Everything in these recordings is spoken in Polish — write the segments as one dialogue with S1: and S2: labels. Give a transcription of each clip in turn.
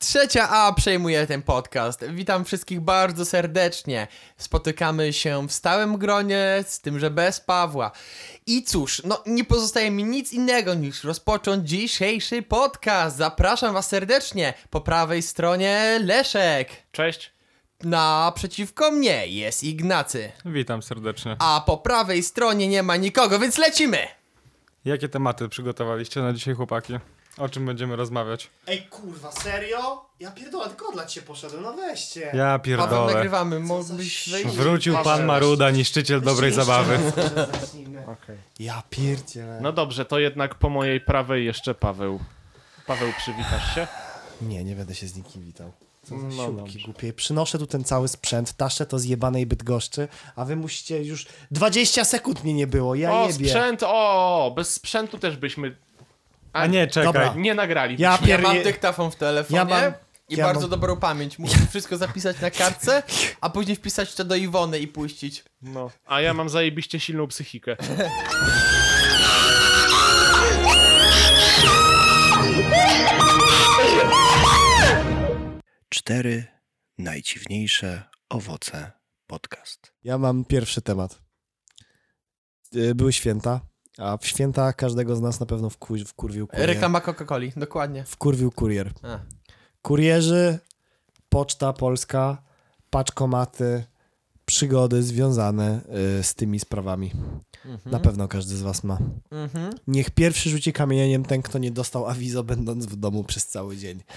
S1: Trzecia A przejmuje ten podcast. Witam wszystkich bardzo serdecznie. Spotykamy się w stałym gronie, z tym, że bez Pawła. I cóż, no nie pozostaje mi nic innego niż rozpocząć dzisiejszy podcast. Zapraszam Was serdecznie. Po prawej stronie Leszek.
S2: Cześć.
S1: Naprzeciwko mnie jest Ignacy.
S2: Witam serdecznie.
S1: A po prawej stronie nie ma nikogo, więc lecimy!
S2: Jakie tematy przygotowaliście na dzisiaj, chłopaki? O czym będziemy rozmawiać?
S3: Ej, kurwa, serio? Ja pierdolę, tylko dla ciebie poszedłem, no weźcie.
S2: Ja
S1: Paweł,
S2: pierdolę.
S1: nagrywamy,
S3: Co za
S1: mógłbyś wejść.
S3: śmiech.
S2: Wrócił pan Maruda, niszczyciel dobrej
S3: Jeszcze
S2: zabawy.
S3: raz, jeszcze raz zacznijmy. Ja pierdzielę.
S4: No dobrze, to jednak po mojej prawej jeszcze Paweł. Paweł, przywitasz się?
S3: Nie, nie będę się z nikim witał. Co za
S4: No
S3: siurki
S4: dobrze.
S3: głupie. Przynoszę tu ten cały sprzęt, taszę to z jebanej Bydgoszczy, a wy musicie już... 20 sekund mnie nie było, ja
S4: o,
S3: jebie.
S4: sprzęt, o, bez sprzętu też byśmy...
S2: A nie, czekaj.
S3: Dobra.
S4: Nie nagralibyśmy.
S3: Ja
S1: Ja
S3: pier...
S1: mam dyktafon w telefonie
S3: Ja mam-
S1: i
S3: ja
S1: bardzo
S3: mam-
S1: dobrą pamięć. Muszę wszystko zapisać na kartce, a później wpisać to do Iwony i puścić.
S4: No. A ja mam zajebiście silną psychikę.
S5: Cztery najdziwniejsze owoce podcast.
S3: Ja mam pierwszy temat. Y, Były święta, a w święta każdego z nas na pewno wku- wkurwił kurier.
S1: Reklama Coca-Coli, dokładnie.
S3: Wkurwił kurier.
S1: A.
S3: Kurierzy, Poczta Polska, paczkomaty, przygody związane y, z tymi sprawami. Na pewno każdy z was ma.
S1: Mhm.
S3: Niech pierwszy rzuci kamieniem ten, kto nie dostał awizo, będąc w domu przez cały dzień.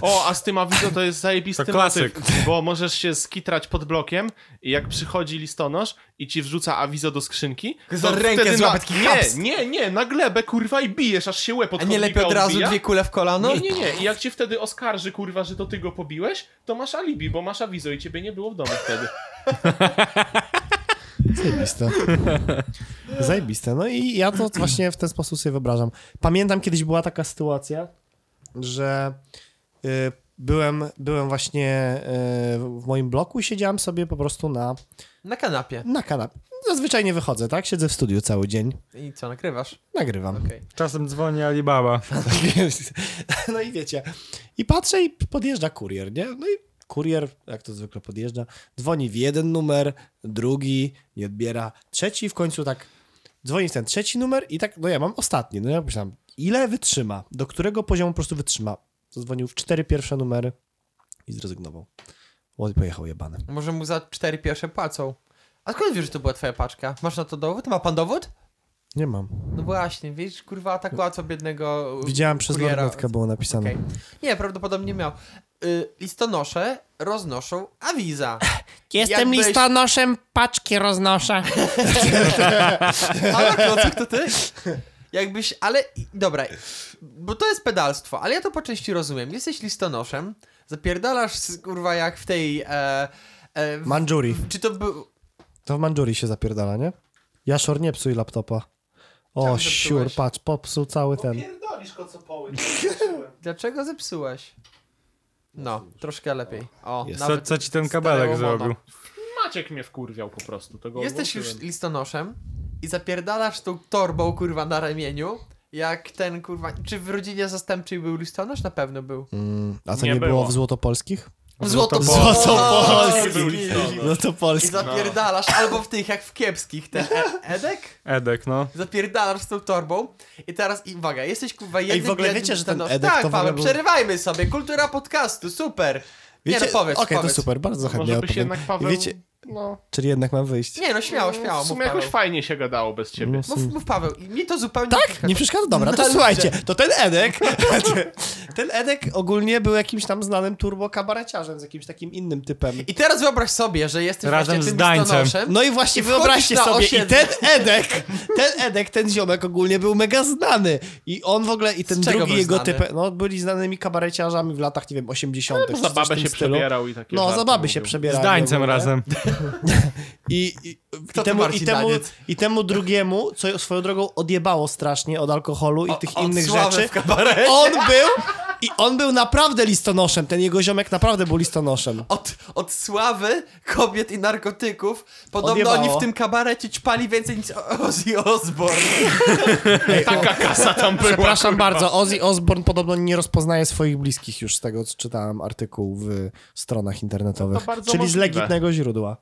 S4: O, a z tym Avizo to jest zajebisty
S2: To klasyk.
S4: motyw, bo możesz się skitrać pod blokiem i jak przychodzi listonosz i ci wrzuca Avizo do skrzynki, to
S1: Za rękę
S4: wtedy
S1: złapać taki haps.
S4: Nie, nie, nie, na glebę, kurwa, i bijesz, aż się łeb od
S1: A nie lepiej od
S4: chodnika
S1: razu
S4: odbija.
S1: dwie kule w kolano?
S4: No Nie, nie, nie. I jak cię wtedy oskarży, kurwa, że to ty go pobiłeś, to masz alibi, bo masz awizo i ciebie nie było w domu wtedy.
S3: Zajebiste. Zajebiste. No i ja to właśnie w ten sposób sobie wyobrażam. Pamiętam, kiedyś była taka sytuacja, że y, byłem, byłem właśnie y, w moim bloku i siedziałem sobie po prostu na,
S1: Na kanapie.
S3: na kanapie. Zazwyczaj nie wychodzę, tak? Siedzę w studiu cały dzień,
S1: I co, nagrywasz?
S3: nagrywam.
S1: Okej.
S2: Czasem dzwoni Alibaba.
S3: Tak No i wiecie. I patrzę i podjeżdża kurier, nie? No i kurier, jak to zwykle podjeżdża, dzwoni w jeden numer, drugi, nie odbiera, trzeci, w końcu tak dzwoni w ten trzeci numer i tak, no ja mam ostatni, no ja myślałem, ile wytrzyma, do którego poziomu po prostu wytrzyma. Zadzwonił w cztery pierwsze numery i zrezygnował. Łodzi pojechał jebany.
S1: Może mu za cztery pierwsze płacą. A skąd wiesz, że to była twoja paczka? Masz na to dowód? Ma pan dowód?
S3: Nie mam.
S1: No właśnie, wiesz, kurwa, tak łatwo biednego y,
S3: Widziałem przez
S1: kuriera.
S3: lornetkę było napisane.
S1: Okej. Nie, prawdopodobnie miał. Y, listonosze roznoszą awiza. Jestem Jakbyś-
S3: listonoszem, paczki roznoszę.
S1: Ale klocek to ty? Jakbyś, ale i- dobra, bo to jest pedalstwo, ale ja to po części rozumiem. Jesteś listonoszem, zapierdalasz z- kurwa jak w tej. E, e, w,
S3: Mandżuri.
S1: czy to był.
S3: To w Mandżurii się zapierdala, nie? Jaszor, nie psuj laptopa. O,
S1: Czemu
S3: siur,
S1: zepsułeś?
S3: patrz, popsuł cały ten.
S4: Pierdolisz go co poły.
S1: Dlaczego zepsułeś? No, troszkę lepiej. O,
S2: Co, co ci ten kabelek
S1: stereo mono.
S2: zrobił?
S4: Maciek mnie wkurwiał po prostu. To go
S1: Jesteś już
S4: odłączyłem.
S1: listonoszem i zapierdalasz tą torbą kurwa na ramieniu. Jak ten kurwa. Czy w rodzinie zastępczej był listonosz? Na pewno był.
S3: Mm, a to nie,
S4: Nie
S3: było.
S4: było.
S3: w Złotopolskich?
S1: Złoto,
S2: Złotopolski.
S4: Był listonosz.
S1: I
S3: Złotopolski.
S1: zapierdalasz, albo w tych jak w kiepskich, ten e Edek?
S2: Edek, no.
S1: Zapierdalasz z tą torbą i teraz, i uwaga, jesteś kurwa jednym
S3: w ogóle
S1: jednym
S3: wiecie, że ten
S1: nos-
S3: Edek
S1: Tak,
S3: to w ogóle
S1: Paweł,
S3: był-
S1: przerywajmy sobie, kultura podcastu, super. nie, no powiedz,
S3: Okej, to
S1: powiedz.
S3: super, bardzo chętnie
S4: Może byś
S3: odpowiem.
S4: jednak Paweł...
S3: Wiecie,
S4: No,
S3: czyli jednak mam wyjść.
S1: Nie no, śmiało, śmiało,
S4: w
S1: mów
S4: sumie jakoś
S1: Paweł.
S4: fajnie się gadało bez ciebie.
S3: No,
S1: Mów, mów Paweł, I mi to zupełnie
S3: Tak? Nie przeszkadza? Dobra, to słuchajcie, to ten Edek, ten Edek ogólnie był jakimś tam znanym turbo kabareciarzem z jakimś takim innym typem.
S1: I teraz wyobraź sobie, że jesteś
S2: Razem
S1: właśnie
S2: z
S1: tym
S2: Dańcem.
S1: listonoszem.
S3: No i właśnie
S1: I wchodzisz
S3: wyobraźcie
S1: na
S3: sobie,
S1: osiedle.
S3: i ten Edek, ten Edek, ten ziomek ogólnie był mega znany. I on w ogóle, i ten
S1: czego
S3: drugi
S1: był
S3: jego
S1: znany?
S3: typ, no byli znanymi kabareciarzami w latach, nie wiem, 80.
S1: No,
S4: Za babę się przebierał i takie
S3: No,
S4: żarty
S3: za baby się
S4: mówił.
S3: przebierał.
S2: Z Dańcem razem.
S3: I, i,
S1: Kto
S3: I temu,
S1: to
S3: i,
S1: Marcin
S3: temu,
S1: Daniec?
S3: I temu drugiemu, co swoją drogą odjebało strasznie od alkoholu i
S1: O-
S3: tych
S1: od
S3: innych
S1: sławy
S3: rzeczy.
S1: w kabarecie.
S3: On był i on był naprawdę listonoszem. Ten jego ziomek naprawdę był listonoszem.
S1: Od, od sławy, kobiet i narkotyków podobno
S3: Odjebało.
S1: oni w tym kabarecie ćpali więcej niż O- Ozzy Osbourne.
S4: Taka kasa tam była.
S3: Przepraszam
S4: kurwa.
S3: bardzo, Ozzy Osbourne podobno nie rozpoznaje swoich bliskich już z tego, co czytałem artykuł w stronach internetowych.
S4: No To bardzo
S3: czyli z
S4: możliwe.
S3: legitnego źródła.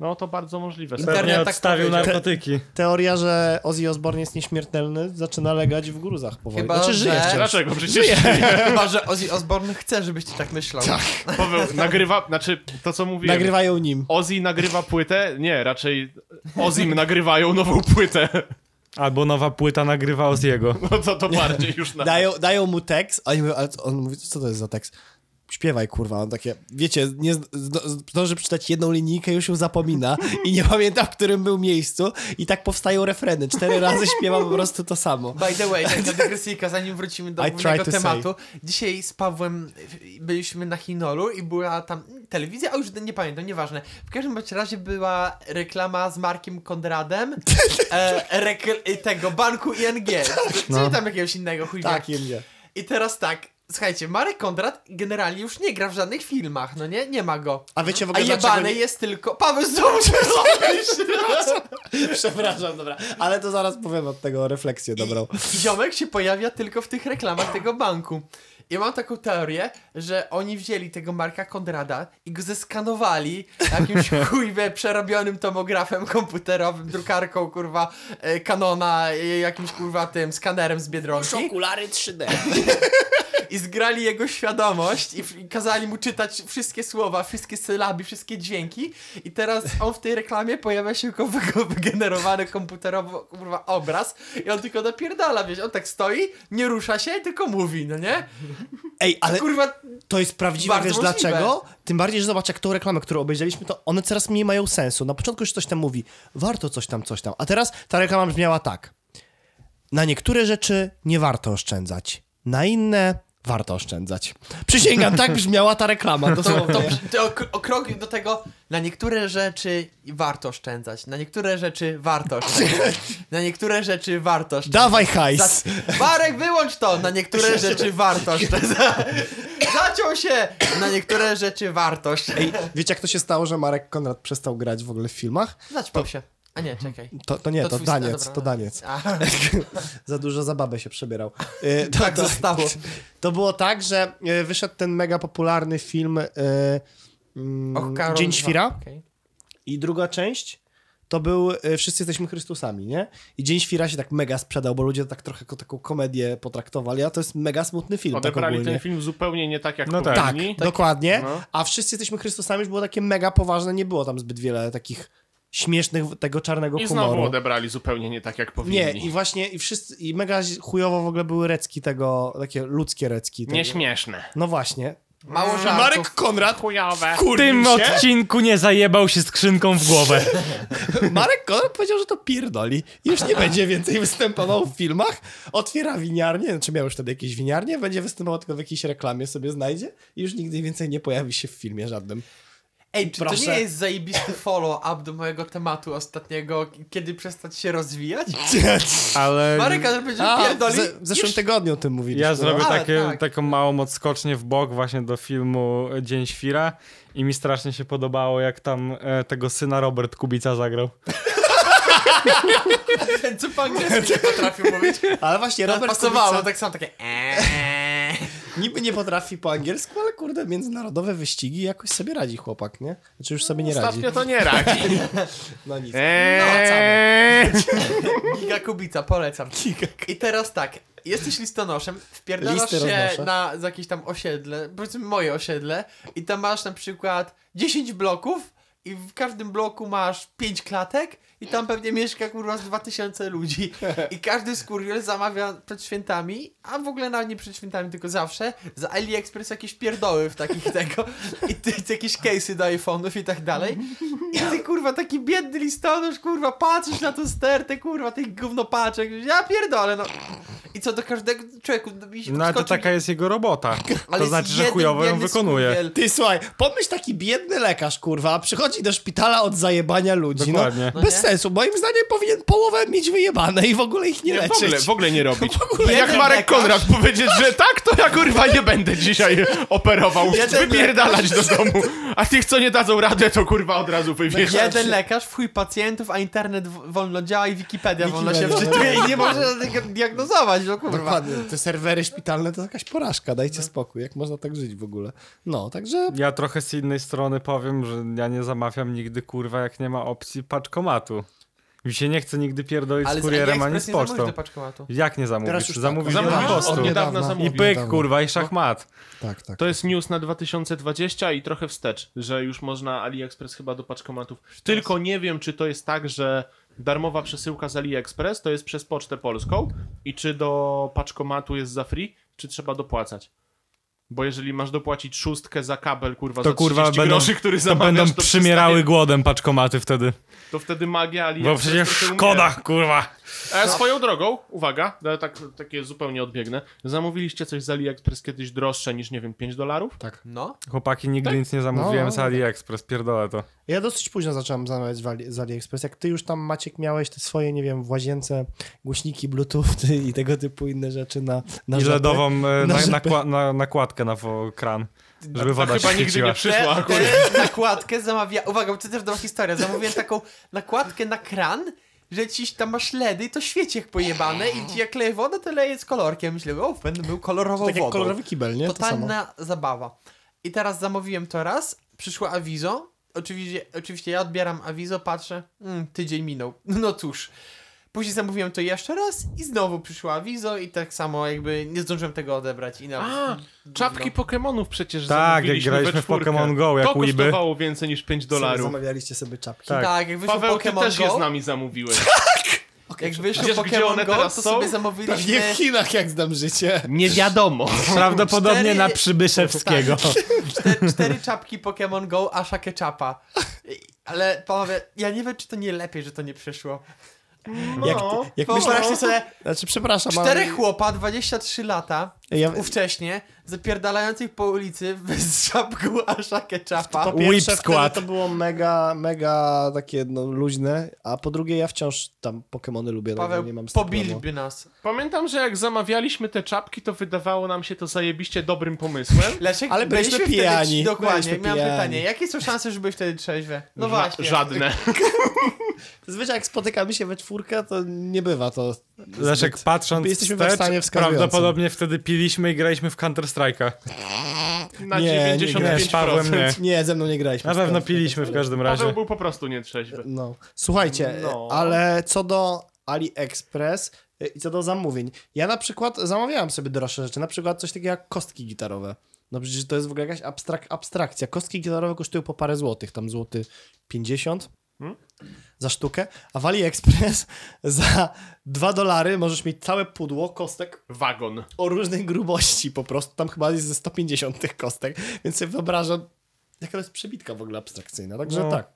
S4: No to bardzo możliwe.
S1: Internet
S2: Pewnie
S1: tak
S2: odstawił
S1: powiedział.
S2: narkotyki.
S3: Teoria, że Ozzy Osbourne jest nieśmiertelny, zaczyna legać w gruzach powoli.
S1: Chyba,
S3: znaczy, żyje
S1: że-
S3: wciąż.
S4: Dlaczego? Przecież
S1: Chyba, że Ozzy Osbourne chce, żebyś ty tak myślał.
S4: Paweł nagrywa, znaczy to co mówiłem.
S3: Nagrywają nim.
S4: Ozzy nagrywa płytę? Nie, raczej Ozim nagrywają nową płytę.
S2: Albo nowa płyta nagrywa z jego.
S4: No to to bardziej już na...
S3: Dają, dają mu tekst, a oni mówią, ale co- on mówi, co to jest za tekst? Śpiewaj, kurwa, on takie, wiecie, nie, zd- zd- zdąży przeczytać jedną linijkę, już ją zapomina i nie pamięta, w którym był miejscu i tak powstają refreny. Cztery razy śpiewa po prostu to samo.
S1: By the way, tak na dygresyjka, zanim wrócimy do
S3: I
S1: głównego
S3: try to
S1: tematu. Dzisiaj z Pawłem w- byliśmy na Chinolu i była tam telewizja, a już nie pamiętam, nieważne. W każdym bądź razie była reklama z Markiem Konradem e, rekl- tego banku ING, czyli tam jakiegoś innego chuj wie.
S3: no. Tak, nie.
S1: I teraz tak, słuchajcie, Marek Konrad generalnie już nie gra w żadnych filmach, no nie? Nie ma go.
S3: A wiecie w
S1: A
S3: ogóle dlaczego...
S1: jebany
S3: nie- No.
S1: jest tylko... Paweł, znowu się robisz!
S3: Przepraszam, dobra, ale to zaraz powiem od tego refleksję dobrą.
S1: I, i ziomek się pojawia tylko w tych reklamach tego banku. I mam taką teorię, że oni wzięli tego Marka Konrada i go zeskanowali jakimś chujwe przerobionym tomografem komputerowym, drukarką, kurwa, e, Canona, e, jakimś, kurwa, tym skanerem z Biedronki
S3: Okulary 3D.
S1: i zgrali jego świadomość i, f- i kazali mu czytać wszystkie słowa, wszystkie sylaby, wszystkie dźwięki i teraz on w tej reklamie pojawia się jako wyg- wygenerowany komputerowo kurwa obraz i on tylko napierdala, wiesz, on tak stoi, nie rusza się, tylko mówi, no nie?
S3: Ej, ale
S1: Kurwa,
S3: to jest prawdziwe,
S1: Bardzo
S3: wiesz
S1: możliwe.
S3: dlaczego? Tym bardziej, że zobacz, jak tą reklamę, którą obejrzeliśmy, to one coraz mniej mają sensu. Na początku już coś tam mówi, warto coś tam, coś tam. A teraz ta reklama brzmiała tak. Na niektóre rzeczy nie warto oszczędzać, na inne warto oszczędzać. Przysięgam, tak brzmiała ta reklama.
S1: to,
S3: dosłownie.
S1: to, to o, o krok do tego, na niektóre rzeczy warto oszczędzać, na niektóre rzeczy warto oszczędzać, na niektóre rzeczy warto oszczędzać.
S3: Dawaj hajs.
S1: Za- Marek, wyłącz to! Na niektóre rzeczy wartość. Zaciął się! Na niektóre rzeczy wartość. Ej,
S3: Wiecie, jak to się stało, że Marek Konrad przestał grać w ogóle w filmach?
S1: zaćpał się. A nie, czekaj.
S3: To, to nie, to,
S1: twój- a,
S3: Daniec,
S1: dobra.
S3: to Daniec.
S1: A,
S3: Za dużo za babę się przebierał. Y, to,
S1: tak zostało.
S3: To było tak, że e, wyszedł ten mega popularny film e, mm,
S1: Och, Karol
S3: Dzień
S1: dwa.
S3: Świra
S1: Okej.
S3: i druga część to był e, Wszyscy jesteśmy Chrystusami, nie? I Dzień Świra się tak mega sprzedał, bo ludzie tak trochę jako taką komedię potraktowali, a to jest mega smutny film. tak
S4: Odebrali
S3: ogólnie.
S4: ten film zupełnie nie tak, jak
S2: No tak.
S3: Tak,
S4: powinni.
S3: dokładnie.
S4: No.
S3: A Wszyscy jesteśmy Chrystusami już było takie mega poważne, nie było tam zbyt wiele takich śmiesznych tego czarnego
S4: I
S3: humoru.
S4: znowu odebrali zupełnie nie tak, jak
S3: nie,
S4: powinni.
S3: i właśnie, i wszyscy, i mega chujowo w ogóle były recki tego, takie ludzkie recki. Tego.
S4: Nieśmieszne.
S3: No właśnie.
S1: Mało żartów.
S3: Marek Konrad
S4: Chujowe.
S2: W tym
S3: się?
S2: odcinku nie zajebał się skrzynką w głowę.
S3: Marek Konrad powiedział, że to pierdoli. Już nie będzie więcej występował w filmach. Otwiera winiarnię, znaczy miał już wtedy jakieś winiarnie, będzie występował tylko w jakiejś reklamie sobie znajdzie i już nigdy więcej nie pojawi się w filmie żadnym.
S1: Ej, czy to
S3: Proszę.
S1: nie jest zajebisty follow-up do mojego tematu ostatniego, kiedy przestać się rozwijać?
S2: Ale
S1: Marek, ale będzie pierdoli.
S3: ze- w zeszłym
S1: Już-
S3: tygodniu o tym mówiliśmy.
S2: ja zrobię
S1: Ale
S2: takie,
S1: tak.
S2: taką małą odskocznię w bok właśnie do filmu Dzień Świra i mi strasznie się podobało, jak tam e, tego syna Robert Kubica zagrał.
S1: Ten, co po angielsku nie potrafił mówić.
S3: Ale właśnie Robert
S1: Pasowało,
S3: Kubica
S1: tak samo takie eee.
S3: niby nie potrafi po angielsku, ale kurde, międzynarodowe wyścigi jakoś sobie radzi chłopak, nie? Znaczy już sobie nie radzi.
S4: Ostatnio to nie radzi.
S3: No nic.
S4: Eee.
S1: Giga Kubica, polecam. I teraz tak, jesteś listonoszem, wpierdalasz
S3: Listy
S1: się
S3: roznoszę.
S1: na z jakieś tam osiedle, powiedzmy moje osiedle, i tam masz na przykład 10 bloków i w każdym bloku masz 5 klatek i tam pewnie mieszka kurwa z 2000 ludzi i każdy skurier zamawia przed świętami, a w ogóle nawet nie przed świętami, tylko zawsze, z AliExpress jakieś pierdoły w takich tego i ty, ty jakieś case'y do iPhone'ów i tak dalej. I ty kurwa taki biedny listonosz, kurwa, patrzysz na tą stertę, kurwa, tych gównopaczek, ja pierdolę, no. I I co do każdego człowieku mi się
S2: No ale to
S1: podskoczył-
S2: taka jest jego robota.
S1: Ale
S2: to
S1: jest
S2: znaczy, że
S1: jeden
S2: chujowo ją
S1: biedny
S2: wykonuje.
S1: skurwiel.
S3: Ty słuchaj, pomyśl taki biedny lekarz, kurwa, przychodzi do szpitala od zajebania ludzi. No,
S2: Dokładnie.
S1: No
S3: bez
S1: nie?
S3: sensu, moim zdaniem powinien połowę mieć wyjebane i w ogóle ich nie,
S4: Nie,
S3: leczyć.
S4: w ogóle, w ogóle nie robić.
S1: ogóle
S4: Jak
S1: nie
S4: Marek
S1: lekarz.
S4: Konrad powiedzieć, że tak, to ja kurwa nie będę dzisiaj operował.
S1: Jeden
S4: Wypierdalać do domu. A tych, co nie dadzą radę, to kurwa od razu wywierzać.
S1: Jeden lekarz, w chuj pacjentów, a internet w- wolno działa i Wikipedia, No,
S3: Wikipedia,
S1: wolno się wczytuje i nie może tego diagnozować, no kurwa.
S3: Dokładnie, te serwery szpitalne to jakaś porażka, dajcie spokój, jak można tak żyć w ogóle. No, także
S2: Ja trochę z innej strony powiem, że ja nie zamawiam nigdy kurwa, jak nie ma opcji paczkomatu. Mi się nie chce nigdy pierdolić
S1: Ale
S2: z kurierem ani
S1: AliExpress
S2: z
S1: nie zamówisz
S2: pocztą.
S1: do paczkomatu.
S2: Jak nie
S3: Teraz
S2: zamówisz?
S3: już tak.
S2: Zamówisz
S4: Zamówisz
S2: po
S4: od
S2: postu.
S4: niedawna
S3: Niedawno.
S2: I
S4: zamówił.
S2: pyk,
S3: Niedawno.
S2: kurwa, i szachmat.
S3: tak, tak.
S4: To jest news na 2020 i trochę wstecz, że już można AliExpress chyba do paczkomatów. Tylko nie wiem, czy to jest tak, że darmowa przesyłka z AliExpress to jest przez Pocztę Polską i czy do paczkomatu jest za free, czy trzeba dopłacać. Bo jeżeli masz dopłacić szóstkę za kabel, kurwa,
S2: To
S4: za
S2: kurwa
S4: 30
S2: będą-
S4: groszy, który
S2: To
S4: zamawiasz,
S2: będą
S4: to
S2: przymierały głodem paczkomaty wtedy.
S4: przestanie- To wtedy magia AliExpress
S2: Bo przecież
S4: trochę
S2: szkoda, kurwa.
S4: umiera. E, swoją drogą, uwaga, ale tak, takie zupełnie odbiegnę. Zamówiliście coś z AliExpress kiedyś droższe niż, nie wiem, 5 dolarów?
S3: Tak.
S1: No.
S2: Chłopaki, nigdy nic nie
S3: No,
S2: zamówiłem
S3: no,
S2: z
S3: no.
S2: AliExpress, pierdolę to.
S3: Ja dosyć późno zacząłem zamawiać w Ali- z AliExpress. Jak ty już tam, Maciek, miałeś te swoje, nie wiem, w łazience głośniki bluetooth i tego typu inne rzeczy na, na
S2: I
S3: żabę.
S2: LEDową e,
S3: Na
S2: na,
S3: żabę.
S2: nakła- na, nakładkę na wo- kran, żeby
S4: A
S2: woda się
S4: chyba nigdy
S2: świeciła.
S4: nie przyszła
S1: Te-
S4: akurat.
S1: tę nakładkę zamawia... Uwaga, bo to też dobra historia. Zamówiłem taką nakładkę na kran, że ci tam masz ledy i to świeci jak pojebane i ci jak leje wodę, to leje z kolorkiem. Myślę, o, będę był kolorową
S3: To tak jak
S1: wodą.
S3: kolorowy kibel, nie? To samo.
S1: Totalna zabawa. I teraz zamówiłem to raz, przyszło awizo. Oczywiście, oczywiście ja odbieram awizo, patrzę, mm, tydzień minął. No cóż. Później zamówiłem to jeszcze raz i znowu przyszło awizo i tak samo jakby nie zdążyłem tego odebrać. I na...
S4: A, czapki Pokemonów przecież
S2: Tak, jak
S4: zamówiliśmy
S2: graliśmy
S4: we
S2: w
S4: czwórkę.
S2: Pokémon Go, jak
S4: To
S2: Weeby.
S4: kosztowało więcej niż 5
S3: Sobie
S4: dolarów.
S3: Zamawialiście sobie czapki.
S2: Tak.
S1: Tak, jak wyszło
S4: Paweł, ty
S1: Pokémon
S4: też
S1: Go,
S4: je z nami zamówiłeś.
S1: jak wyszło
S4: Wiesz, gdzie
S1: Pokémon
S4: one
S1: Go, to
S4: teraz są?
S1: sobie
S3: Pewnie
S1: zamówiliśmy
S3: w Chinach, jak znam życie.
S4: Nie wiadomo.
S2: Prawdopodobnie
S1: Cztery-
S2: na Przybyszewskiego.
S1: Tak. cztery, cztery czapki Pokémon Go, Asha Ketchupa. I- Ale panowie, ja nie wiem, czy to nie lepiej, że to nie przyszło.
S4: No,
S3: Jak ty- jak
S1: Wyobraźcie sobie,
S3: Znaczy, przepraszam,
S1: Czterech chłopa, 23 lata,
S3: Ja-
S1: ówcześnie, zapierdalających po ulicy bez czapku Asza Ketchupa.
S3: Po pierwsze,
S2: Whip
S3: wtedy
S2: Squad.
S3: To było mega, mega takie no, luźne, a po drugie ja wciąż tam Pokemony lubię,
S1: Paweł,
S3: Paweł, nie mam z tym problemu.
S1: pobiliby nas.
S4: Pamiętam, że jak zamawialiśmy te czapki, to wydawało nam się to zajebiście dobrym pomysłem.
S1: Leszek,
S3: Ale byliśmy
S1: wtedy-
S3: pijani,
S1: Dokładnie,
S3: byliśmy
S1: miałem
S3: pijani.
S1: pytanie. Jakie są szanse, że byłeś wtedy trzeźwy? No
S4: Ża-
S1: właśnie.
S4: Żadne.
S3: Zazwyczaj jak spotykamy się we czwórkę, to nie bywa to
S2: Leszek, patrząc
S3: Jesteśmy we stanie
S2: wstecz,
S3: wskazującym.
S2: prawdopodobnie wtedy piliśmy i graliśmy w Counter-Strike'a.
S4: Na
S3: Nie, nie
S2: Nie,
S4: 95%.
S2: z Pawłem nie.
S3: Nie, ze mną nie graliśmy.
S2: Na pewno
S3: Skąd?
S2: piliśmy w każdym
S4: Paweł
S2: razie.
S4: był po prostu nietrzeźwy.
S3: No. Słuchajcie,
S4: No.
S3: ale co do AliExpress y, i co do zamówień. Ja na przykład zamawiałem sobie droższe rzeczy, na przykład coś takiego jak kostki gitarowe. No przecież to jest w ogóle jakaś abstrak abstrakcja. Kostki gitarowe kosztują po parę złotych, tam złoty 50 za sztukę, a w AliExpress za 2 dolary możesz mieć całe pudło kostek
S4: Wagon.
S3: o różnej grubości po prostu. Tam chyba jest ze 150 tych kostek, więc sobie wyobrażam, jaka to jest przebitka w ogóle abstrakcyjna. Także
S2: No.
S3: tak.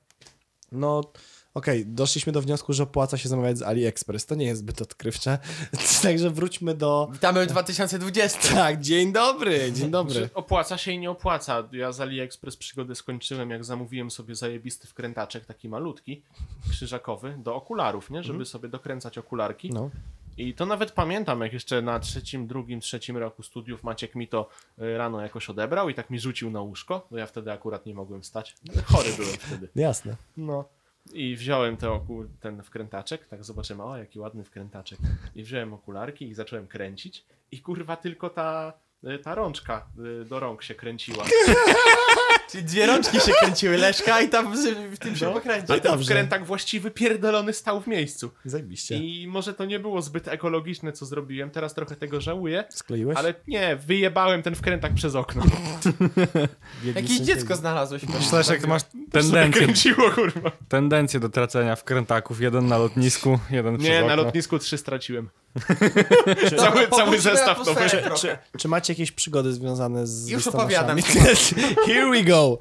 S3: No, okej, doszliśmy do wniosku, że opłaca się zamawiać z AliExpress. To nie jest zbyt odkrywcze. Także wróćmy do...
S1: Witamy w 2020.
S3: Tak, dzień dobry, dzień dobry.
S4: Czy opłaca się i nie opłaca. Ja z AliExpress przygodę skończyłem, jak zamówiłem sobie zajebisty wkrętaczek, taki malutki, krzyżakowy, do okularów, nie? Żeby
S2: Mhm.
S4: sobie dokręcać okularki.
S3: No.
S4: I to nawet pamiętam, jak jeszcze na trzecim, drugim, trzecim roku studiów Maciek mi to y, rano jakoś odebrał i tak mi rzucił na łóżko, no ja wtedy akurat nie mogłem wstać. Chory byłem wtedy.
S3: Jasne.
S4: No. I wziąłem te oku, ten wkrętaczek, tak zobaczyłem, o jaki ładny wkrętaczek. I wziąłem okularki i zacząłem kręcić i kurwa tylko ta, y, ta rączka y, do rąk się kręciła.
S1: Czyli dwie rączki się kręciły, Leszka, i tam w, w tym
S3: No.
S1: się pokręcił.
S4: A ten
S3: dobrze.
S4: wkrętak właściwy pierdolony stał w miejscu.
S3: Zajebiście.
S4: I może to nie było zbyt ekologiczne, co zrobiłem, teraz trochę tego żałuję,
S3: Skleiłeś?
S4: ale nie, wyjebałem ten wkrętak przez okno.
S1: Jakieś dziecko znalazłeś.
S2: Leszek, ty masz tendencję,
S4: Kręciło, kurwa.
S2: tendencję do tracenia wkrętaków. Jeden na lotnisku, jeden przez
S4: Nie, na
S2: okno.
S4: lotnisku trzy straciłem.
S1: Dobra,
S4: cały
S1: pobudźmy
S4: zestaw to
S1: atmosferę
S4: wyszedł.
S1: trochę.
S3: Czy macie jakieś przygody związane z
S1: Już
S3: listonoszami?
S1: opowiadam.
S3: Here we go.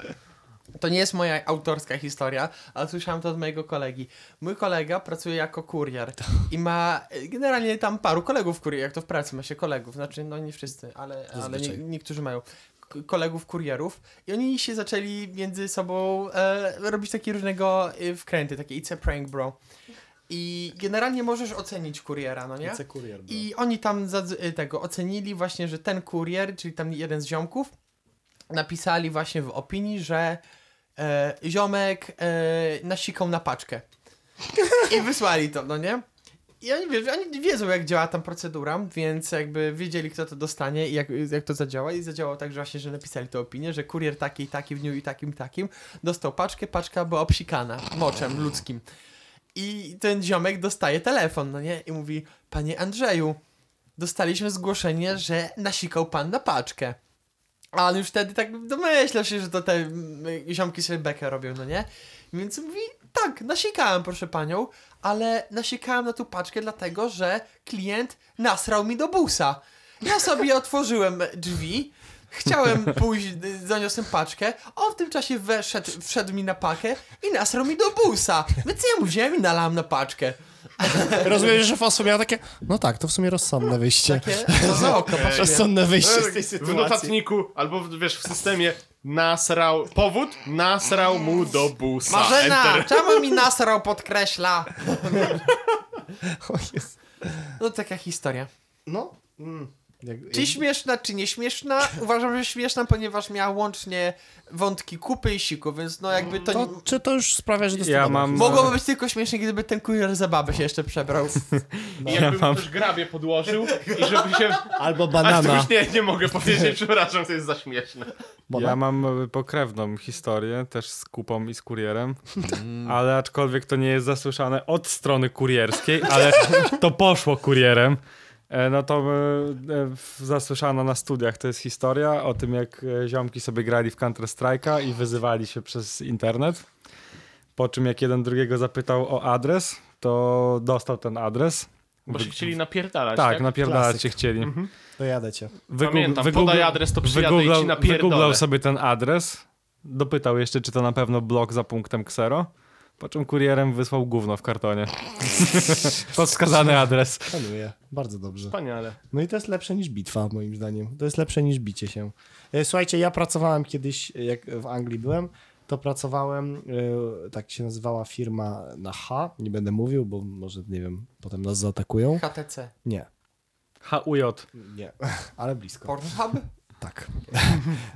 S1: To nie jest moja autorska historia, ale słyszałem to od mojego kolegi. Mój kolega pracuje jako kurier i ma y, generalnie tam paru kolegów kurier, jak to w pracy ma się kolegów, znaczy no nie wszyscy, ale, ale nie,
S3: Zazwyczaj.
S1: niektórzy mają k- kolegów kurierów i oni się zaczęli między sobą e, robić takie różnego y, wkręty, takie it's a prank bro. I generalnie możesz ocenić kuriera, no nie?
S3: kurier. bro.
S1: I oni tam zadz- y, tego ocenili właśnie, że ten kurier, czyli tam jeden z ziomków, napisali właśnie w opinii, że e, ziomek e, nasikał na paczkę. I wysłali to, no nie? I oni, wiesz, oni wiedzą, jak działa tam procedura, więc jakby wiedzieli, kto to dostanie i jak, jak to zadziała. I zadziałało tak, że właśnie, że napisali tę opinię, że kurier taki i taki w dniu i takim i takim dostał paczkę, paczka była obsikana moczem ludzkim. I ten ziomek dostaje telefon, no nie? I mówi, panie Andrzeju, dostaliśmy zgłoszenie, że nasikał pan na paczkę. A on już wtedy tak domyślał się, że to te mm, ziomki sobie bekę robią, no nie? Więc mówi, tak, nasikałem, proszę panią, ale nasikałem na tą paczkę dlatego, że klient nasrał mi do busa. Ja sobie otworzyłem drzwi, chciałem pójść, y, zaniosłem paczkę, on w tym czasie weszedł, wszedł mi na pakę i nasrał mi do busa. Więc ja mu wziąłem i nalałem na paczkę.
S3: Rozumiem, że Fosu miał takie, no tak, to w sumie rozsądne wyjście.
S1: Takie, no za oko, pasuje.
S3: Rozsądne wyjście z tej
S4: W
S3: sytuacji.
S4: notatniku, albo w- wiesz, w systemie nasrał, powód, nasrał mu do busa.
S1: Marzena,
S4: Enter.
S1: czemu mi nasrał podkreśla?
S3: O Jezu.
S1: No taka historia.
S3: No. Mm. Jak-
S1: Czy śmieszna, czy nieśmieszna? Uważam, że śmieszna, ponieważ miała łącznie wątki kupy i siku, więc no jakby to...
S3: To, czy to już sprawia, że
S2: Ja mam...
S1: Mogłoby być tylko śmiesznie, gdyby ten kurier za babę się jeszcze przebrał.
S4: I jakby mu też grabie podłożył i żeby się...
S3: Albo
S4: A to
S3: banana.
S4: już nie, nie mogę powiedzieć, przepraszam, to jest za śmieszne.
S2: Ja
S3: Bona.
S2: mam e, pokrewną historię, też z kupą i z kurierem,
S4: Mm.
S2: ale aczkolwiek to nie jest zasłyszane od strony kurierskiej, ale to poszło kurierem. E, No to e, e, w- zasłyszano na studiach, to jest historia o tym, jak e, ziomki sobie grali w Counter Strike'a i wyzywali się przez internet. Po czym jak jeden drugiego zapytał o adres, to dostał ten adres.
S4: Bo się chcieli napierdalać, tak?
S2: Tak, napierdalać
S3: Klasyk.
S2: się chcieli.
S3: Dojadę cię.
S2: Wygoogl-
S4: Pamiętam, podaj adres, to przyjadę i ci napierdolę.
S2: Wygooglał sobie ten adres, dopytał jeszcze, czy to na pewno blok za punktem ksero, po czym kurierem wysłał gówno w kartonie. Pod wskazany adres.
S3: Panuję. Bardzo dobrze.
S4: Wspaniale.
S3: No i to jest lepsze niż bitwa, moim zdaniem. To jest lepsze niż bicie się. E, Słuchajcie, ja pracowałem kiedyś, e, jak w Anglii byłem, to pracowałem, e, tak się nazywała firma na H, nie będę mówił, bo może, nie wiem, potem nas zaatakują.
S1: HTC.
S3: Nie,
S2: HUJ.
S3: nie, ale blisko.
S1: Pornhub?
S3: Tak.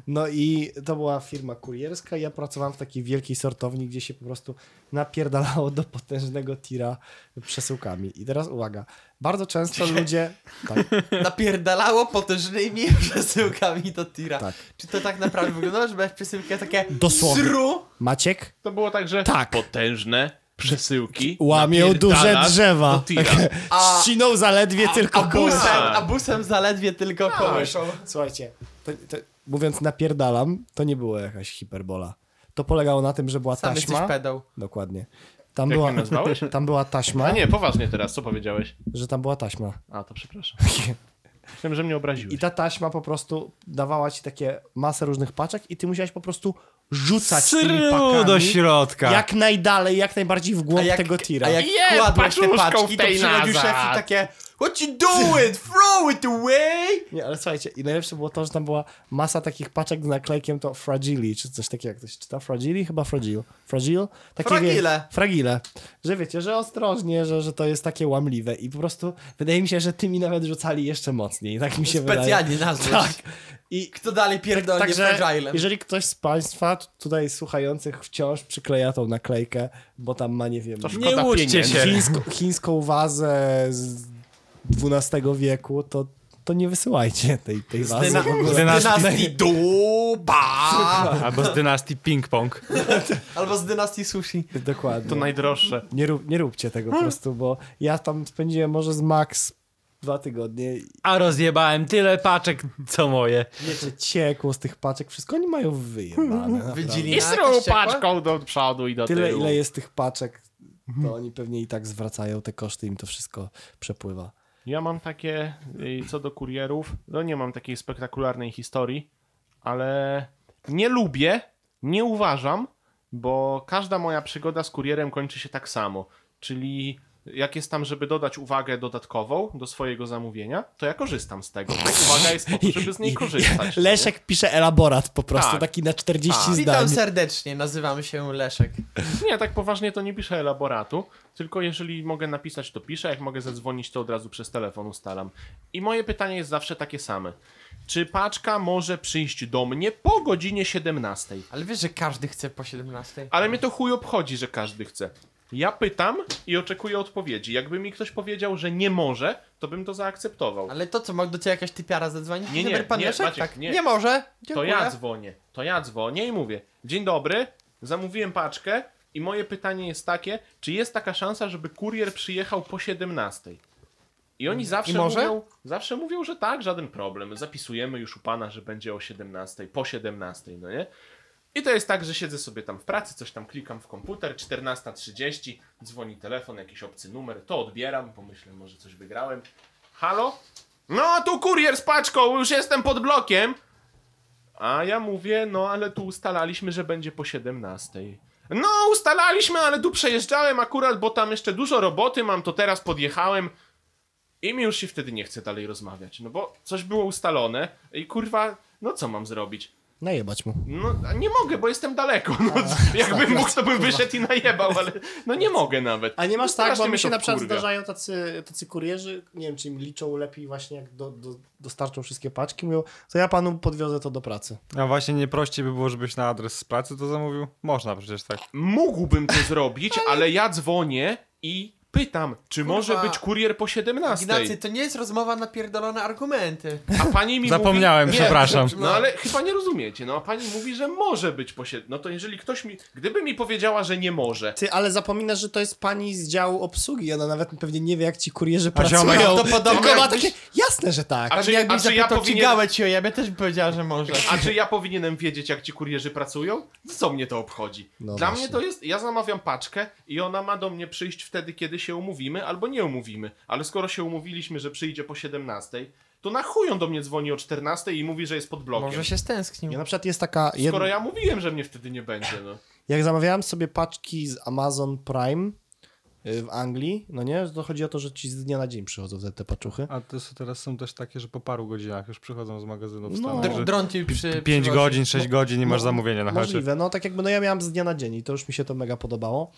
S3: No i to była firma kurierska. Ja pracowałem w takiej wielkiej sortowni, gdzie się po prostu napierdalało do potężnego tira przesyłkami. I teraz uwaga, bardzo często ludzie... Tak,
S1: Napierdalało potężnymi przesyłkami do tira.
S3: Tak.
S1: Czy to tak naprawdę wyglądało, że miałeś przesyłkę takie...
S3: Dosłownie.
S1: Sru?
S3: Maciek,
S4: To było tak, że
S3: Tak.
S4: potężne przesyłki
S3: Łamią duże
S4: napierdalasz
S3: drzewa. Tak.
S4: do tira.
S1: A-
S3: Ścinął zaledwie tylko
S1: A busem,
S3: kołysza.
S1: a busem zaledwie tylko
S4: No.
S1: kołyszą.
S3: Słuchajcie, to, to, mówiąc napierdalam, to nie było jakaś hiperbola. To polegało na tym, że była
S1: Tam jesteś
S3: taśma.
S1: pedał.
S3: Dokładnie. Tam
S4: Jak
S3: była,
S4: mnie nazwałeś?
S3: tam była taśma,
S4: A nie, poważnie teraz, co powiedziałeś?
S3: że tam była taśma.
S4: A, to przepraszam. Myślałem, że mnie obraziłeś.
S3: I ta taśma po prostu dawała ci takie masę różnych paczek i ty musiałeś po prostu rzucać tymi
S2: Sru
S3: pakami
S2: do środka.
S3: jak najdalej, jak najbardziej w głąb
S1: jak-
S3: tego tira.
S1: A jak
S4: Je,
S1: kładłeś te
S4: paczuszką
S1: paczki,
S4: w
S1: to
S4: tej
S1: przychodził
S4: nazad.
S1: szef i takie What you doing? Throw it away!
S3: Nie, ale słuchajcie, i najlepsze było to, że tam była masa takich paczek z naklejkiem to Fragili, czy coś takiego, jak to się czyta? Fragili? Chyba Fragile. Fragile? Takie, wie-
S1: Fragile.
S3: fragile. Że wiecie, że ostrożnie, że, że to jest takie łamliwe i po prostu wydaje mi się, że tymi nawet rzucali jeszcze mocniej, tak mi się wydaje.
S1: Specjalnie nazwać.
S3: Tak. I
S1: Kto dalej pierdolnie
S3: Także
S1: fragilem?
S3: jeżeli ktoś z Państwa t- tutaj słuchających wciąż przykleja tą naklejkę, bo tam ma, nie wiem,
S2: Nie łudźcie się.
S3: chińsko, chińską wazę z XII wieku, to, to nie wysyłajcie tej, tej wazy.
S1: Dyna-
S3: w ogóle.
S1: dynastii Duba!
S2: Albo z dynastii ping-pong.
S1: Albo z dynastii Sushi.
S3: Dokładnie.
S4: To najdroższe.
S3: nie, rób, nie róbcie tego po prostu, bo ja tam spędziłem może z max dwa tygodnie i
S2: A rozjebałem tyle paczek, co moje.
S3: wiecie, ciekło z tych paczek. Wszystko oni mają wyjebane. No,
S1: Wydzili
S4: I sru paczką do przodu i do
S3: Tyle,
S4: tyłu.
S3: ile jest tych paczek, to oni pewnie i tak zwracają te koszty, im to wszystko przepływa.
S4: Ja mam takie, y, co do kurierów, no nie mam takiej spektakularnej historii, ale nie lubię, nie uważam, bo każda moja przygoda z kurierem kończy się tak samo. Czyli jak jest tam, żeby dodać uwagę dodatkową do swojego zamówienia, to ja korzystam z tego. Uwaga jest po to, żeby z niej korzystać.
S3: Leszek pisze elaborat po prostu,
S4: Tak.
S3: taki na 40
S4: Tak.
S3: zdań.
S1: Witam serdecznie, nazywam się Leszek.
S4: Nie, tak poważnie to nie piszę elaboratu, tylko jeżeli mogę napisać, to piszę, jak mogę zadzwonić, to od razu przez telefon ustalam. I moje pytanie jest zawsze takie same. Czy paczka może przyjść do mnie po godzinie 17?
S1: Ale wiesz, że każdy chce po 17.
S4: Ale mnie to chuj obchodzi, że każdy chce. Ja pytam i oczekuję odpowiedzi. Jakby mi ktoś powiedział, że nie może, to bym to zaakceptował.
S1: Ale to co, ma do ciebie jakaś typiara zadzwonić?
S4: Nie,
S1: Dzień
S4: nie,
S1: dobry, pan
S4: nie,
S1: Leszek?
S4: Maciek,
S1: tak.
S4: nie.
S1: nie może.
S4: To
S1: Dziękuję.
S4: ja dzwonię. To ja dzwonię i mówię: Dzień dobry, zamówiłem paczkę i moje pytanie jest takie, czy jest taka szansa, żeby kurier przyjechał po 17? I oni zawsze
S1: może?
S4: mówią, zawsze mówią, że tak, żaden problem. Zapisujemy już u pana, że będzie o 17, po 17, no nie? I to jest tak, że siedzę sobie tam w pracy, coś tam klikam w komputer, 14.30, dzwoni telefon, jakiś obcy numer, to odbieram, pomyślę, może coś wygrałem. Halo? No, tu kurier z paczką, już jestem pod blokiem. A ja mówię, no ale tu ustalaliśmy, że będzie po 17. No, ustalaliśmy, ale tu przejeżdżałem akurat, bo tam jeszcze dużo roboty mam, to teraz podjechałem. I mi już się wtedy nie chce dalej rozmawiać, no bo coś było ustalone i kurwa, no co mam zrobić?
S3: Najebać mu.
S4: No, a nie mogę, bo jestem daleko. No, jakbym mógł, to bym wyszedł i najebał, ale no nie mogę nawet.
S3: tak, A nie masz
S4: No,
S3: tak,
S4: strasznie
S3: bo mi
S4: mnie
S3: się
S4: to
S3: na przykład
S4: wkurwia.
S3: zdarzają tacy, tacy kurierzy, nie wiem, czy im liczą lepiej właśnie jak do, do, dostarczą wszystkie paczki, mówią, to ja panu podwiozę to do pracy.
S2: A właśnie nie prościej by było, żebyś na adres z pracy to zamówił? Można przecież tak.
S4: Mógłbym to zrobić, ale ja dzwonię i pytam, czy
S1: Kurwa.
S4: może być kurier po 17.
S1: Ignacy, to nie jest rozmowa na pierdolone argumenty.
S4: A pani mi
S2: Zapomniałem,
S4: mówi... Nie,
S2: przepraszam.
S4: No ale chyba nie rozumiecie, no a pani mówi, że może być po 7. No to jeżeli ktoś mi... Gdyby mi powiedziała, że nie może...
S3: Ty, ale zapominasz, że to jest pani z działu obsługi, ona nawet pewnie nie wie, jak ci kurierzy
S2: A ziomek
S3: pracują.
S1: prawdopodobnie
S3: Tylko ma
S1: jakbyś-
S3: takie, jasne, że tak.
S4: A
S1: A
S4: czy-
S1: czy,
S4: a
S1: jakbyś
S4: czy ja
S1: zapytał,
S4: powinien-
S1: czy gałę ci o jebie, też by powiedziała, że może.
S4: A czy ja powinienem wiedzieć, jak ci kurierzy pracują? Co mnie to obchodzi?
S3: No
S4: Dla
S3: właśnie.
S4: mnie to jest. Ja zamawiam paczkę i ona ma do mnie przyjść wtedy, kiedy się umówimy albo nie umówimy. Ale skoro się umówiliśmy, że przyjdzie po 17, to na chuj on do mnie dzwoni o 14 i mówi, że jest pod blokiem.
S1: Może się stęsknił.
S3: Ja na przykład jest taka, jed...
S4: Skoro ja mówiłem, że mnie wtedy nie będzie, no.
S3: jak zamawiałem sobie paczki z Amazon Prime y, w Anglii, no nie, to chodzi o to, że ci z dnia na dzień przychodzą te, te paczuchy.
S2: A to są- teraz są też takie, że po paru godzinach już przychodzą z magazynu w
S3: No.
S2: Stanach, że
S1: Dr- Dron ci przy...
S2: 5
S1: przy-
S2: godzin, 6 godzin i masz
S3: No,
S2: zamówienie na chacie.
S3: Możliwe, no tak jakby, no ja miałem z dnia na dzień i to już mi się to mega podobało.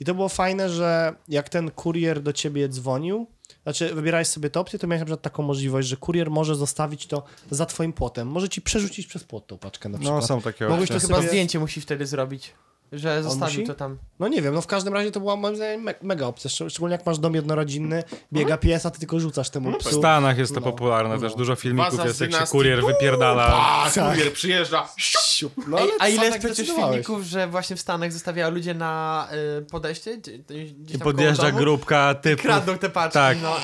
S3: I to było fajne, że jak ten kurier do ciebie dzwonił, znaczy wybierałeś sobie tę opcję, to miałeś na przykład taką możliwość, że kurier może zostawić to za twoim płotem, może ci przerzucić przez płot tą paczkę na
S2: No
S3: przykład.
S2: są takie
S3: Mogłeś
S2: opcje.
S1: To chyba
S3: sobie-
S1: zdjęcie musi wtedy zrobić. Że zostawił
S3: musi?
S1: to tam.
S3: No nie wiem, no w każdym razie to była moim zdaniem me mega opcja, szcz- szczególnie jak masz dom jednorodzinny, biega pies, a ty tylko rzucasz temu
S2: W
S3: psu.
S2: Stanach jest to
S3: No.
S2: popularne też,
S3: No.
S2: dużo filmików
S4: Waza
S2: jest,
S4: z
S2: jak się
S4: dynastii.
S2: kurier wypierdala.
S4: A kurier przyjeżdża.
S3: Siup. No,
S1: Ej,
S3: ale
S1: a
S3: sam
S1: ile jest
S3: tak
S1: przecież
S3: decydowałeś.
S1: filmików, że właśnie w Stanach zostawiają ludzie na y, podejście? Gdzie, gdzieś tam
S2: I
S1: koło
S2: podjeżdża
S1: domu?
S2: grupka typów.
S1: Kradną te paczki.
S2: Tak.
S1: No.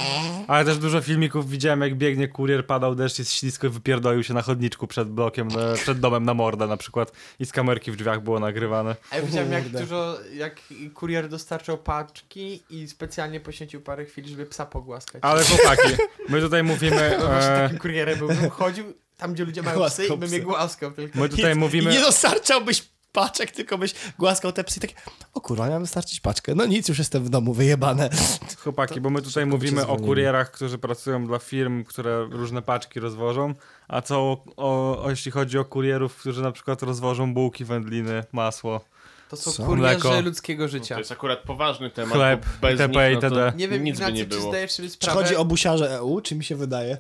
S2: Ale też dużo filmików widziałem, jak biegnie kurier, padał deszcz, jest ślisko i wypierdolił się na chodniczku przed blokiem, na, przed domem na mordę na przykład. I z kamerki w drzwiach było nagrywane.
S1: A ja widziałem, jak
S3: Kurde.
S1: dużo, jak kurier dostarczał paczki i specjalnie poświęcił parę chwil, żeby psa pogłaskać.
S2: Ale chłopaki, my tutaj mówimy... E,
S1: Takim kurierem byłbym chodził tam, gdzie ludzie mają psy i
S3: Głaskał
S1: bym je
S3: psy.
S1: głaskał tylko.
S2: my tutaj
S3: I
S2: mówimy...
S3: nie dostarczałbyś paczek, tylko byś głaskał te psy i takie, o kurwa, miałem dostarczyć paczkę. No nic, już jestem w domu, wyjebane.
S2: Chłopaki, bo my tutaj mówimy o
S3: zwolnimy.
S2: kurierach, którzy pracują dla firm, które różne paczki rozwożą, a co o, o, o jeśli chodzi o kurierów, którzy na przykład rozwożą bułki, wędliny, masło,
S1: To są
S3: Są.
S1: kurierzy
S2: Mleko.
S1: ludzkiego życia.
S4: No, To jest akurat poważny temat.
S2: Tak. Chleb,
S4: bo bez
S2: itp.
S4: nich, no
S2: itd.
S4: to
S1: Nie wiem,
S4: nic by
S1: Ignacy,
S4: nie
S1: czy
S4: było.
S1: zdajesz sobie
S3: Czy
S1: sprawę,
S3: chodzi o busiarze EU, E czy mi się wydaje?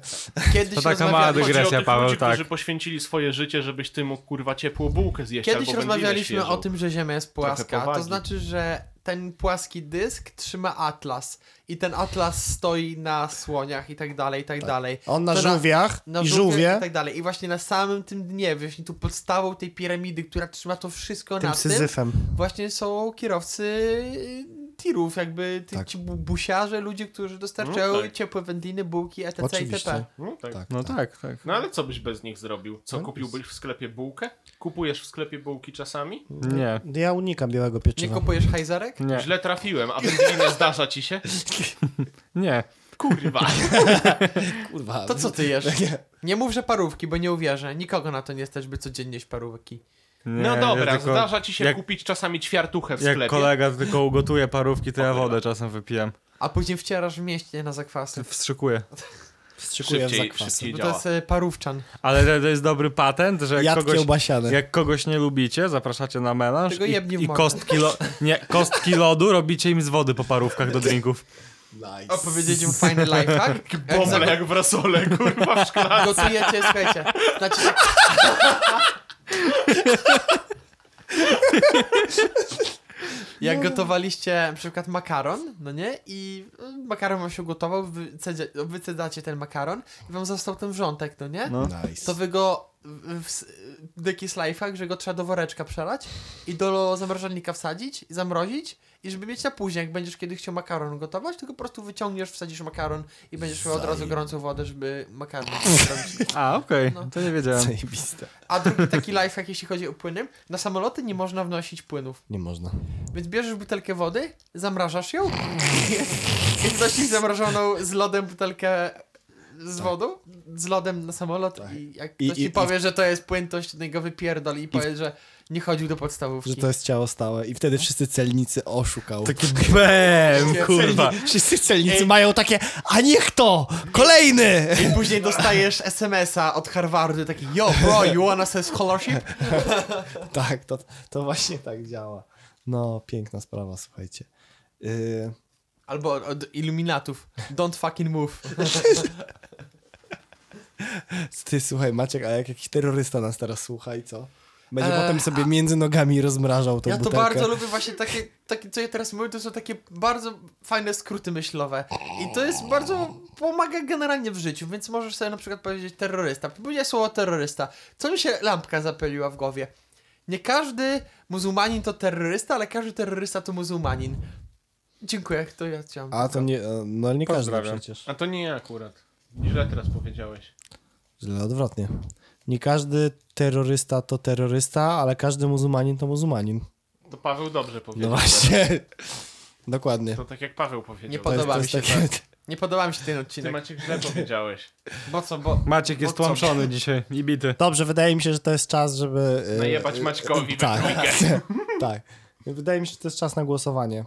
S1: kiedyś
S2: To taka mała
S1: rozmawialiśmy,
S4: Chodzi o
S2: dygresja,
S4: tych
S2: Paweł,
S4: ludzi,
S2: tak.
S4: którzy poświęcili swoje życie, żebyś ty mógł kurwa ciepłą bułkę zjeść
S1: kiedyś
S4: albo wędlinę
S1: rozmawialiśmy o
S4: świeżą.
S1: tym, że Ziemia jest płaska.
S4: powagi.
S1: To znaczy, że ten płaski dysk trzyma atlas i ten atlas stoi na słoniach i tak dalej, i tak, dalej.
S3: On na
S1: To
S3: żółwiach
S1: na
S3: i
S1: żółwie
S3: żółwie,
S1: i tak dalej. I właśnie na samym tym dnie, właśnie tu podstawą tej piramidy, która trzyma to wszystko
S3: tym
S1: na tym,
S3: syzyfem.
S1: właśnie są kierowcy y, tirów, jakby ty,
S3: Tak.
S1: ci bu- busiarze, ludzie, którzy dostarczają
S4: No tak.
S1: ciepłe wędliny, bułki, etc.
S3: Oczywiście.
S1: etc.
S4: No, tak.
S3: Tak,
S2: No
S3: tak.
S2: tak, tak.
S4: No ale co byś bez nich zrobił? Co,
S3: No,
S4: kupiłbyś w sklepie bułkę? Kupujesz w sklepie bułki czasami?
S2: Nie,
S3: Tak. Ja unikam białego
S1: Nie
S3: pieczywa.
S1: kupujesz hajzarek?
S2: nie,
S4: Źle trafiłem, a wędlinę zdarza ci się?
S2: nie.
S4: Kurwa.
S3: Kurwa.
S1: To co ty jesz?
S3: Nie.
S1: Nie mów, że parówki, bo nie uwierzę. Nikogo na to nie stać, by codziennie jeść parówki.
S2: Nie,
S4: No
S2: ja
S4: dobra,
S2: tylko-
S4: zdarza ci się
S2: jak-
S4: kupić czasami ćwiartuchę w sklepie.
S2: Jak kolega tylko ugotuje parówki, to ja
S4: kurwa.
S2: wodę czasem wypijam.
S1: A później wcierasz w mieście na zakwasy.
S2: Wstrzykuję.
S3: Wstrzykuję za
S4: Szybciej,
S3: kwasy.
S4: szybciej
S1: Bo to
S4: działa.
S1: jest e, parówczan.
S2: Ale to- to jest dobry patent, że jak
S3: Jad
S2: kogoś,
S3: kiełbasiany.
S2: jak kogoś nie lubicie, zapraszacie na melanż
S1: Tego jebni w
S2: i, i
S1: mordę.
S2: kostki, lo, nie, kostki lodu robicie im z wody po parówkach do drinków.
S3: Nice.
S1: A powiedzieć im fajny lifehack? Jak
S4: Bomble
S1: za-
S4: jak w rasole, kurwa, w szkle.
S1: gotujecie, słuchajcie. Znaczy, jak gotowaliście na przykład makaron, no nie? I y, makaron wam się ugotował, wycedzie, wycedzacie ten makaron i wam został ten wrzątek, no nie?
S2: No.
S3: Nice.
S1: To wy go w, w, w jakiś lifehack, że go trzeba do woreczka przelać i do zamrażalnika wsadzić i zamrozić i żeby mieć na później, jak będziesz kiedy chciał makaron gotować, to go po prostu wyciągniesz, wsadzisz makaron i będziesz miał od razu
S3: Zajebi-
S1: gorącą wodę, żeby makaron zrobić.
S2: A, okej,
S1: No.
S2: to nie wiedziałem.
S3: Zajebiste.
S1: A drugi taki lifehack, jeśli chodzi o płyny, na samoloty nie można wnosić płynów.
S3: Nie można.
S1: Więc bierzesz butelkę wody, zamrażasz ją i wnosisz zamrażoną z lodem butelkę z wodą, z lodem na samolot i jak
S3: Tak. I-
S1: ktoś
S3: i-
S1: ci powie, że to jest płyn, to się go wypierdoli i powie, że nie chodził do podstawówki.
S3: Że to jest ciało stałe. I wtedy wszyscy celnicy oszukał.
S2: Takie bem, Tak, kurwa.
S3: Wszyscy celnicy mają takie, a niech to! Kolejny!
S1: I później dostajesz SMS-a od Harvardu taki Yo bro, you wanna say scholarship?
S3: Tak, to, to właśnie tak działa. No, piękna sprawa, słuchajcie. Yy,
S1: Albo od Illuminatów Don't fucking move.
S3: ty słuchaj, Maciek, a jak jakiś terrorysta nas teraz słucha i co? Będzie
S1: Eee,
S3: potem sobie między nogami rozmrażał tą
S1: Ja to
S3: butelkę.
S1: bardzo lubię właśnie takie, takie, co ja teraz mówię, to są takie bardzo fajne skróty myślowe. I to jest bardzo, pomaga generalnie w życiu, więc możesz sobie na przykład powiedzieć terrorysta. Powiedziałeś słowo terrorysta. Co mi się lampka zapyliła w głowie? Nie każdy muzułmanin to terrorysta, ale każdy terrorysta to muzułmanin. Dziękuję, to ja chciałem.
S3: A to nie, e, no nie każdy
S2: Pozdrawiam.
S3: przecież.
S4: A to nie ja akurat. Źle teraz powiedziałeś.
S3: Źle odwrotnie. Nie każdy terrorysta to terrorysta, ale każdy muzułmanin to muzułmanin.
S4: To Paweł dobrze
S3: No
S4: powiedział.
S3: właśnie. Dokładnie.
S4: To tak jak Paweł
S1: Nie
S4: powiedział.
S1: po- podoba mi się tak.
S3: takie-
S1: Nie podoba mi się tak. ten
S4: Ty
S1: odcinek.
S4: Maciek źle powiedziałeś.
S1: Bo co, bo...
S2: Maciek jest
S1: Bo co?
S2: tłamszony dzisiaj i bity.
S3: Dobrze, wydaje mi się, że to jest czas, żeby... e,
S4: Najebać Maćkowi we
S3: Tak,
S4: trójkę.
S3: tak. Wydaje mi się, że to jest czas na głosowanie.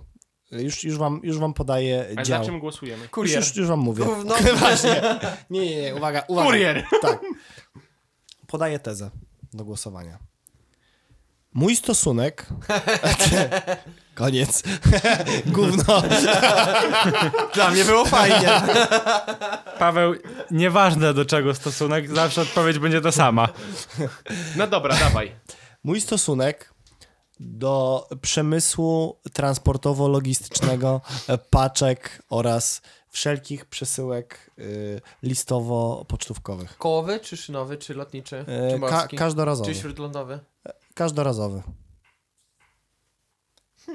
S3: Już, już, wam, już wam podaję
S4: Ale znaczy
S3: dział.
S4: na czym głosujemy?
S3: Już,
S1: Kurier.
S3: już, już wam mówię.
S1: Gówno.
S3: Właśnie. Nie, nie, nie, uwaga, uwaga.
S4: Kurier!
S3: Tak. Podaję tezę do głosowania. Mój stosunek... Koniec. Gówno.
S1: Dla mnie było fajnie.
S2: Paweł, nieważne do czego stosunek, zawsze odpowiedź będzie ta sama.
S4: No dobra, dawaj.
S3: Mój stosunek do przemysłu transportowo-logistycznego, e, paczek oraz wszelkich przesyłek y, listowo-pocztówkowych.
S1: Kołowy, czy szynowy, czy lotniczy,
S3: E,
S1: czy
S3: Ka-
S1: morski,
S3: każdorazowy.
S1: czy śródlądowy?
S3: Każdorazowy.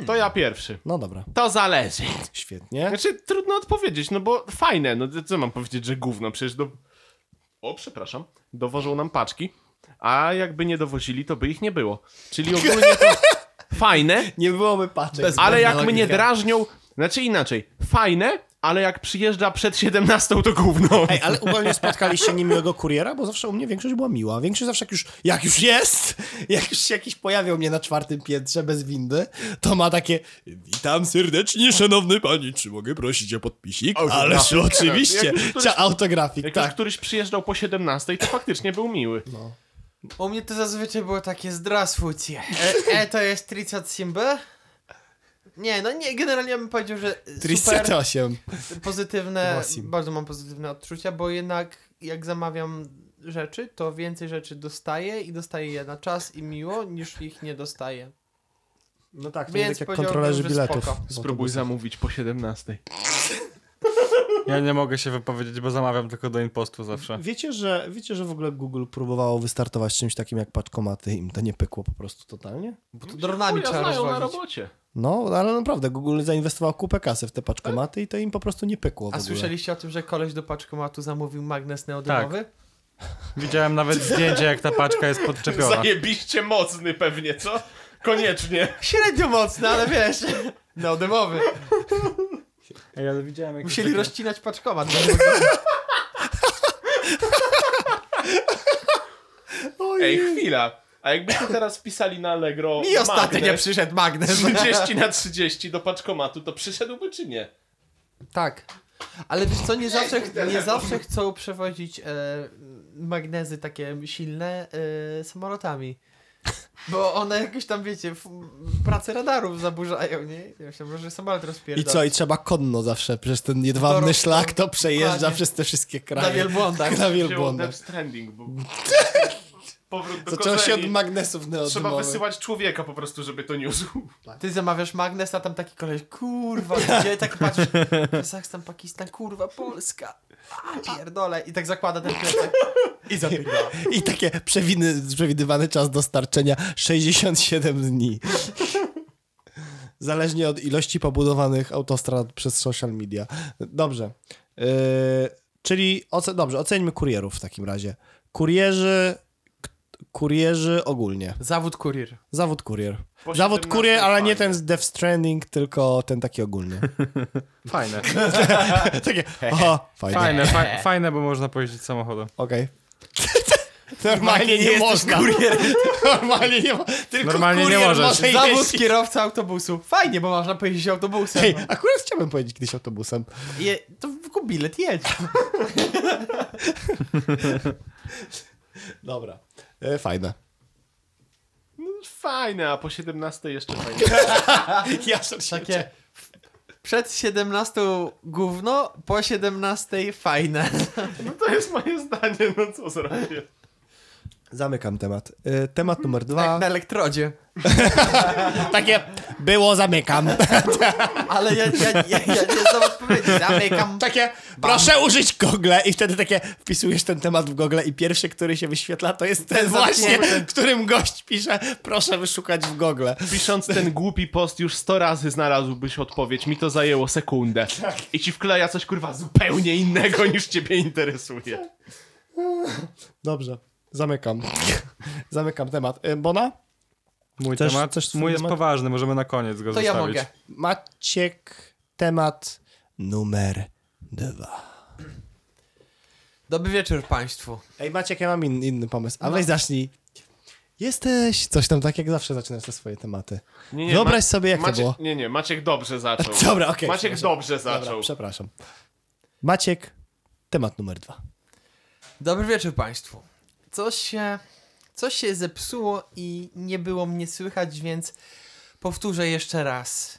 S4: To ja pierwszy.
S3: No dobra,
S4: To zależy.
S3: świetnie.
S4: Znaczy, trudno odpowiedzieć, no bo fajne. No co mam powiedzieć, że gówno? Przecież do... O, przepraszam. Dowożą nam paczki, a jakby nie dowozili, to by ich nie było. Czyli ogólnie to fajne,
S3: Nie byłoby paczek.
S1: Bez-
S4: ale jak
S1: Logika.
S4: mnie drażnią... Znaczy inaczej, fajne, ale jak przyjeżdża przed 17 to gówno.
S3: Ej, ale ogólnie spotkaliście niemiłego kuriera, bo zawsze u mnie większość była miła. Większość zawsze jak już, jak już jest, jak już się jakiś pojawiał mnie na czwartym piętrze bez windy, to ma takie witam serdecznie, szanowny pani, czy mogę prosić o podpisik? Ależ oczywiście,
S4: Jak już któryś-
S3: Chcia- autografik,
S4: Jak już
S3: tak.
S4: któryś przyjeżdżał po 17, to faktycznie był miły.
S1: No, U mnie to zazwyczaj było takie zdrasfucie. E, e to jest 37 b Nie, no nie, generalnie bym powiedział, że super
S3: 308.
S1: pozytywne,
S3: Wasim.
S1: bardzo mam pozytywne odczucia, bo jednak jak zamawiam rzeczy, to więcej rzeczy dostaję i dostaję je na czas i miło, niż ich nie dostaję.
S3: No tak, to
S1: Więc
S3: jest jak
S1: powiedziałbym,
S3: kontrolerzy
S1: że
S3: biletów.
S1: spoko.
S4: Spróbuj zamówić po 17.
S2: Ja nie mogę się wypowiedzieć, bo zamawiam tylko do impostu zawsze.
S3: Wiecie że, wiecie, że w ogóle Google próbowało wystartować z czymś takim jak paczkomaty i im to nie pykło po prostu totalnie?
S1: Bo to dronami
S4: Chuja
S1: trzeba
S4: znają na
S1: rozwozić.
S4: robocie.
S3: No, ale naprawdę, Google zainwestował kupę kasy w te paczkomaty i to im po prostu nie pykło w
S1: A
S3: ogóle.
S1: słyszeliście o tym, że koleś do paczkomatu zamówił magnes neodymowy?
S2: Widziałem nawet zdjęcie, jak ta paczka jest podczepiona.
S4: Zajebiście mocny pewnie, co? Koniecznie.
S1: Średnio mocny, ale wiesz, neodymowy.
S2: Ej, ale widziałem jakieś
S1: Musieli
S2: takie-
S1: rozcinać paczkomat.
S4: Ej, chwila. A jakbyśmy teraz wpisali na Allegro
S1: I ostatnio
S4: magnes
S1: przyszedł magnes.
S4: 30 na 30 do paczkomatu, to przyszedłby czy nie?
S1: Tak. Ale wiesz co, nie zawsze, nie zawsze chcą przewozić e, magnezy takie silne e, samolotami. Bo one jakoś tam, wiecie, f- pracę radarów zaburzają, nie? Ja się może samolot rozpierdala.
S3: I co, i trzeba konno zawsze, przez ten jedwabny
S1: Dorosłą.
S3: szlak to przejeżdża
S1: Dokładnie.
S3: przez te wszystkie
S1: Na
S3: kraje.
S1: wielbłądach.
S3: Na
S4: Wzięło
S3: wielbłądach.
S4: Death Stranding, bo... Powrót do
S3: Zaczęło się od
S4: korzeni.
S3: magnesów
S4: Trzeba
S3: neodymowych.
S4: wysyłać człowieka po prostu, żeby to niósł.
S3: Tak.
S1: Ty zamawiasz magnes, a tam taki koleś, kurwa, gdzie tak patrzysz, Kazachstan, Pakistan, kurwa, Polska, a, pierdole. I tak zakłada ten plecak i zapierdala.
S3: I takie przewiny, przewidywany czas dostarczenia 67 dni. Zależnie od ilości pobudowanych autostrad przez social media. Dobrze. Yy, czyli oce- dobrze, oceńmy kurierów w takim razie. Kurierzy, k- kurierzy ogólnie.
S1: Zawód kurier.
S3: Zawód kurier.
S4: Po
S3: Zawód
S4: 17
S3: kurier, ale
S4: fajnie.
S3: nie ten z Death Stranding, tylko ten taki ogólny.
S2: Fajne.
S3: Takie, aha, fajnie.
S2: Fajne, fa- fajne, bo można pojeździć samochodem.
S3: Okej. Normalnie nie, można. Normalnie nie można. Tylko
S2: Normalnie nie
S3: kurier
S2: możesz.
S3: może
S1: Zawód
S3: jeździć.
S1: kierowca autobusu. Fajnie, bo można pojeździć autobusem. no.
S3: Ej, akurat chciałbym pojeździć kiedyś autobusem.
S1: Je, to kup bilet, jedź.
S3: Dobra. E, fajne.
S4: No, Fajne, a po 17 jeszcze fajnie.
S3: Ja się
S1: Takie przed 17 gówno, po 17 fajne.
S4: No to jest moje zdanie, no co zrobię.
S3: Zamykam temat. E, temat numer dwa.
S1: Jak na elektrodzie.
S3: tak, Takie było, zamykam.
S1: Ale ja, ja, ja, ja nie znam odpowiedzi. Zamykam.
S3: Takie proszę użyć Google i wtedy takie wpisujesz ten temat w Google i pierwszy, który się wyświetla, to jest ten właśnie, w którym gość pisze proszę wyszukać w Google.
S4: Pisząc ten głupi post już 100 razy znalazłbyś odpowiedź, mi to zajęło sekundę. I ci wkleja coś kurwa zupełnie innego niż ciebie interesuje.
S3: Dobrze. Zamykam. Zamykam temat. E, Bona?
S2: Mój
S3: Chcesz-
S2: temat,
S3: chcesz swój
S2: mój jest
S3: temat?
S2: poważny, możemy na koniec go
S1: To ja
S2: zostawić.
S1: mogę.
S3: Maciek, temat numer dwa.
S1: Dobry wieczór Państwu.
S3: Ej, Maciek, ja mam in, inny pomysł.
S4: No.
S3: A weź zacznij. Jesteś coś tam, tak jak zawsze zaczynasz te swoje tematy.
S4: Nie,
S3: Wyobraź
S4: Ma-
S3: sobie, jak
S4: Maciek,
S3: to było.
S4: Nie, nie, Maciek dobrze zaczął.
S3: Dobra, okej.
S4: Maciek
S3: przepraszam.
S4: dobrze zaczął.
S3: Dobra, przepraszam. Maciek, temat numer dwa.
S1: Dobry wieczór Państwu. Coś się, coś się zepsuło i nie było mnie słychać, więc powtórzę jeszcze raz.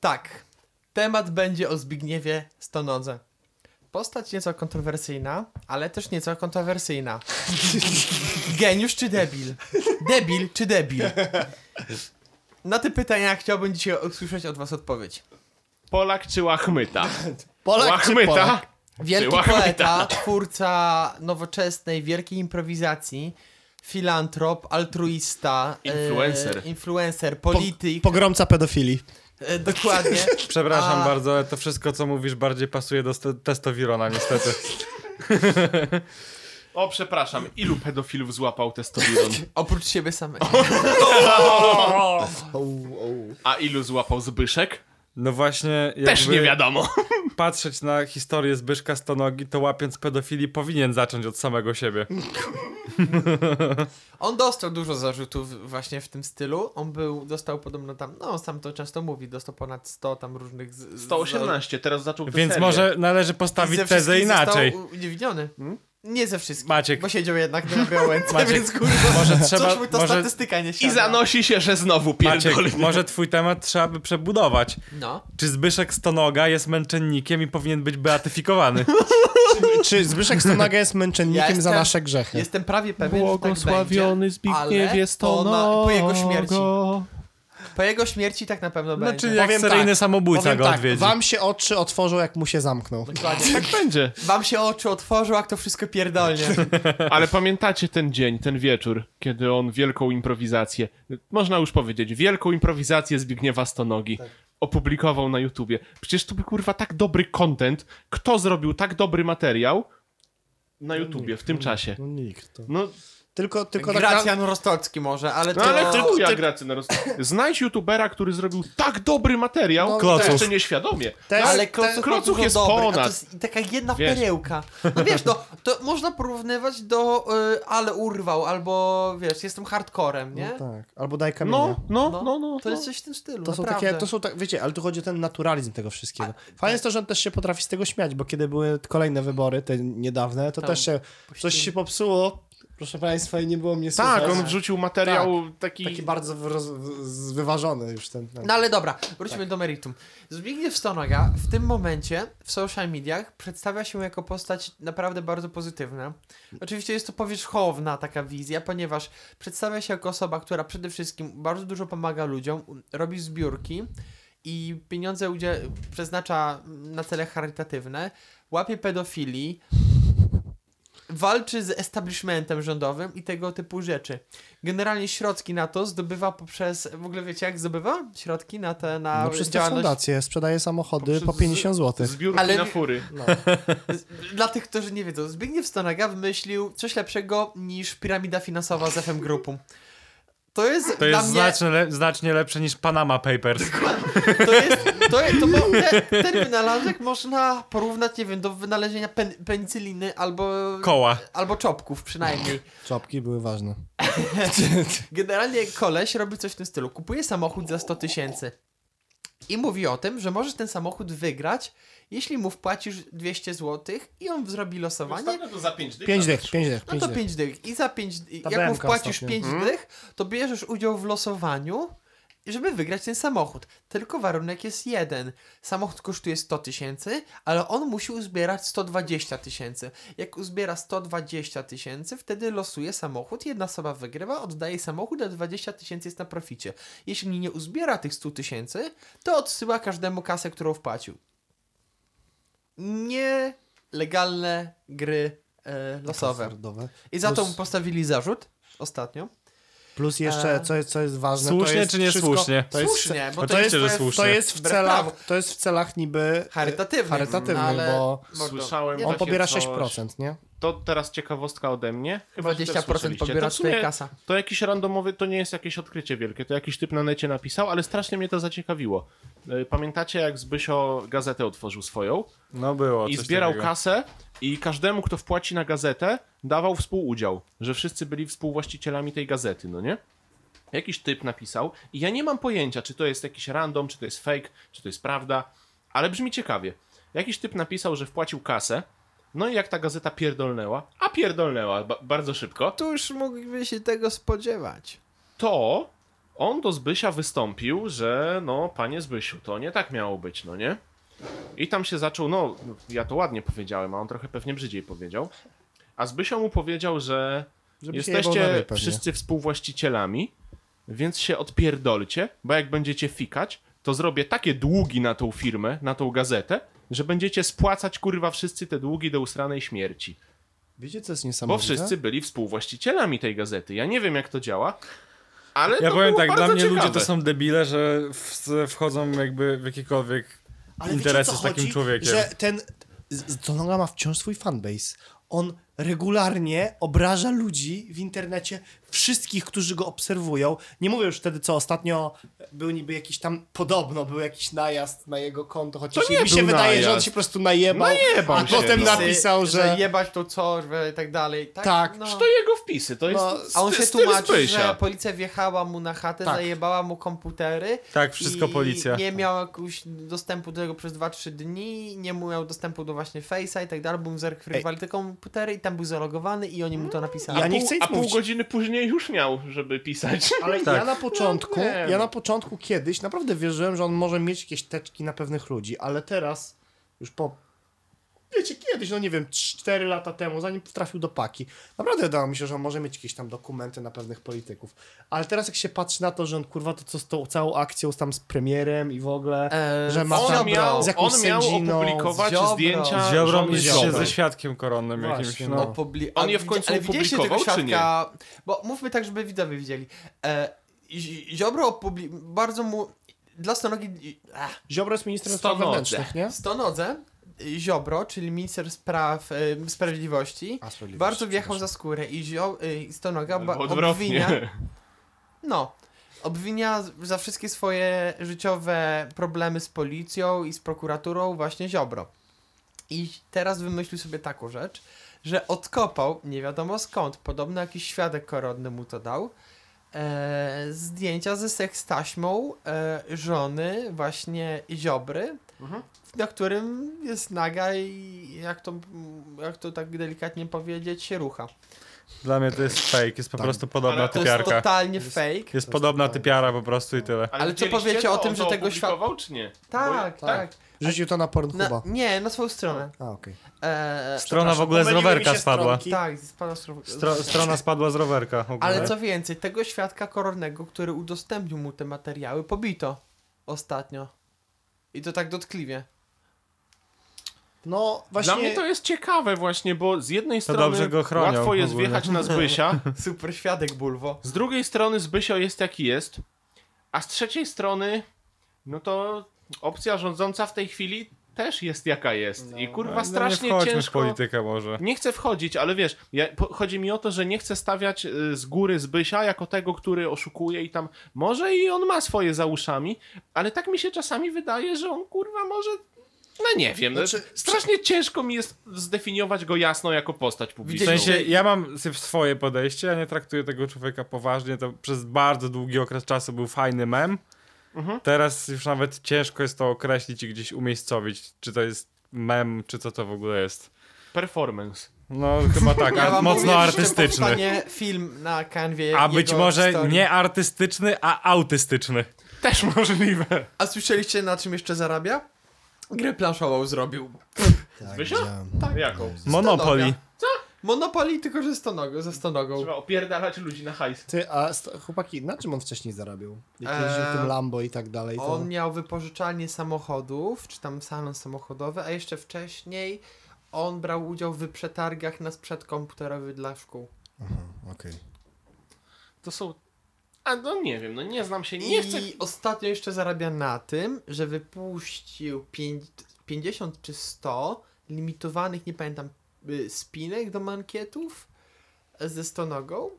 S1: Tak, temat będzie o Zbigniewie Stonodze. Postać nieco kontrowersyjna, ale też nieco kontrowersyjna. Geniusz czy debil? Debil czy debil? Na te pytania chciałbym dzisiaj usłyszeć od Was odpowiedź.
S4: Polak czy łachmyta?
S3: Polak czy Polak?
S4: łachmyta?
S1: Wielki
S4: Była
S1: poeta, twórca nowoczesnej, wielkiej improwizacji, filantrop, altruista, e,
S4: Influencer.
S1: influencer
S3: Po-
S1: polityk,
S3: Pogromca pedofilii.
S1: e, dokładnie.
S2: Przepraszam
S1: A-
S2: bardzo, ale to wszystko, co mówisz, bardziej pasuje do st- testowirona, niestety.
S4: O, przepraszam, ilu pedofilów złapał testosteron?
S1: Oprócz siebie samego.
S4: A ilu złapał Zbyszek?
S2: No właśnie, jakby
S4: Też nie wiadomo.
S2: patrzeć na historię Zbyszka Stonogi, to łapiąc pedofilii powinien zacząć od samego siebie.
S1: On dostał dużo zarzutów właśnie w tym stylu. On był, dostał podobno tam, no on sam to często mówi, dostał ponad 100 tam różnych... Z, z-
S4: 118, teraz zaczął tę
S2: Więc
S4: serię.
S2: może należy
S1: I ze
S2: postawić
S1: wszystkich
S2: tezę inaczej. Hmm?
S1: Został uniewinniony. Nie ze wszystkich.
S2: Maciek.
S1: Bo siedział jednak na Białęce,
S2: Maciek,
S1: więc kurwa,
S2: może trzeba-
S1: coś mu ta
S2: może-
S1: statystyka nie
S4: I no-
S1: siada.
S4: zanosi się, że znowu pierdolnie.
S2: Maciek, może twój temat trzeba by przebudować.
S1: No.
S2: Czy Zbyszek Stonoga jest męczennikiem i powinien być beatyfikowany?
S3: Czy Zbyszek Stonaga jest męczennikiem
S1: Ja jestem-
S3: za nasze grzechy?
S1: Jestem prawie pewien, że tak będzie, ale to na, po jego śmierci. Po jego śmierci tak na pewno będzie.
S2: Znaczy jak
S3: Powiem
S2: seryjny
S3: tak,
S2: samobójca
S3: Powiem
S2: go
S3: tak,
S2: odwiedzi.
S3: wam się oczy otworzą, jak mu się zamknął.
S4: Tak będzie.
S1: Wam się oczy otworzył, a to wszystko pierdolnie.
S4: Ale pamiętacie ten dzień, ten wieczór, kiedy on wielką improwizację, można już powiedzieć, wielką improwizację Zbigniewa Stonogi opublikował na YouTubie. Przecież to był kurwa tak dobry content. Kto zrobił tak dobry materiał na YouTubie w tym czasie?
S3: No nikt. To...
S4: No,
S3: Tylko, tylko tak na-
S1: Gracjan Rostocki może, ale to...
S4: No ale
S1: to...
S4: ty ja gracy na roz... Znajdź youtubera, który zrobił tak dobry materiał,
S3: No,
S4: to
S2: Kloców.
S4: jeszcze nieświadomie.
S3: Też-
S1: Ale
S3: te-
S1: klocuch, ma
S4: Klocuch
S1: dużo
S4: jest
S1: dobrych, A
S4: ponad.
S1: to jest taka jedna
S4: Wiesz.
S1: perełka. No wiesz, no, to można porównywać do y, ale urwał, albo wiesz, jestem hardcorem, nie?
S3: No tak. Albo daj kamienia.
S4: No, no, no, no. no.
S1: To jest coś w tym stylu,
S3: To są
S1: naprawdę. tak.
S3: takie, to są tak, wiecie, ale tu chodzi o ten naturalizm tego wszystkiego. Fajne jest to, że on też się potrafi z tego śmiać, bo kiedy były kolejne wybory, te niedawne, to
S1: Tam
S3: też się, coś
S1: puścili.
S3: się popsuło, proszę państwa, i nie było mnie słychać.
S4: Tak, on wrzucił materiał taki...
S3: Taki bardzo wyroz... z- wyważony już ten. ten.
S1: No ale dobra, wróćmy do meritum. Zbigniew Stonoga w tym momencie w social mediach przedstawia się jako postać naprawdę bardzo pozytywna. Oczywiście jest to powierzchowna taka wizja, ponieważ przedstawia się jako osoba, która przede wszystkim bardzo dużo pomaga ludziom, robi zbiórki i pieniądze udzie- przeznacza na cele charytatywne, łapie pedofilii, walczy z establishmentem rządowym i tego typu rzeczy. Generalnie środki na to zdobywa poprzez, w ogóle wiecie jak zdobywa środki na te, na
S3: No przez te
S1: działalność?
S3: fundacje sprzedaje samochody
S4: Poprzez-
S3: po 50 zł.
S4: Zbiórki
S1: Ale-
S4: na fury.
S1: Z- Dla tych, którzy nie wiedzą, Zbigniew Stanaga wymyślił coś lepszego niż piramida finansowa z FM Grupą. To jest znaczy,
S2: To
S1: dla
S2: jest
S1: mnie...
S2: znacznie, le- znacznie lepsze niż Panama Papers.
S1: To jest, to, je- to mo- te, ten wynalazek można porównać, nie wiem, do wynalezienia pen, penicyliny albo,
S2: Koła.
S1: albo czopków przynajmniej.
S3: Czopki były ważne.
S1: Generalnie koleś robi coś w tym stylu. Kupuje samochód za 100 tysięcy i mówi o tym, że możesz ten samochód wygrać, jeśli mu wpłacisz 200 zł i on zrobi losowanie.
S4: to za pięć tak? dych.
S3: 5 dych, 5 dych,
S1: No
S3: 5
S1: to
S3: dych.
S1: 5 dych. I za 5
S3: Ta
S1: Jak mu
S3: BMK
S1: wpłacisz
S3: ostatnio.
S1: 5 dych, to bierzesz udział w losowaniu, żeby wygrać ten samochód. Tylko warunek jest jeden. Samochód kosztuje 100 tysięcy, ale on musi uzbierać 120 tysięcy. Jak uzbiera 120 tysięcy, wtedy losuje samochód. Jedna osoba wygrywa, oddaje samochód, a 20 tysięcy jest na proficie. Jeśli nie uzbiera tych 100 tysięcy, to odsyła każdemu kasę, którą wpłacił. Nielegalne gry e, losowe.
S3: Hazardowe.
S1: I za to
S3: Plus-
S1: mu postawili zarzut ostatnio.
S3: Plus
S1: E.
S3: jeszcze, co jest, co jest ważne. to
S2: Słusznie
S3: jest
S2: czy nie
S3: wszystko,
S2: słusznie?
S3: To jest,
S1: Słusznie, bo to
S2: Oczywiście,
S1: jest,
S2: że
S1: to jest
S2: słusznie.
S3: To jest w
S1: Wbrew prawu.
S3: celach, to jest w celach niby e,
S1: charytatywny.
S3: charytatywnych,
S1: ale-
S3: bo
S1: mordo.
S4: Słyszałem
S1: Nie,
S3: on
S4: takie
S3: pobiera
S4: coś.
S3: 6%, nie?
S4: To teraz ciekawostka ode mnie. Chyba że też
S1: 20%
S4: słyszeliście.
S1: pobiera
S4: To w sumie
S1: tutaj kasa.
S4: To jakiś randomowy, to nie jest jakieś odkrycie wielkie, to jakiś typ na necie napisał, ale strasznie mnie to zaciekawiło. Y, Pamiętacie, jak Zbysio gazetę otworzył swoją
S2: No było.
S4: i
S2: coś
S4: zbierał
S2: takiego.
S4: kasę i każdemu, kto wpłaci na gazetę, dawał współudział, że wszyscy byli współwłaścicielami tej gazety, no nie? Jakiś typ napisał i ja nie mam pojęcia, czy to jest jakiś random, czy to jest fake, czy to jest prawda, ale brzmi ciekawie. Jakiś typ napisał, że wpłacił kasę, no i jak ta gazeta pierdolnęła, a pierdolnęła ba- bardzo szybko,
S1: Któż mógłby się tego spodziewać?
S4: to on do Zbysia wystąpił, że no, panie Zbysiu, to nie tak miało być, no nie? I tam się zaczął, no, ja to ładnie powiedziałem, a on trochę pewnie brzydziej powiedział. A Zbysio mu powiedział, że
S3: Żeby się jebał na ryj
S4: jesteście
S3: pewnie.
S4: wszyscy współwłaścicielami, więc się odpierdolcie, bo jak będziecie fikać, to zrobię takie długi na tą firmę, na tą gazetę, że będziecie spłacać, kurwa, wszyscy te długi do usranej śmierci.
S3: Wiecie, co jest
S4: Bo
S3: niesamowite?
S4: wszyscy byli współwłaścicielami tej gazety. Ja nie wiem, jak to działa, ale
S2: Ja
S4: to
S2: powiem
S4: było
S2: tak,
S4: bardzo
S2: dla mnie
S4: ciekawe.
S2: ludzie to są debile, że w, wchodzą jakby w jakiekolwiek
S3: Ale wiecie,
S2: interesy
S3: o co
S2: z takim
S3: chodzi?
S2: człowiekiem.
S3: Że ten z- z- Zonoga ma wciąż swój fanbase. On regularnie obraża ludzi w internecie, wszystkich, którzy go obserwują. Nie mówię już wtedy, co ostatnio był niby jakiś tam, podobno był jakiś najazd na jego konto, chociaż
S4: nie
S3: mi się
S4: był
S3: wydaje, że on
S4: najazd.
S3: się po prostu najebał,
S4: Najebał
S3: a
S4: się,
S3: potem
S4: no.
S3: napisał, że...
S1: jebać to coś, że i tak dalej. Tak.
S3: Tak.
S1: no.
S4: Czy to jego wpisy? To jest
S3: No,
S4: st-
S1: A on się
S4: styl
S1: tłumaczy,
S4: Spysia.
S1: że policja wjechała mu na chatę,
S3: Tak.
S1: zajebała mu komputery.
S2: Tak, wszystko
S1: i
S2: policja.
S1: Nie miał jakiegoś dostępu do tego przez 2-3 dni, nie miał dostępu do właśnie Face'a i tak dalej, bo mu zerkwirowali te komputery i tam był zalogowany i oni mu to napisali.
S3: Ja
S4: A
S3: nie
S4: pół-
S3: chcę nic
S4: A pół
S3: mówić.
S4: godziny później już miał, żeby pisać.
S3: Ale ja na początku,
S4: No nie.
S3: ja na początku kiedyś naprawdę wierzyłem, że on może mieć jakieś teczki na pewnych ludzi, ale teraz już po wiecie, kiedyś, no nie wiem, 4 lata temu, zanim trafił do paki, naprawdę dało mi się, że on może mieć jakieś tam dokumenty na pewnych polityków. Ale teraz jak się patrzy na to, że on kurwa to co z tą całą akcją z tam z premierem i w ogóle,
S1: Eee,
S3: że ma
S4: On
S3: tam
S4: miał,
S3: z jakąś
S4: on miał
S3: sędziną,
S4: opublikować
S1: z Ziobrą.
S4: zdjęcia
S2: Z Ziobrą
S4: żony
S2: i
S4: Ziobry.
S2: się ze świadkiem koronnym
S3: Właśnie,
S2: jakimś.
S3: no.
S2: No.
S1: Opubli-
S4: On je
S1: a
S4: w
S1: widzi-
S4: końcu
S1: ale widzieliście tego
S4: opublikował, czy nie?
S1: świadka, Bo mówmy tak, żeby widzowie widzieli. E, Zi- Ziobro opubli- bardzo mu... Dla Stonogi... Ach,
S3: Ziobro jest ministrem spraw
S4: Stonodze.
S3: wewnętrznych, nie?
S1: Stonodze y, Ziobro, czyli minister spraw em, sprawiedliwości,
S3: A, sprawiedliwości,
S1: bardzo wjechał
S3: przepraszam.
S1: za skórę i, zio, i Stonoga ba-
S4: Albo
S1: obwinia...
S4: odwrotnie.
S1: No. Obwinia z- za wszystkie swoje życiowe problemy z policją i z prokuraturą właśnie Ziobro. I teraz wymyślił sobie taką rzecz, że odkopał, nie wiadomo skąd, podobno jakiś świadek koronny mu to dał, e, zdjęcia ze sekstaśmą e, żony właśnie Ziobry,
S4: Mhm.
S1: na którym jest naga i jak to, jak to tak delikatnie powiedzieć, się rucha.
S2: Dla mnie to jest fake, jest po
S3: Tak.
S2: prostu podobna
S4: Ale to jest
S1: To tak. jest
S2: typiarka.
S1: totalnie fake.
S2: Jest
S3: To
S2: podobna
S3: jest
S2: typiara po prostu i tyle.
S1: Ale co
S4: widzieliście
S1: powiecie
S4: to?
S1: o tym,
S4: On
S1: że
S4: to
S1: tego świat-
S4: opublikował, czy nie?
S1: Tak,
S4: Bo-
S1: tak.
S3: Rzucił to na
S1: Na,
S3: Pornhuba.
S1: nie, na swoją stronę.
S3: A, okej.
S1: Eee,
S2: Strona w ogóle z
S3: Pomyliły mi
S2: rowerka
S3: się
S2: spadła.
S3: stronki.
S1: tak, z pana stro-
S2: Stro, strona spadła z rowerka. w ogóle.
S1: Ale co więcej, tego świadka koronnego, który udostępnił mu te materiały, pobito ostatnio. I to tak dotkliwie.
S3: No,
S4: Dla
S3: właśnie...
S4: mnie to jest ciekawe właśnie, bo z jednej strony
S2: dobrze go chronią
S4: łatwo jest
S2: ogólnie.
S4: wjechać na Zbysia,
S1: Super świadek, Bulwo.
S4: z drugiej strony Zbysio jest jaki jest, a z trzeciej strony no to opcja rządząca w tej chwili też jest jaka jest. I
S2: No,
S4: kurwa
S2: nie
S4: strasznie
S2: wchodźmy w
S4: ciężko...
S2: politykę może.
S4: Nie chcę wchodzić, ale wiesz, ja, po, chodzi mi o to, że nie chcę stawiać y, z góry Zbysia jako tego, który oszukuje i tam. Może i on ma swoje za uszami, ale tak mi się czasami wydaje, że on kurwa może. No nie wiem,
S3: Znaczy,
S4: znaczy, strasznie ciężko mi jest zdefiniować go jasno jako postać
S2: W
S4: publiczną.
S2: sensie, ja mam sy- swoje podejście, ja nie traktuję tego człowieka poważnie, to przez bardzo długi okres czasu był fajny mem.
S1: Mhm.
S2: Teraz już nawet ciężko jest to określić i gdzieś umiejscowić, czy to jest mem, czy co to w ogóle jest.
S4: Performance.
S2: No chyba tak,
S1: Ja
S2: a
S1: wam
S2: mocno
S1: powiem, że
S2: artystyczny.
S1: powstanie film na kanwie
S2: A
S1: jego
S2: być może
S1: historii.
S2: nie artystyczny, a autystyczny.
S4: Też możliwe.
S1: A słyszeliście na czym jeszcze zarabia? Grę planszową zrobił.
S3: Tak,
S4: Zbysio?
S3: widziałem.
S4: Tak. Jaką?
S2: Monopoly.
S1: Monopoly tylko, że z tonogo, ze stonogą.
S4: Trzeba opierdalać ludzi na hajs.
S3: Ty, a st- chłopaki, na czym on wcześniej zarabiał? Jak jeździł
S1: Eee,
S3: tym Lambo i tak dalej, to...
S1: On miał wypożyczalnię samochodów, czy tam salon samochodowy, a jeszcze wcześniej on brał udział w przetargach na sprzęt komputerowy dla szkół.
S3: Okej.
S4: To są. A no nie wiem, no nie znam się,
S1: I
S4: nie chcę.
S1: ostatnio jeszcze zarabia na tym, że wypuścił pięć, 50 czy 100 limitowanych, nie pamiętam, y, spinek do mankietów ze stonogą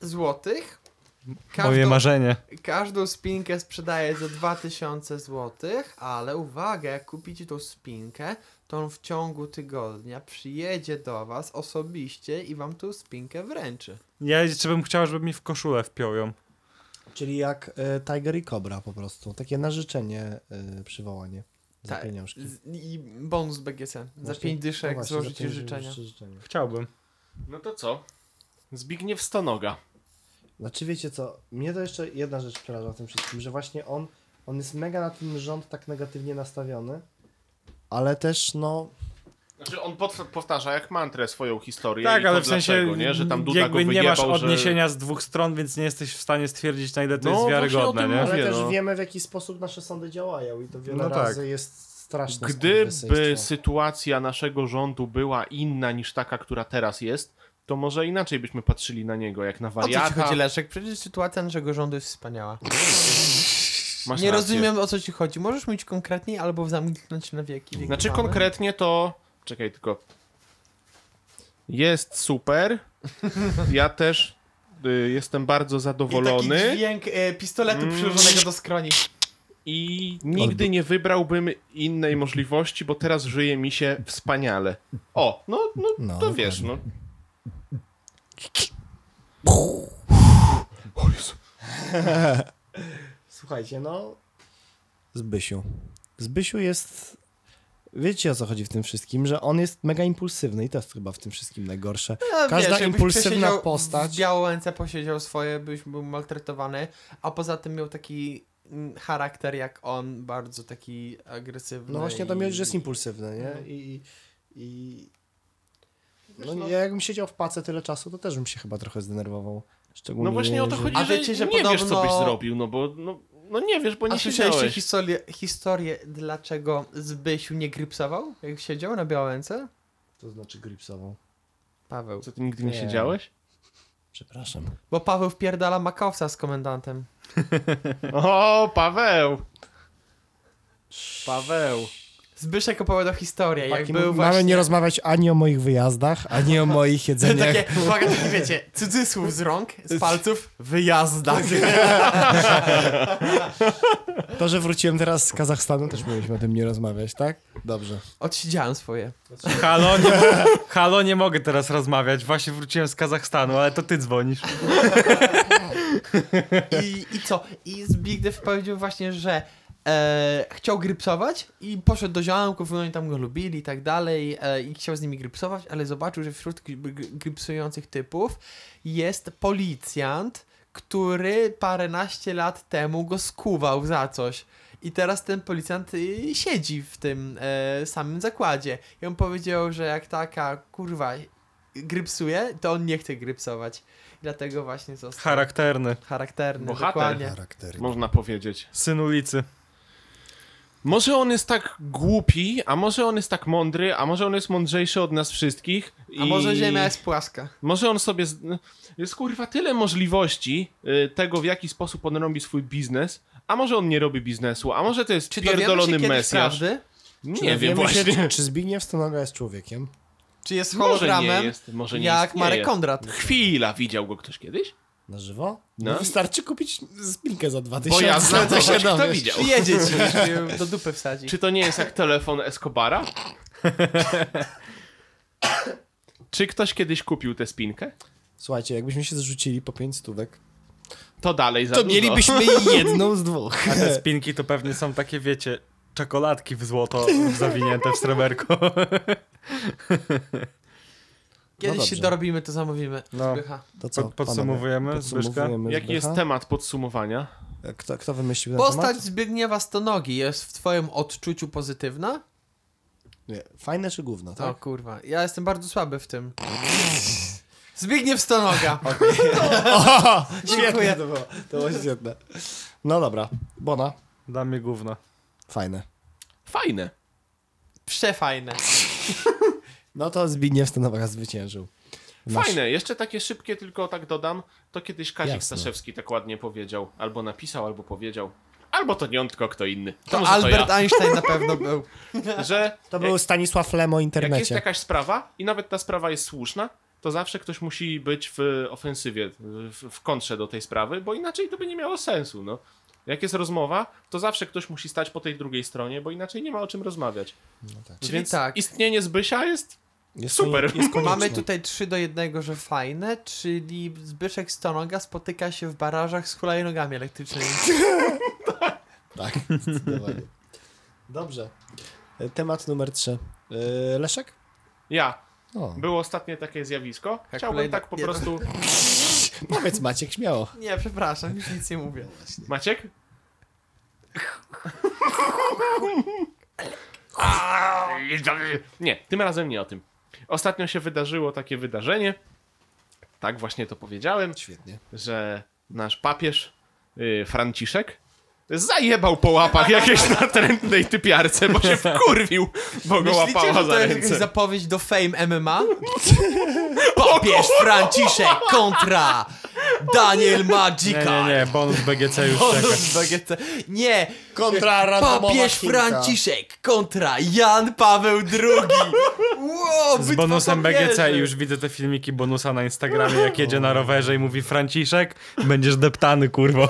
S1: złotych.
S2: Moje
S1: Każdą,
S2: marzenie.
S1: każdą spinkę sprzedaje za 2000 złotych, ale uwaga, jak kupicie tą spinkę, to on w ciągu tygodnia przyjedzie do was osobiście i wam tą spinkę wręczy.
S2: Ja jeszcze bym chciał, żeby mi w koszulę wpiął ją.
S3: Czyli jak e, Tiger i Cobra po prostu. Takie na życzenie e, przywołanie. Za
S1: Tak.
S3: pieniążki.
S1: Z, I bonus BGC. Za
S3: Właśnie-
S1: pięć
S3: no
S1: dyszek
S3: właśnie, za
S1: złożycie
S3: pięć
S1: życzenia.
S3: życzenia.
S2: Chciałbym.
S4: No to co? Zbigniew Stonoga.
S3: Znaczy wiecie co, mnie to jeszcze jedna rzecz przeraża w tym wszystkim, że właśnie on, on jest mega na ten rząd tak negatywnie nastawiony, ale też no...
S4: Znaczy on pod, powtarza jak mantrę swoją historię.
S2: Tak,
S4: i
S2: ale
S4: to
S2: w sensie
S4: dlaczego, nie? że tam Duda
S2: jakby
S4: go
S2: nie masz
S4: wyjebał,
S2: odniesienia z dwóch stron, więc nie jesteś w stanie stwierdzić na ile to
S4: No,
S2: jest
S4: właśnie o
S2: wiarygodne,
S4: tym
S2: nie?
S4: mówię.
S3: Ale też
S4: no.
S3: wiemy w jaki sposób nasze sądy działają i to wiele
S2: No tak.
S3: razy jest straszne.
S4: Że gdyby
S3: skurwysyństwo.
S4: sytuacja naszego rządu była inna niż taka, która teraz jest, to może inaczej byśmy patrzyli na niego, jak na
S1: O co ci
S4: wariata.
S1: chodzi, Leszek? Przecież sytuacja naszego rządu jest wspaniała.
S4: Masz
S1: Nie
S4: rację.
S1: rozumiem, o co ci chodzi. Możesz mówić konkretniej albo zamknąć na wieki. wieki
S4: Znaczy
S1: mamy.
S4: konkretnie to... Czekaj tylko. Jest super. Ja też y, jestem bardzo
S1: I
S4: zadowolony.
S1: taki dźwięk e, pistoletu
S4: Mm.
S1: przyłożonego do skroni.
S4: I nigdy nie wybrałbym innej możliwości, bo teraz żyje mi się wspaniale. O, no, no,
S3: No,
S4: to wiesz, no.
S3: Słuchajcie, no. Zbysiu. Zbysiu jest. Wiecie o co chodzi w tym wszystkim, że on jest mega impulsywny i to jest chyba w tym wszystkim najgorsze.
S1: No,
S3: Każda
S1: jakbyś
S3: impulsywna
S1: przesiedział
S3: postać-
S1: W Białęce posiedział swoje, byś był maltretowany, a poza tym miał taki mm, charakter jak on, bardzo taki agresywny.
S3: No właśnie to
S1: i-
S3: mi chodzi, że jest impulsywny, nie? I. i no, ja jakbym siedział w pace tyle czasu, to też bym się chyba trochę zdenerwował. Szczególnie,
S4: No właśnie o to
S3: że-
S4: chodzi,
S1: A
S4: że,
S1: wiecie, że
S4: nie wiesz, co
S1: podobno-
S4: byś zrobił, no bo no, no nie wiesz, bo
S1: A
S4: nie
S1: słyszeliście
S4: siedziałeś.
S1: historię, historię, dlaczego Zbysiu nie grypsował, jak siedział na Białęce?
S3: To znaczy gripsową.
S1: Paweł.
S4: Co, ty nigdy nie,
S3: Nie.
S4: siedziałeś?
S3: Przepraszam.
S1: Bo Paweł wpierdala makowca z komendantem.
S4: O, Paweł! Paweł.
S1: Zbyszek opowiadał historię, jak
S3: Chłopaki,
S1: był
S3: mamy
S1: właśnie...
S3: nie rozmawiać ani o moich wyjazdach, ani o moich jedzeniach.
S1: Takie, uwaga, takie wiecie, cudzysłów z rąk, z palców, wyjazdach.
S3: To, że wróciłem teraz z Kazachstanu, też mieliśmy o tym nie rozmawiać, tak? Dobrze.
S1: Odsiedziałem swoje.
S2: Halo nie, halo, nie mogę teraz rozmawiać. Właśnie wróciłem z Kazachstanu, ale to ty dzwonisz.
S1: I, i co? I z Big Dev powiedział właśnie, że e, chciał grypsować i poszedł do ziomków, no i tam go lubili i tak dalej e, i chciał z nimi grypsować, ale zobaczył, że wśród gry- gry- grypsujących typów jest policjant, który paręnaście lat temu go skuwał za coś. I teraz ten policjant y, siedzi w tym e, samym zakładzie. I on powiedział, że jak taka kurwa grypsuje, to on nie chce grypsować. Dlatego właśnie został
S2: Charakterny.
S1: charakterny,
S4: Bohater.
S1: dokładnie.
S3: Charaktery.
S4: Można powiedzieć.
S2: Syn ulicy.
S4: Może on jest tak głupi, a może on jest tak mądry, a może on jest mądrzejszy od nas wszystkich.
S1: A
S4: i-
S1: może ziemia jest płaska?
S4: Może on sobie. Z... Jest kurwa tyle możliwości y, tego, w jaki sposób on robi swój biznes. A może on nie robi biznesu, a może to jest
S1: Czy dowiemy się
S4: pierdolony
S1: kiedyś
S4: mesjasz.
S1: prawdy?
S4: Nie wiem właśnie.
S3: Się, czy Zbigniew Stonoga jest człowiekiem?
S1: Czy jest
S4: Może nie
S1: hologramem?
S4: jest, może nie
S1: jak
S4: istnieje. No,
S1: Marek Kondrat.
S4: Chwila, widział go ktoś kiedyś?
S3: Na żywo?
S4: No.
S3: No. Wystarczy kupić spinkę za dwa
S4: Bo
S3: tysiące.
S4: ja znam
S3: to się
S4: kogoś, kto
S3: dowiesz.
S4: widział.
S1: Przyjedzie ci, żeby ją do dupy wsadzi.
S4: Czy to nie jest jak telefon Escobara? Czy ktoś kiedyś kupił tę spinkę?
S3: Słuchajcie, jakbyśmy się zrzucili po pięć stówek,
S4: To dalej za
S3: to
S4: dużo.
S3: mielibyśmy jedną z dwóch.
S2: A te spinki to pewnie są takie, wiecie, czekoladki w złoto zawinięte w sreberko.
S1: Kiedyś
S3: No
S1: się
S3: dobrze.
S1: dorobimy, to zamówimy.
S2: No.
S1: Zbycha.
S3: To co,
S2: Pod-
S3: panowie?
S2: podsumowujemy,
S3: Podsumowujemy
S4: Jaki jest
S3: Zbycha? E,
S4: temat podsumowania?
S3: Kto, kto wymyślił ten
S1: Postać
S3: temat?
S1: Zbigniewa Stonogi jest w twoim odczuciu pozytywna?
S3: Nie. Fajne czy gówno,
S1: O
S3: tak?
S1: kurwa, ja jestem bardzo słaby w tym. Zbigniew Stonoga.
S3: Dziękuję. To było, to było świetne. No dobra, Bona,
S2: Dla mnie gówno.
S3: fajne.
S4: Fajne.
S1: Przefajne.
S3: No to Zbigniew Stonoga zwyciężył. Masz-
S4: Fajne, jeszcze takie szybkie, tylko tak dodam. To kiedyś Kazik
S3: Jasne.
S4: Staszewski tak ładnie powiedział. Albo napisał, albo powiedział. Albo to nie on, tylko kto inny. To,
S1: To
S4: może
S1: Albert
S4: to
S1: Einstein na pewno był.
S4: ja. Że
S3: To był Stanisław Lem o
S4: E, jak, jak jest
S3: internecie.
S4: jakaś sprawa i nawet ta sprawa jest słuszna, to zawsze ktoś musi być w ofensywie, w, w kontrze do tej sprawy, bo inaczej to by nie miało sensu, no. Jak jest rozmowa, to zawsze ktoś musi stać po tej drugiej stronie, bo inaczej nie ma o czym rozmawiać.
S1: Czyli
S4: Więc
S1: tak.
S4: istnienie Zbysia jest
S3: Jest
S4: super.
S3: konie- jest konieczne.
S1: Mamy tutaj 3 do 1, że fajne, czyli Zbyszek Stonoga spotyka się w barażach z hulajnogami elektrycznymi.
S3: Tak, zdecydowanie. Dobrze. E, Temat numer trzy. E, Leszek?
S4: ja.
S3: O.
S4: Było ostatnie takie zjawisko. Chciałbym
S1: kolejna-
S4: tak po
S1: nie, to-
S4: prostu...
S3: Powiedz Maciek, śmiało.
S1: Nie, przepraszam, już nic nie mówię.
S4: Maciek? Nie, tym razem nie o tym. Ostatnio się wydarzyło takie wydarzenie. Tak właśnie to powiedziałem,
S3: Świetnie.
S4: że nasz papież y, Franciszek zajebał po łapach jakiejś natrętnej typiarce, bo się wkurwił, bo go
S1: Myślicie,
S4: łapała
S1: że
S4: za
S1: to jest jakaś
S4: ręce.
S1: zapowiedź do Fame MMA? Papież Franciszek kontra Daniel
S2: Nie,
S1: Magica.
S2: nie, nie, bonus BGC już
S1: Bonus
S2: czeka.
S1: BGT. Nie!
S3: Kontra randomowa
S1: Papież
S3: Chinka.
S1: Franciszek kontra Jan Paweł II! Wow,
S2: Z bonusem BGC i już widzę te filmiki bonusa na Instagramie, jak jedzie na rowerze i mówi Franciszek, będziesz deptany, kurwo.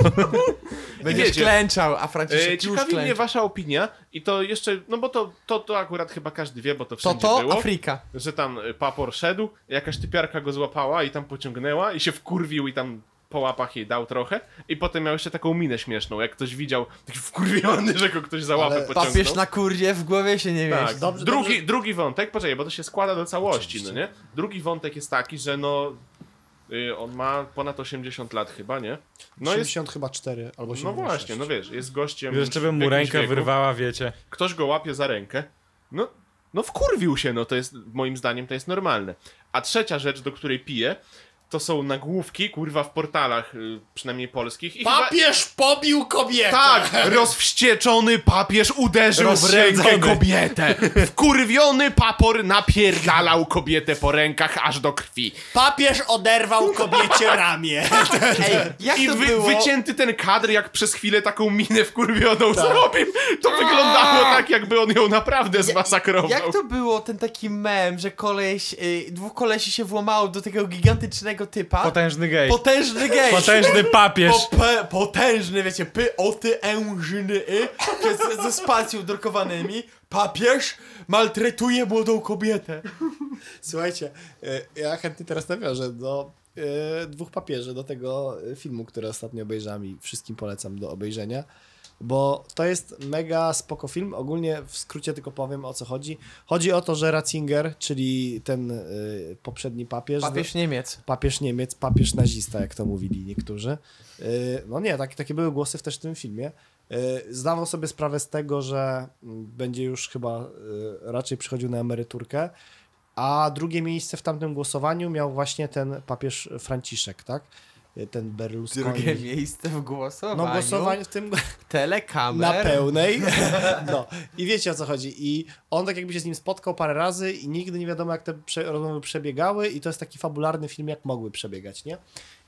S1: Będziesz
S4: Wiecie.
S1: klęczał, a Franciszek
S4: E,
S1: już
S4: Ciekawi mnie
S1: klęczał.
S4: wasza opinia i to jeszcze, no bo to, to, to akurat chyba każdy wie, bo to
S1: To
S4: wszędzie było.
S1: to Afryka.
S4: że tam y, papor szedł, jakaś typiarka go złapała i tam pociągnęła i się wkurwił i tam po łapach jej dał trochę i potem miał jeszcze taką minę śmieszną, jak ktoś widział taki wkurwiony, że go ktoś za łapę
S3: Ale
S4: pociągnął.
S1: Papież na kurdzie w głowie się nie mieści.
S4: tak.
S3: Dobrze,
S4: drugi,
S3: dobrze.
S4: drugi wątek, poczekaj, bo to się składa do całości, no nie? Drugi wątek jest taki, że no y, on ma ponad 80 lat chyba, nie? No jest
S3: 60 chyba 4 albo
S4: no
S3: 76.
S4: właśnie, no wiesz, jest gościem
S2: Jeszcze bym
S4: w
S2: mu
S4: jakimś
S2: rękę
S4: wieku.
S2: wyrwała, wiecie.
S4: ktoś go łapie za rękę, no, no wkurwił się, no to jest, moim zdaniem to jest normalne. A trzecia rzecz, do której piję, to są nagłówki, kurwa, w portalach, y, przynajmniej polskich. I
S3: no.
S6: Papież pobił kobietę!
S4: Chyba, tak! Rozwścieczony papież uderzył w rękę kobietę. Wkurwiony papor napierdalał kobietę po rękach aż do krwi.
S6: Papież oderwał kobiecie ramię.
S1: Ej,
S3: Tak
S1: jak
S4: I
S1: to
S4: wy,
S1: było?
S4: wycięty ten kadr, jak przez chwilę taką minę
S3: Tak.
S4: wkurwioną zrobił, to wyglądało tak, jakby on ją naprawdę zmasakrował.
S1: Jak to było ten taki mem, że koleś, y, dwóch kolesi się włamało do tego gigantycznego typa?
S2: Potężny gej.
S1: Potężny gej.
S2: Potężny papież.
S1: Po, pe, potężny, wiecie, py, oty, ężyny, y, przez, ze spacją drukowanymi. Papież maltretuje młodą kobietę.
S3: Słuchajcie, y, ja chętnie teraz nawiążę do y, dwóch papieży, do tego y, filmu, który ostatnio obejrzałem i wszystkim polecam do obejrzenia, bo to jest mega spoko film. Ogólnie w skrócie tylko powiem o co chodzi. Chodzi o to, że Ratzinger, czyli ten y, poprzedni papież,
S1: Papież Niemiec.
S3: papież Niemiec, papież nazista, jak to mówili niektórzy. Yy, No nie, tak, takie były głosy też w tym filmie. Yy, Zdawał sobie sprawę z tego, że mm, będzie już chyba yy, raczej przychodził na emeryturkę, a drugie miejsce w tamtym głosowaniu miał właśnie ten papież Franciszek, tak? Yy, Ten Berlusconi.
S1: Drugie miejsce w głosowaniu.
S3: No głosowanie w tym
S1: Telekamer.
S3: na pełnej. No i wiecie o co chodzi. I on tak jakby się z nim spotkał parę razy i nigdy nie wiadomo jak te prze rozmowy przebiegały i to jest taki fabularny film jak mogły przebiegać, nie?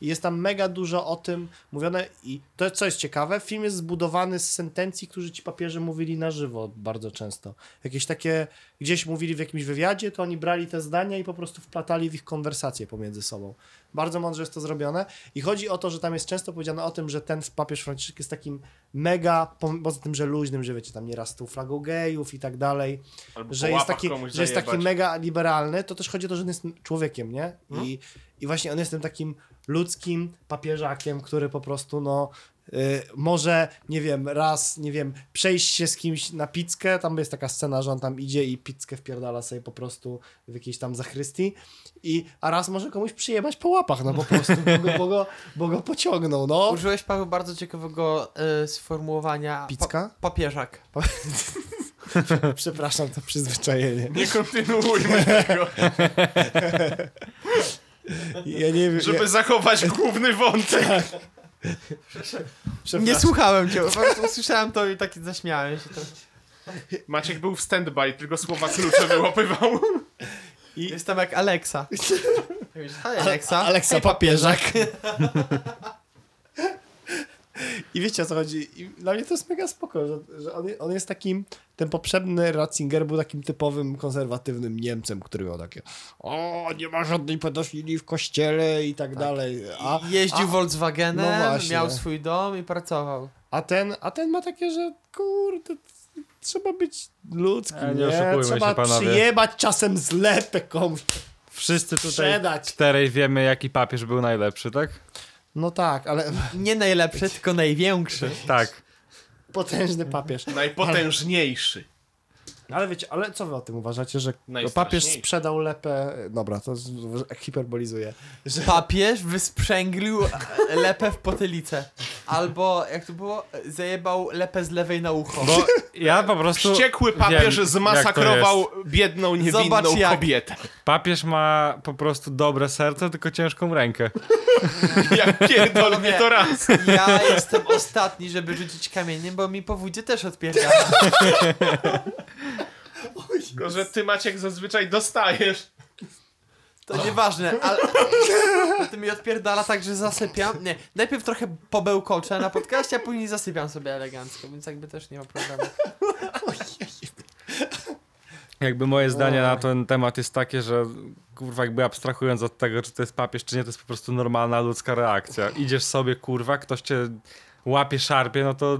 S3: I jest tam mega dużo o tym mówione i to co jest ciekawe, film jest zbudowany z sentencji, którzy ci papieże mówili na żywo bardzo często. Jakieś takie gdzieś mówili w jakimś wywiadzie, to oni brali te zdania i po prostu wplatali w ich konwersacje pomiędzy sobą. Bardzo mądrze jest to zrobione i chodzi o to, że tam jest często powiedziane o tym, że ten papież Franciszek jest takim mega, po- poza tym, że luźnym, że wiecie, tam nieraz tą flagą gejów i tak dalej,
S4: Albo
S3: że
S4: po
S3: jest,
S4: łapach
S3: taki,
S4: komuś
S3: że jest taki
S4: zajebać.
S3: mega liberalny, to też chodzi o to, że on jest człowiekiem, nie?
S4: Mhm.
S3: I, I właśnie on jest tym takim ludzkim papieżakiem, który po prostu, no, y, może, nie wiem, raz, nie wiem, przejść się z kimś na pizzkę, tam jest taka scena, że on tam idzie i pizzkę wpierdala sobie po prostu w jakiejś tam zachrystii, i, a raz może komuś przyjebać po łapach, no po prostu, bo go, bo go, bo go pociągnął, no.
S1: Użyłeś, Paweł, bardzo ciekawego y, sformułowania.
S3: Picka?
S1: Pa- papieżak.
S3: Przepraszam, to przyzwyczajenie.
S4: Nie kontynuujmy tego,
S3: Ja nie wiem,
S4: żeby zachować główny wątek.
S2: Tak.
S3: ja,
S1: Nie słuchałem cię, po prostu usłyszałem to i taki zaśmiałem się. trochę.
S4: Maciek był w stand-by, tylko słowa klucze wyłapywał.
S1: Jestem jak Alexa. Mówisz, Hej, Alexa.
S3: Aleksa papieżak. I wiecie o co chodzi? I dla mnie to jest mega spoko, że, że on, on jest takim, ten poprzedni Ratzinger był takim typowym, konserwatywnym Niemcem, który miał takie o, nie ma żadnej pedofilii w kościele i tak, dalej. A,
S1: Jeździł
S3: a,
S1: Volkswagenem,
S3: no właśnie.
S1: miał swój dom i pracował.
S3: a, ten, a ten ma takie, że kurde, t- trzeba być ludzkim,
S2: E,
S3: nie?
S2: nie oszukujmy się,
S3: trzeba
S2: panowie.
S3: przyjebać czasem zlepek komuś,
S2: Wszyscy tutaj
S3: sprzedać.
S2: czterej wiemy, jaki papież był najlepszy, tak?
S3: No tak, ale
S1: Nie najlepszy, tylko największy.
S2: Tak.
S3: potężny papież.
S4: Najpotężniejszy.
S3: Ale wiecie, ale co wy o tym uważacie, że papież
S4: Najstraszniejszy.
S3: sprzedał lepę... Dobra, to z- w- hiperbolizuje. Że...
S1: Papież wysprzęglił e, lepę w potylicę. Albo, jak to było, zajebał lepę z lewej na ucho.
S2: Bo ja po prostu.
S4: Wściekły papież
S2: wiem,
S4: zmasakrował
S2: jak
S4: biedną, niewinną
S1: Zobacz, jak-
S4: kobietę.
S2: Papież ma po prostu dobre serce, tylko ciężką rękę.
S4: Jak pierdol mnie to raz.
S1: Ja jestem ostatni, żeby rzucić kamieniem, bo mi po wódzie też odpierdala.
S4: Tylko, że ty Maciek zazwyczaj dostajesz.
S1: To nieważne, ale to mi odpierdala tak, że zasypiam. Nie, najpierw trochę pobełkoczę na podcaście, a później zasypiam sobie elegancko, więc jakby też nie ma problemu.
S2: Jakby moje zdanie na ten temat jest takie, że kurwa, jakby abstrahując od tego, czy to jest papież, czy nie, to jest po prostu normalna ludzka reakcja. Idziesz sobie, kurwa, ktoś cię łapie, szarpie, no to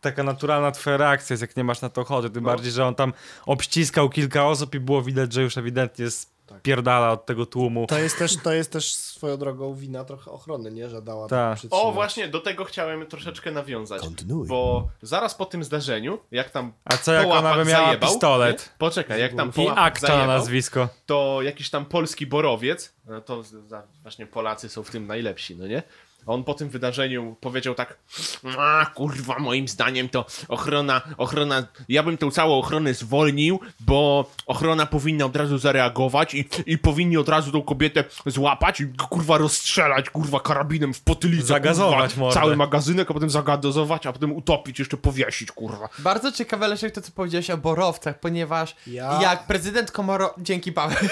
S2: taka naturalna twoja reakcja jest, jak nie masz na to ochoty. Tym bardziej, że on tam obściskał kilka osób i było widać, że już ewidentnie spierdala od tego tłumu.
S3: To jest, też, to jest też swoją drogą wina trochę ochrony, nie? Że dała
S2: Tak.
S3: tak.
S4: O, właśnie, do tego chciałem troszeczkę nawiązać.
S3: Kontynuuj.
S4: Bo zaraz po tym zdarzeniu, jak tam
S2: A co
S4: po
S2: jak ona
S4: łapach
S2: by miała
S4: zajebał,
S2: pistolet?
S4: nie? Poczekaj, jak tam po
S2: I
S4: łapach
S2: akta na
S4: zajebał,
S2: nazwisko.
S4: to jakiś tam polski borowiec, no to z- za- właśnie Polacy są w tym najlepsi, no nie? A on po tym wydarzeniu powiedział tak, a kurwa, moim zdaniem to ochrona, ochrona, ja bym tą całą ochronę zwolnił, bo ochrona powinna od razu zareagować i, i powinni od razu tą kobietę złapać i kurwa rozstrzelać, kurwa, karabinem w potylicę,
S2: Zagazować
S4: kurwa,
S2: mordę.
S4: cały magazynek, a potem zagazować, a potem utopić, jeszcze powiesić, kurwa.
S1: Bardzo ciekawe, Leszek, to co powiedziałeś o borowcach, ponieważ
S3: Ja-
S1: jak prezydent Komoro... Dzięki, Paweł.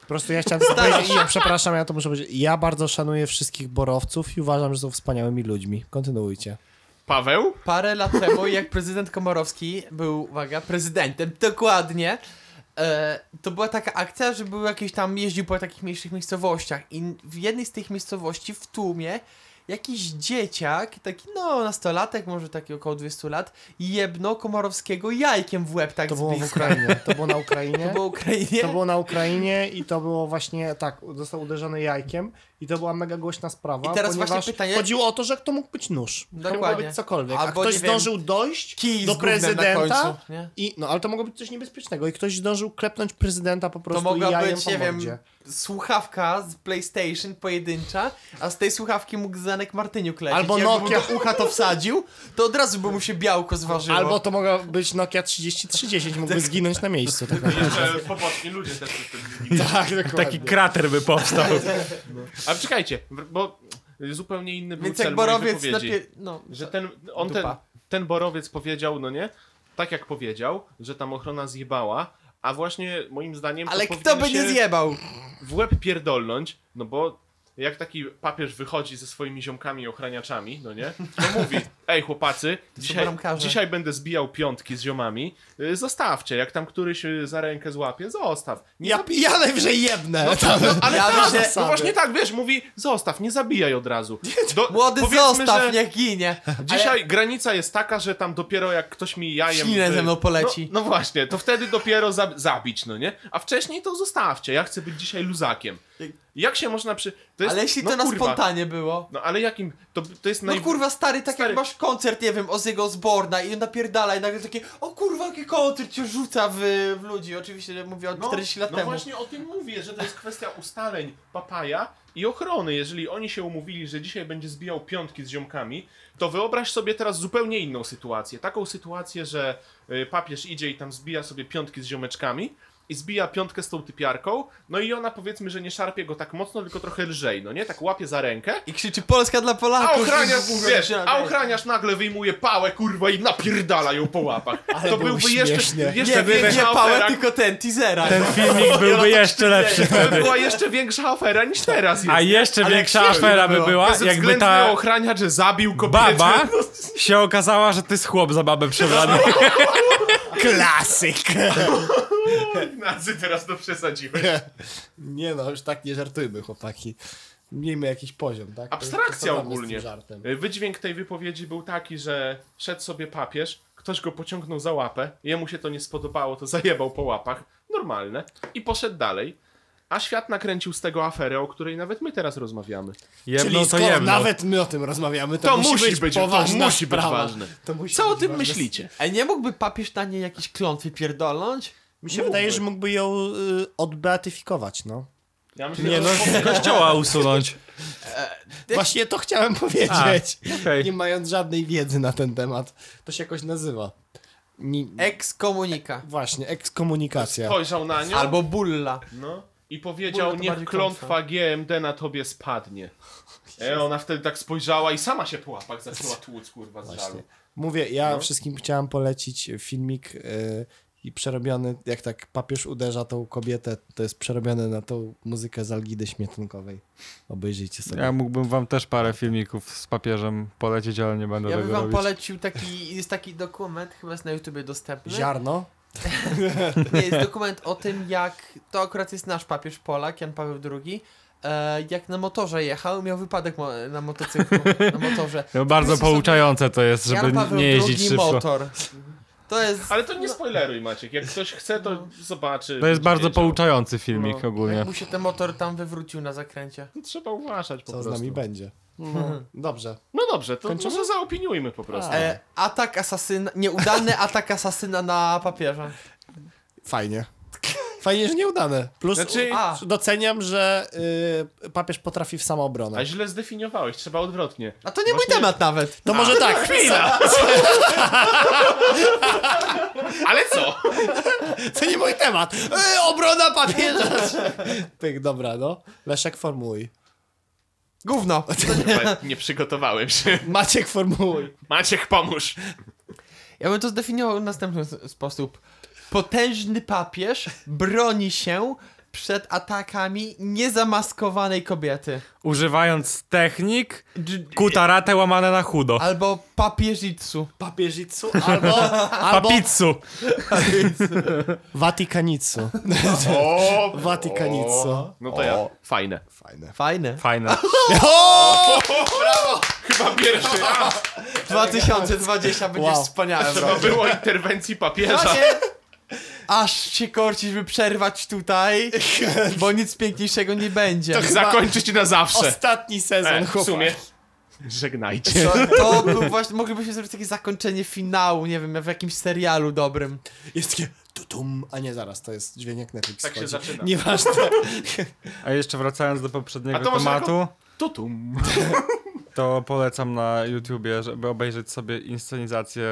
S3: Po prostu ja chciałem tylko powiedzieć, ja przepraszam, ja to muszę powiedzieć. Ja bardzo szanuję wszystkich borowców i uważam, że są wspaniałymi ludźmi. Kontynuujcie.
S4: Paweł?
S1: Parę lat temu, jak prezydent Komorowski był, uwaga, prezydentem, dokładnie, e, to była taka akcja, że był jakiś tam, jeździł po takich mniejszych miejscowościach i w jednej z tych miejscowości w tłumie jakiś dzieciak, taki no nastolatek, może taki około 200 lat, jebno Komorowskiego jajkiem w łeb tak
S3: To było
S1: z
S3: w
S1: bliska.
S3: Ukrainie. To było na Ukrainie.
S1: To było Ukrainie.
S3: To było na Ukrainie i to było właśnie tak, został uderzony jajkiem i to była mega głośna sprawa.
S1: I teraz
S3: ponieważ
S1: właśnie pytanie-
S3: Chodziło o to, że to mógł być nóż. To
S1: Dokładnie.
S3: mogło być cokolwiek.
S1: Albo,
S3: A ktoś
S1: nie wiem,
S3: zdążył dojść
S1: kij z
S3: do
S1: gównem na
S3: prezydenta.
S1: końcu, nie?
S3: i, no ale to mogło być coś niebezpiecznego. I ktoś zdążył klepnąć prezydenta po
S1: To
S3: prostu
S1: mogła
S3: jajem
S1: być,
S3: po
S1: nie wiem,
S3: mordzie.
S1: słuchawka z PlayStation pojedyncza, a z tej słuchawki mógł Zanek Martyniuk lecieć.
S3: Albo
S1: Jakby mu
S3: Nokia.
S1: do ucha to wsadził, to od razu by mu się białko zważyło.
S3: Albo to mogła być Nokia 3310, mógłby zginąć na miejscu. Tak, naprawdę.
S4: Jeszcze E, pobocznie ludzie też
S3: tak dokładnie.
S2: Taki krater by powstał.
S4: Ale czekajcie, w- bo zupełnie inny był
S1: Więc
S4: cel
S1: jak
S4: mojej
S1: borowiec
S4: wypowiedzi.
S1: lepiej... No,
S4: Że ten, on ten,
S1: Dupa.
S4: ten borowiec powiedział, no nie, tak jak powiedział, że tam ochrona zjebała, a właśnie moim zdaniem
S1: ale
S4: to
S1: kto by
S4: powinien
S1: nie
S4: się
S1: zjebał?
S4: w łeb pierdolnąć, no bo jak taki papież wychodzi ze swoimi ziomkami i ochraniaczami, no nie, to mówi, ej chłopacy, dzisiaj,
S1: bramkarze.
S4: dzisiaj będę zbijał piątki z ziomami, y, zostawcie, jak tam któryś y, za rękę złapie, zostaw. Nie
S3: Ja, ja najwyżej jebnę.
S1: No
S4: ale
S1: Ja
S4: tak,
S1: myślę-
S4: no właśnie tak, wiesz, mówi zostaw, nie zabijaj od razu. Do,
S1: Młody
S4: powiedzmy,
S1: zostaw,
S4: że
S1: niech ginie.
S4: Dzisiaj granica jest taka, że tam dopiero jak ktoś mi jajem...
S1: Ślinę
S4: y,
S1: ze mną poleci.
S4: No, no właśnie, to wtedy dopiero za, zabić, no nie? A wcześniej to zostawcie, ja chcę być dzisiaj luzakiem. Jak się można przy... To jest,
S1: Ale jeśli
S4: no,
S1: to na
S4: kurwa.
S1: spontanie było...
S4: No ale jakim... To, to jest
S1: No
S4: naj...
S1: kurwa, stary, tak
S4: Stary.
S1: jak masz koncert, nie wiem, Ozzy'ego Zborna i on napierdala i nagle takie o kurwa, jaki koncert cię rzuca w, w ludzi. Oczywiście mówię o
S4: No,
S1: 40 lat
S4: no
S1: temu.
S4: właśnie o tym mówię, że to jest kwestia ustaleń papaja i ochrony. Jeżeli oni się umówili, że dzisiaj będzie zbijał piątki z ziomkami, to wyobraź sobie teraz zupełnie inną sytuację. Taką sytuację, że y, papież idzie i tam zbija sobie piątki z ziomeczkami i zbija piątkę z tą typiarką, no i ona powiedzmy, że nie szarpie go tak mocno, tylko trochę lżej, no nie? Tak łapie za rękę
S1: I krzyczy Polska dla
S4: a
S1: Polaków.
S4: ochraniarz,
S1: Kurwa,
S4: wiesz,
S1: się
S4: a ochraniarz nagle wyjmuje pałę, kurwa, i napierdala ją po łapach.
S3: Ale
S4: to
S3: było
S4: byłby jeszcze,
S3: śmiesznie.
S1: Nie,
S4: jeszcze
S1: tak, nie, nie
S4: większa
S1: pałę,
S4: afera,
S1: tylko ten, teasera.
S2: Ten filmik byłby jeszcze lepszy
S4: to by
S2: wtedy.
S4: była jeszcze większa afera niż teraz jest.
S2: A jeszcze
S1: Ale
S2: większa
S1: jak się
S2: afera by
S1: było?
S2: była, jakby
S4: Bezwzględny
S2: ta
S4: ochraniacz zabił kobietę.
S2: baba się okazała, że to jest chłop za babę przebrany.
S3: Klasyk.
S4: Nazy teraz to przesadziłeś.
S3: Nie no, już tak nie żartujmy, chłopaki. Miejmy jakiś poziom, tak?
S4: Abstrakcja
S3: Przesadzamy z tym
S4: ogólnie. Y,
S3: żartem.
S4: Wydźwięk tej wypowiedzi był taki, że szedł sobie papież, ktoś go pociągnął za łapę, jemu się to nie spodobało, to zajebał po łapach, normalne, i poszedł dalej. A świat nakręcił z tego aferę, o której nawet my teraz rozmawiamy.
S2: Jemno
S4: No
S3: Czyli
S2: to
S3: skoro
S2: jemno.
S3: nawet my o tym rozmawiamy, to,
S4: To
S3: musi,
S4: musi
S3: być,
S4: być- to
S3: poważna
S4: musi być
S3: sprawa.
S4: ważne.
S3: To musi
S4: Co o
S3: być
S4: tym
S3: ważne.
S4: myślicie?
S1: Ej, nie mógłby papież na niej jakiś klątwy pierdolnąć?
S3: Mi się wydaje, że mógłby ją y, odbeatyfikować, no.
S4: Ja myślę,
S2: Nie no, z kościoła usunąć.
S3: Właśnie to
S4: Tak.
S3: chciałem powiedzieć.
S2: A, okej.
S3: Nie mając żadnej wiedzy na ten temat. To się jakoś nazywa. Ni...
S1: Ekskomunika.
S3: Właśnie, ekskomunikacja.
S4: spojrzał na nią
S1: Albo bulla.
S4: no, i powiedział,
S1: Kurde, to
S4: niech
S1: bardziej
S4: klątwa GMD na tobie spadnie. E, ona wtedy tak spojrzała i sama się po łapach zaczęła tłuc, kurwa, z żalu.
S3: Właśnie. Mówię, ja
S4: No.
S3: wszystkim chciałem polecić filmik y, i przerobiony, jak tak papież uderza tą kobietę, to jest przerobione na tą muzykę z Algidy Śmietankowej. Obejrzyjcie sobie.
S2: Ja mógłbym wam też parę filmików z papieżem polecieć, ale nie będę
S1: Ja bym
S2: tego
S1: wam
S2: robić.
S1: polecił taki, jest taki dokument, chyba jest na YouTubie
S4: No
S1: dostępny.
S3: Ziarno?
S1: Nie, jest dokument o tym, jak to akurat jest nasz papież Polak, Jan Paweł II. E, jak na motorze jechał, miał wypadek mo na motocyklu, na motorze.
S2: No, bardzo
S1: Wpisy sobie
S2: pouczające to jest, żeby
S1: Jan Paweł
S2: nie jeździć
S1: II
S2: szybko.
S1: motor. To jest.
S4: Ale
S3: No.
S4: to nie spoileruj, Maciek. Jak ktoś chce, to zobaczy.
S2: To jest
S4: będzie
S2: bardzo
S4: wiedział.
S2: pouczający filmik
S4: No.
S2: ogólnie.
S1: Jak mu się ten motor tam wywrócił na zakręcie.
S4: Trzeba uważać po
S3: Co z
S4: prostu.
S3: nami będzie? Dobrze.
S4: No dobrze, to
S3: Kończymy?
S4: może zaopiniujmy po prostu.
S1: E, atak asasyna, nieudany atak asasyna na papieża.
S3: Fajnie. Fajnie, że nieudane. Plus
S4: Znaczy-
S1: A.
S3: doceniam, że y, papież potrafi w samoobronę.
S4: A źle zdefiniowałeś, trzeba odwrotnie. No,
S1: A to nie mój temat nawet.
S3: To może tak. Chwila!
S4: Ale co?
S3: To nie mój temat. Y, obrona papieża! Pyk, dobra, no. Leszek formułuj.
S1: Gówno.
S4: Chyba nie przygotowałem się.
S3: Maciek formułuj.
S4: Maciek, pomóż.
S1: Ja bym to zdefiniował w następny s- sposób. Potężny papież broni się przed atakami niezamaskowanej kobiety.
S2: Używając technik, kutaratę łamane na chudo.
S1: Albo papieżicu.
S3: Papieżicu albo, albo
S2: Papitsu.
S3: Watykanicu.
S4: O,
S3: Watykanicu.
S4: No to ja. Fajne.
S1: Fajne.
S2: Fajne.
S4: Chyba pierwszy raz
S1: 2020 będzie
S3: Wow.
S1: wspaniałym
S4: to
S1: rokiem.
S4: było interwencji papieża.
S1: Właśnie aż się korcisz, by przerwać tutaj, bo nic piękniejszego nie będzie.
S4: Zakończyć na zawsze.
S3: Ostatni sezon,
S4: E, w
S3: chłopak.
S4: sumie. Żegnajcie.
S1: To, to był właśnie, moglibyśmy zrobić takie zakończenie finału, nie wiem, jak w jakimś serialu dobrym.
S3: Jest takie tutum, a nie zaraz, to jest dźwięk Netflix
S4: Tak się
S3: wchodzi.
S4: zaczyna.
S3: Nieważne.
S2: A jeszcze wracając do poprzedniego
S4: A to może
S2: tematu,
S4: Tutum.
S2: to polecam na YouTubie, żeby obejrzeć sobie inscenizację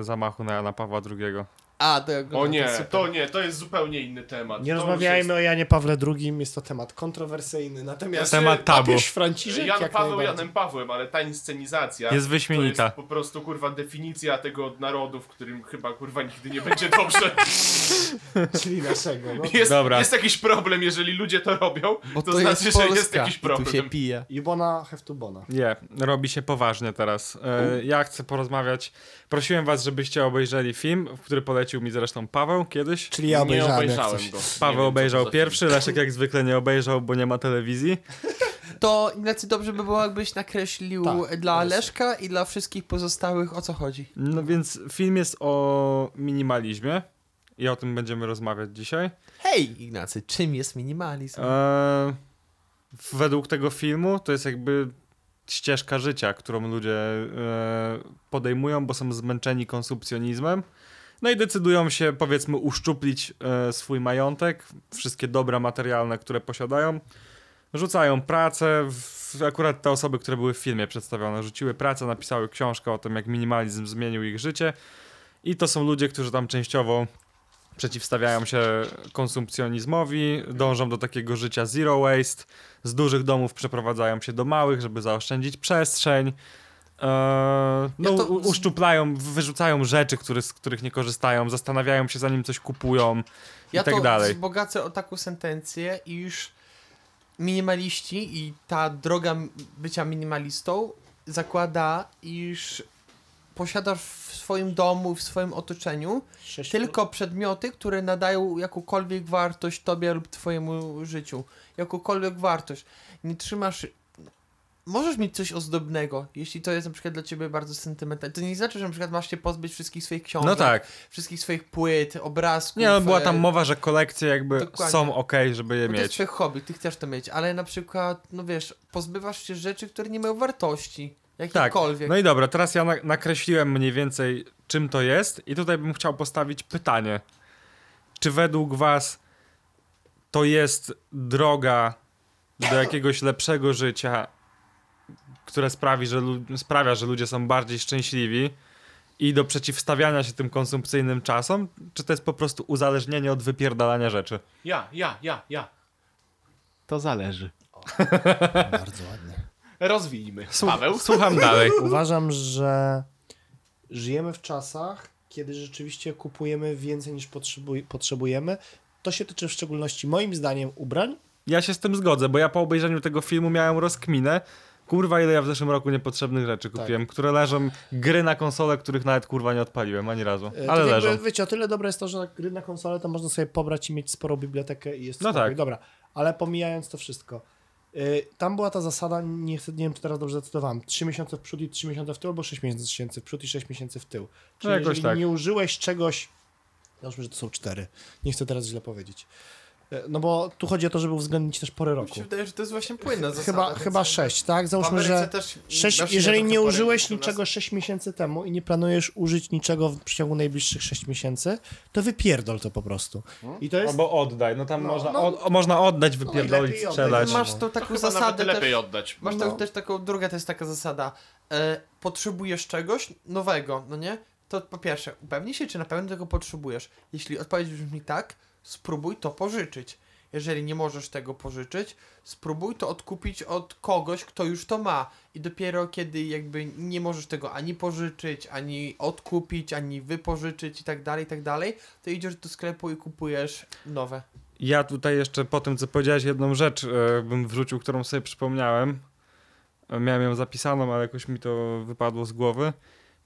S2: e, zamachu na Jana Pawła II.
S1: A, to
S4: O nie,
S1: super.
S4: to nie, to jest zupełnie inny temat.
S3: Nie
S4: To już
S3: rozmawiajmy o Janie Pawle II, jest to temat kontrowersyjny. Natomiast
S2: Temat tabu.
S3: papież Franciszek
S4: jest- Jan
S3: jak
S4: Paweł
S3: najbardziej.
S4: Janem Pawłem, ale ta inscenizacja
S2: Jest wyśmienita.
S4: to jest po prostu kurwa definicja tego narodu, w którym chyba kurwa nigdy nie będzie dobrze.
S3: Czyli naszego. No.
S4: Jest,
S2: Dobra.
S4: jest jakiś problem, jeżeli ludzie to robią,
S1: Bo
S4: to,
S1: to,
S4: znaczy,
S1: jest Polska.
S4: że jest jakiś
S1: i Tu się
S4: problem.
S1: pije.
S3: Jubona Heftubona.
S2: Nie, robi się poważnie teraz. E, ja chcę porozmawiać. Prosiłem was, żebyście obejrzeli film, który polecił mi zresztą Paweł kiedyś.
S3: Czyli ja
S4: nie
S3: obejrzałem, jak
S4: obejrzałem
S3: coś.
S4: go. Nie wiem, co
S2: Paweł
S4: to
S2: obejrzał
S4: za
S2: pierwszy, Leszek jak zwykle nie obejrzał, bo nie ma telewizji.
S1: To Ignacy dobrze by było, jakbyś nakreślił
S3: Tak,
S1: dla
S3: jest.
S1: Leszka i dla wszystkich pozostałych o co chodzi.
S2: No więc film jest o minimalizmie i o tym będziemy rozmawiać dzisiaj.
S1: Hej, Ignacy, czym jest minimalizm?
S2: E, według tego filmu to jest jakby ścieżka życia, którą ludzie e, podejmują, bo są zmęczeni konsumpcjonizmem. No i decydują się, powiedzmy, uszczuplić e, swój majątek, wszystkie dobra materialne, które posiadają. Rzucają pracę. W, akurat te osoby, które były w filmie przedstawione, rzuciły pracę, napisały książkę o tym, jak minimalizm zmienił ich życie. I to są ludzie, którzy tam częściowo przeciwstawiają się konsumpcjonizmowi, dążą do takiego życia zero waste, z dużych domów przeprowadzają się do małych, żeby zaoszczędzić przestrzeń. Eee, no,
S1: Ja to-
S2: u- uszczuplają, wyrzucają rzeczy, który, z których nie korzystają, zastanawiają się zanim coś kupują
S1: Ja
S2: i tak
S1: to
S2: dalej.
S1: wzbogacę o taką sentencję, iż minimaliści i ta droga m- bycia minimalistą zakłada, iż posiadasz w swoim domu, w swoim otoczeniu tylko przedmioty, które nadają jakąkolwiek wartość tobie lub twojemu życiu. Jakąkolwiek wartość. Nie trzymasz... Możesz mieć coś ozdobnego, jeśli to jest na przykład dla ciebie bardzo sentymentalne. To nie znaczy, że na przykład masz się pozbyć wszystkich swoich książek,
S2: No tak.
S1: wszystkich swoich płyt, obrazków.
S2: Nie, no, była tam
S1: e,
S2: mowa, że kolekcje jakby
S1: Dokładnie.
S2: są ok, żeby je
S1: bo To jest
S2: mieć.
S1: twoje hobby, ty chcesz to mieć, ale na przykład, no wiesz, pozbywasz się rzeczy, które nie mają wartości.
S2: Tak.
S1: Jakiejkolwiek.
S2: No i dobra, teraz ja na nakreśliłem mniej więcej, czym to jest, i tutaj bym chciał postawić pytanie. Czy według Was to jest droga do jakiegoś lepszego życia, które sprawi, że lu- sprawia, że ludzie są bardziej szczęśliwi i do przeciwstawiania się tym konsumpcyjnym czasom? Czy to jest po prostu uzależnienie od wypierdalania rzeczy?
S4: Ja, ja, ja, ja. To zależy.
S3: Bardzo ładnie.
S4: Rozwijmy. Paweł?
S2: Słucham dalej.
S3: Tak, Uważam, że żyjemy w czasach, kiedy rzeczywiście kupujemy więcej niż potrzebuj- potrzebujemy. To się tyczy w szczególności moim zdaniem ubrań.
S2: Ja się z tym zgodzę, bo ja po obejrzeniu tego filmu miałem rozkminę. Kurwa, ile ja w zeszłym roku niepotrzebnych rzeczy
S3: Tak.
S2: kupiłem, które leżą, gry na konsole, których nawet kurwa nie odpaliłem ani razu.
S3: E,
S2: Ale
S3: tak
S2: leżą.
S3: Jakby, wiecie, o tyle dobre jest to, że gry na konsolę to można sobie pobrać i mieć sporo bibliotekę i jest
S2: No
S3: spokój.
S2: tak.
S3: Dobra, ale pomijając to wszystko. y, Tam była ta zasada, nie, chcę- nie wiem czy teraz dobrze zacytowałem, 3 miesiące w przód i 3 miesiące w tył, albo 6 miesięcy w przód i 6 miesięcy w tył. Czyli
S2: No jakoś
S3: jeżeli
S2: tak.
S3: nie użyłeś czegoś, załóżmy, że to są 4, nie chcę teraz źle powiedzieć, E, No bo tu chodzi o to, żeby uwzględnić też porę
S1: Mi się
S3: roku.
S1: wydaje, że to jest właśnie płynna zasada.
S3: Chyba,
S1: więc-
S3: chyba 6, tak?
S1: W
S3: Załóżmy,
S1: Ameryce
S3: że
S1: też
S3: sześć,
S1: właśnie
S3: jeżeli
S1: Znaczy, trochę
S3: nie
S1: parę
S3: użyłeś
S1: niż u nas.
S3: niczego 6 miesięcy temu i nie planujesz użyć niczego w przeciągu najbliższych 6 miesięcy, to wypierdol to po prostu.
S1: No.
S3: I to jest...
S2: Albo oddaj, no tam można,
S3: no.
S2: o, o, można oddać, wypierdolić,
S3: najlepiej oddaj.
S2: sprzedać.
S1: Masz tą taką
S4: Chyba
S1: zasadę
S4: nawet
S1: też,
S4: lepiej oddać.
S1: Masz
S3: No.
S1: tak, też taką, druga to jest taka zasada. E, potrzebujesz czegoś nowego, no nie? To po pierwsze, upewnij się, czy na pewno tego potrzebujesz. Jeśli odpowiedź brzmi tak, spróbuj to pożyczyć. Jeżeli nie możesz tego pożyczyć, spróbuj to odkupić od kogoś, kto już to ma. I dopiero kiedy jakby nie możesz tego ani pożyczyć, ani odkupić, ani wypożyczyć i tak dalej, i tak dalej, to idziesz do sklepu i kupujesz nowe.
S2: Ja tutaj jeszcze po tym, co powiedziałeś, jedną rzecz e, bym wrzucił, którą sobie przypomniałem. E, Miałem ją zapisaną, ale jakoś mi to wypadło z głowy.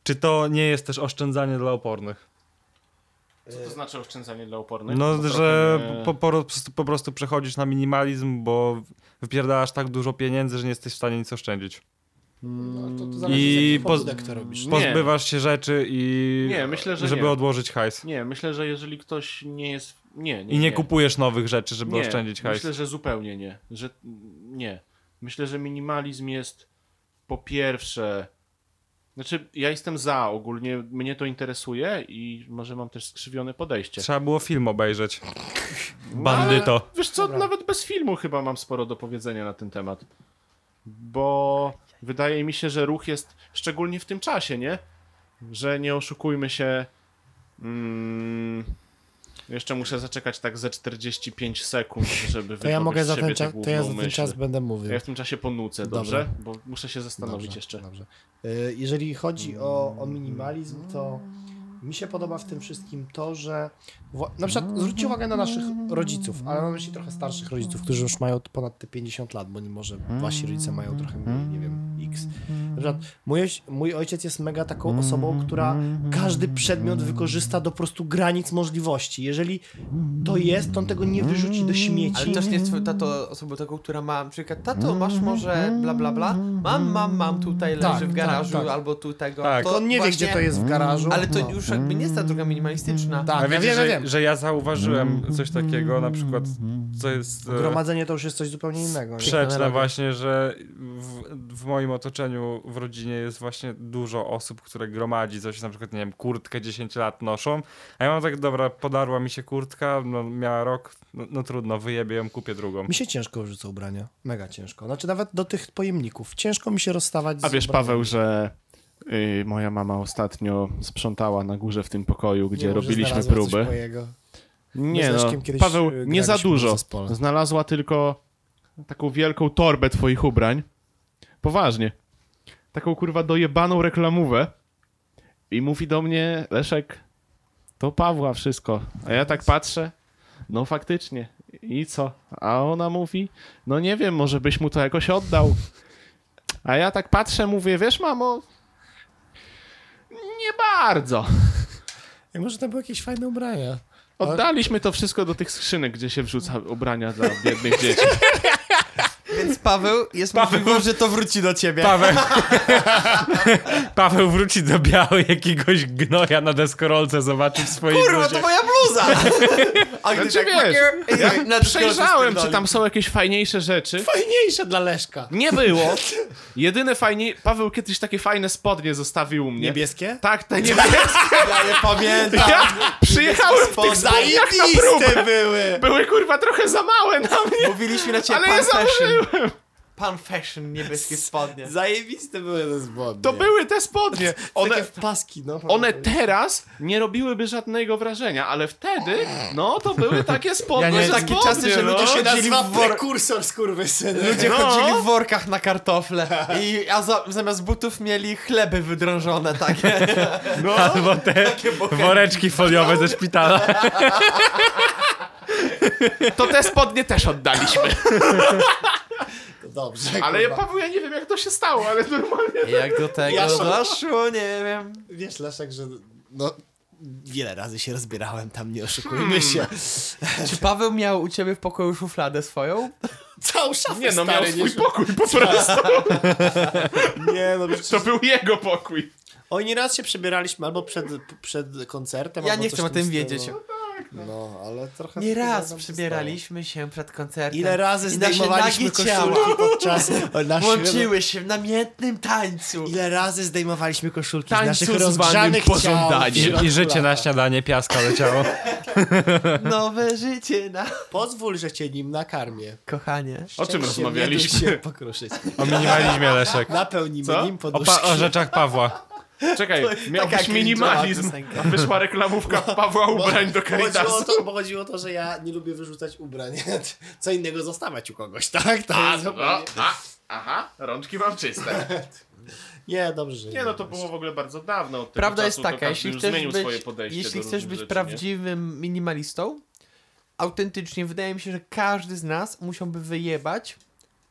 S2: Czy to nie jest też oszczędzanie dla opornych?
S4: Co to znaczy oszczędzanie dla opornych?
S2: No,
S4: Bo trochę
S2: że
S4: nie-
S2: po, po, prostu- po prostu przechodzisz na minimalizm, bo wypierdalasz tak dużo pieniędzy, że nie jesteś w stanie nic oszczędzić.
S3: No, to, to
S2: I
S3: I
S2: poz-
S3: pobudek to robisz.
S4: Nie.
S2: Pozbywasz się rzeczy i...
S4: Nie, myślę, że
S2: Żeby
S4: nie.
S2: odłożyć hajs.
S4: Nie, myślę, że jeżeli ktoś nie jest... Nie, nie,
S2: I nie
S4: nie.
S2: kupujesz nowych rzeczy, żeby
S4: nie,
S2: oszczędzić hajs.
S4: Myślę, że zupełnie nie. Że nie. Myślę, że minimalizm jest po pierwsze. Znaczy, ja jestem za ogólnie, mnie to interesuje i może mam też skrzywione podejście.
S2: Trzeba było film obejrzeć.
S3: No,
S2: Bandyto.
S4: Ale wiesz co, nawet bez filmu chyba mam sporo do powiedzenia na ten temat. Bo wydaje mi się, że ruch jest szczególnie w tym czasie, nie? Że nie oszukujmy się. Mm, jeszcze muszę zaczekać tak ze 45 sekund, żeby
S3: To ja
S4: wydobyć
S3: mogę
S4: z
S3: za
S4: siebie
S3: ten
S4: tę
S3: czas, to ja za
S4: główną
S3: ten czas
S4: myśl.
S3: będę mówił.
S4: Ja w tym czasie ponucę,
S3: Dobra.
S4: dobrze? Bo muszę się zastanowić jeszcze.
S3: Dobrze. Y, Jeżeli chodzi o, o minimalizm, to mi się podoba w tym wszystkim to, że wła- na przykład zwróćcie uwagę na naszych rodziców, ale mam na myśli trochę starszych rodziców, którzy już mają ponad te 50 lat, bo nie może wasi rodzice mają trochę mniej, nie wiem, x. Na przykład mój, oś- mój ojciec jest mega taką osobą, która każdy przedmiot wykorzysta do prostu granic możliwości. Jeżeli to jest, to on tego nie wyrzuci do śmieci.
S1: Ale też nie jest twój tato osobą taką, która ma na przykład, tato, masz może bla bla bla, mam, mam, mam, tutaj leży
S3: Mhm, Tak,
S1: w garażu
S3: tak, tak.
S1: albo tu tego.
S2: Tak.
S1: To
S3: on nie wie,
S1: właśnie-
S3: gdzie to jest w garażu.
S1: Ale to
S3: No.
S1: już jakby nie jest ta droga minimalistyczna.
S3: Tak,
S2: A
S3: ja
S2: wiecie,
S3: wiem, ja
S2: że,
S3: wiem.
S2: że ja zauważyłem coś takiego, na przykład, co jest e,
S3: Gromadzenie to już jest coś zupełnie innego. nie?
S2: sprzeczne właśnie, że w, w moim otoczeniu, w rodzinie jest właśnie dużo osób, które gromadzi coś, na przykład, nie wiem, kurtkę 10 lat noszą, a ja mam tak, dobra, podarła mi się kurtka, no, miała rok, no, no trudno, wyjebię ją, kupię drugą.
S3: Mi się ciężko wyrzuca ubrania. Mega ciężko. Znaczy nawet do tych pojemników. Ciężko mi się rozstawać
S4: A
S3: z
S4: wiesz,
S3: ubraniami.
S4: Paweł, że y, moja mama ostatnio sprzątała na górze w tym pokoju, gdzie
S3: Nie mów, że
S4: robiliśmy
S3: znalazła coś
S4: próby.
S3: mojego.
S4: Nie
S3: My
S4: no,
S3: z Leszkiem kiedyś,
S4: Paweł,
S3: y,
S4: nie za
S3: graliśmy w
S4: dużo. No.
S3: zespole.
S4: Znalazła tylko taką wielką torbę twoich ubrań. Poważnie. Taką kurwa dojebaną reklamówę. I mówi do mnie, Leszek, to Pawła wszystko. A ja tak patrzę, no faktycznie. I co? A ona mówi, no nie wiem, może byś mu to jakoś oddał. A ja tak patrzę, mówię, wiesz mamo, nie bardzo.
S3: Ej, może to były jakieś fajne ubrania.
S4: Oddaliśmy to wszystko do tych skrzynek, gdzie się wrzuca ubrania dla biednych dzieci.
S1: Więc Paweł, jest możliwość, że to wróci do ciebie.
S2: Paweł, Paweł wróci do białej jakiegoś gnoja na deskorolce, zobaczy w swojej
S1: Kurwa,
S2: bluzie.
S1: to moja bluza! A gdy
S4: Znaczy,
S1: tak,
S4: wiesz,
S1: i tak na
S4: Przejrzałem,
S1: dyskusję
S4: czy tam są jakieś fajniejsze rzeczy.
S3: Fajniejsze dla Leszka.
S4: Nie było. Jedyne fajniej... Paweł kiedyś takie fajne spodnie zostawił u mnie.
S3: Niebieskie?
S4: Tak, te niebieskie.
S6: Ja je pamiętam.
S4: Ja przyjechałem w
S6: Spod-
S4: tych spodniach na
S6: Zajebiste
S4: próbę.
S6: były.
S4: Były kurwa trochę za małe na mnie.
S1: Mówiliśmy na ciebie
S4: Ale
S1: pan
S4: je
S1: fashion.
S4: założyłem.
S1: Pan fashion, niebieskie spodnie.
S6: Zajebiste były te zbrodnie.
S4: To były te spodnie.
S3: Takie
S4: One,
S3: w paski, no.
S4: one teraz nie robiłyby żadnego wrażenia, ale wtedy, no to były takie spodnie.
S1: nie-
S4: że
S1: takie
S4: spodnie,
S1: czasy, że
S4: no.
S1: ludzie się
S6: Dzieli
S1: Nazywa
S6: w prekursor skurwysyny.
S1: Ludzie
S4: No.
S1: chodzili w workach na kartofle, i, a za, zamiast butów mieli chleby wydrążone takie.
S2: Albo te woreczki foliowe ze szpitala.
S4: To te spodnie też oddaliśmy.
S3: Dobrze,
S4: Ale ja,
S3: kurwa.
S4: Paweł, ja nie wiem jak to się stało, ale normalnie...
S1: Jak do tego
S6: Ja-
S1: doszło, nie wiem.
S3: Wiesz, Leszek, że no... Wiele razy się rozbierałem tam, nie
S4: Hmm.
S3: oszukujmy się.
S1: Czy Paweł miał u ciebie w pokoju szufladę swoją?
S6: Całą szafę
S4: Nie no, miał
S6: stary,
S4: swój
S6: nie
S4: pokój po prostu.
S3: Nie, no wiesz,
S4: To był jego pokój.
S3: Oni raz się przebieraliśmy albo przed, przed koncertem,
S1: Ja
S3: albo
S1: nie
S3: coś
S1: chcę o
S3: w
S1: tym
S3: stylu.
S1: wiedzieć.
S4: tak. No.
S6: No, ale trochę...
S1: Nie raz
S6: nam
S1: przybieraliśmy się przed koncertem.
S3: Ile razy
S1: i nasze
S3: zdejmowaliśmy
S1: nagie
S3: koszulki
S1: ciała
S3: podczas naszego...
S1: Łączyły się w namiętnym tańcu.
S3: Ile razy zdejmowaliśmy koszulki z
S1: Tańcu
S3: naszych
S1: zwanym
S3: rozgrzanych ciał.
S6: pożądaniem.
S2: I, I życie na
S6: Lata.
S2: śniadanie piaska leciało.
S1: Nowe życie na...
S3: Pozwól, że cię nim nakarmię.
S1: Kochanie.
S4: O czym
S3: Szczęście
S4: rozmawialiśmy?
S3: miodu się pokruszyć.
S2: O minimalizmie Leszek.
S3: Napełnimy
S4: Co?
S3: nim
S2: O, pa-
S3: poduszki.
S2: o rzeczach Pawła.
S4: Czekaj, miał
S1: taka
S4: być minimalizm.
S1: cringe'owa
S4: a Wyszła reklamówka Pawła ubrań do
S3: Chodziło o,
S4: Caritasu.
S3: to, bo chodziło o to, że ja nie lubię wyrzucać ubrań. Co innego zostawiać u kogoś, tak? To
S4: A,
S3: jest
S4: no,
S3: zupełnie-
S4: a, aha, rączki mam czyste.
S3: Nie, dobrze. że
S4: Nie no, to było w ogóle bardzo dawno. Od tego
S1: Prawda
S4: czasu
S1: jest
S4: to
S1: taka,
S4: każdy
S1: jeśli
S4: już
S1: chcesz
S4: zmienił swoje
S1: być,
S4: podejście
S1: jeśli
S4: do
S1: chcesz
S4: różnych
S1: być
S4: rzeczy, nie?
S1: prawdziwym minimalistą, autentycznie wydaje mi się, że każdy z nas musiałby wyjebać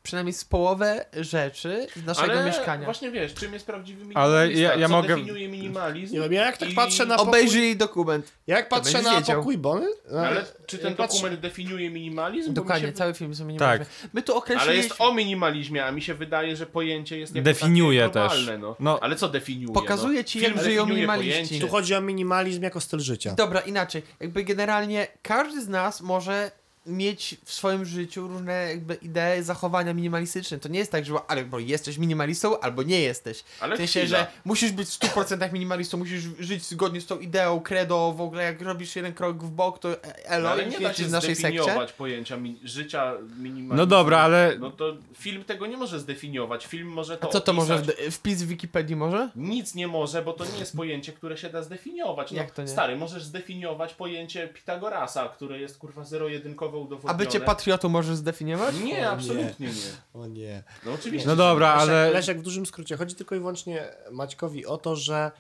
S1: przynajmniej z połowę rzeczy z naszego
S4: Ale
S1: mieszkania.
S4: właśnie wiesz, czym jest prawdziwy minimalista?
S2: Ale ja- ja
S4: Co
S2: mogę-
S4: definiuje minimalizm?
S3: Nie wiem, ja jak tak
S4: I-
S3: patrzę na pokój,
S1: Obejrzyj dokument.
S3: jak patrzę
S1: będziesz
S3: na
S1: wiedział.
S3: pokój Bony,
S4: No, Ale czy ten
S3: jak patrzę-
S4: dokument definiuje minimalizm? Bo mi
S1: Dokładnie, tak.
S4: się wy-
S1: cały film są minimalne. My tu
S4: Tak. Ale
S1: określiliśmy,
S4: jest o minimalizmie, a mi się wydaje, że pojęcie jest jako
S2: Definiuje
S4: takie globalne,
S2: też.
S4: No.
S2: No.
S4: Ale co definiuje?
S1: Pokazuje
S4: no?
S1: ci,
S4: Film
S1: jak żyją
S4: definiuje
S1: minimaliści.
S4: pojęcie.
S3: tu chodzi o minimalizm jako styl życia.
S1: Dobra, inaczej. Jakby generalnie każdy z nas może mieć w swoim życiu różne jakby idee zachowania minimalistyczne. To nie jest tak, że albo jesteś minimalistą, albo nie jesteś.
S4: Ale
S1: w sensie,
S4: chwila.
S1: że musisz być w 100% minimalistą, musisz żyć zgodnie z tą ideą, credo, w ogóle jak robisz jeden krok w bok, to
S4: No,
S1: elo,
S4: ale
S1: i
S4: nie da
S1: świecisz
S4: się
S1: w naszej sekcie.
S4: zdefiniować pojęcia mi- życia minimalizmu.
S2: No dobra, ale
S4: No to film tego nie może zdefiniować. Film może to
S1: A co to może?
S4: opisać.
S1: w- Wpis w Wikipedii może?
S4: Nic nie może, bo to nie jest pojęcie, które się da zdefiniować. No,
S1: Jak to nie?
S4: Stary, możesz zdefiniować pojęcie Pitagorasa, które jest kurwa zero-jedynkowo
S1: A
S4: udowodnione.
S1: bycie patriotą możesz zdefiniować?
S4: Nie, absolutnie nie.
S3: O nie.
S4: No oczywiście.
S2: no
S4: że
S2: dobra,
S3: Leszek,
S2: ale
S3: Leszek, w dużym skrócie, chodzi tylko i wyłącznie Maćkowi o to, że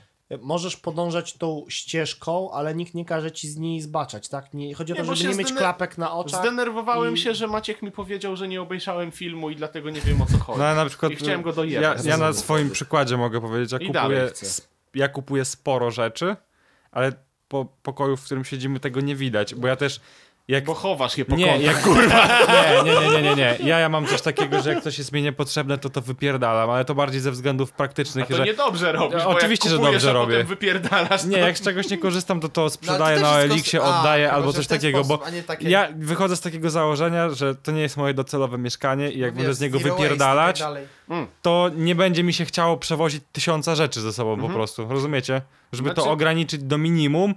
S3: możesz podążać tą ścieżką, ale nikt nie każe ci z niej zbaczać, tak? Nie, chodzi o
S4: Nie,
S3: to,
S4: bo
S3: żeby
S4: się
S3: nie mieć
S4: zdener-
S3: klapek na oczach.
S4: Zdenerwowałem
S3: i-
S4: się, że Maciek mi powiedział, że nie obejrzałem filmu i dlatego nie wiem o co chodzi.
S2: no, ja na przykład
S4: I chciałem go
S2: ja,
S4: dojechać.
S2: ja na swoim przykładzie mogę powiedzieć, ja
S4: I dalej
S2: kupuję,
S4: chcę.
S2: sp- ja kupuję sporo rzeczy, ale po pokoju, w którym siedzimy tego nie widać, bo ja też jak
S4: Bo chowasz je po
S2: nie,
S4: kątach.
S2: jak kurwa. Nie, nie, nie, nie, nie, nie. Ja, ja mam coś takiego, że jak coś jest mi niepotrzebne, to to wypierdalam, ale to bardziej ze wzglów praktycznych,
S4: A to
S2: że
S4: niedobrze robisz,
S2: Ja
S4: bo
S2: oczywiście, że
S4: jak kupujesz,
S2: dobrze
S4: a
S2: robię.
S4: potem wypierdalasz, to...
S2: Nie, jak z czegoś nie korzystam, to to sprzedaję
S1: No, też
S2: na
S1: jest
S2: Eliksie,
S1: kos- A,
S2: oddaję
S1: chyba,
S2: albo
S1: że
S2: coś
S1: w ten
S2: takiego,
S1: sposób,
S2: bo
S1: a nie takie-
S2: ja wychodzę z takiego założenia, że to nie jest moje docelowe mieszkanie i jak będę
S1: no Wiesz,
S2: z niego
S1: zero waste i
S2: wypierdalać,
S1: tak dalej.
S2: to nie będzie mi się chciało przewozić tysiąca rzeczy ze sobą po prostu, rozumiecie? Żeby to
S4: Mhm. Znaczy-
S2: ograniczyć do minimum,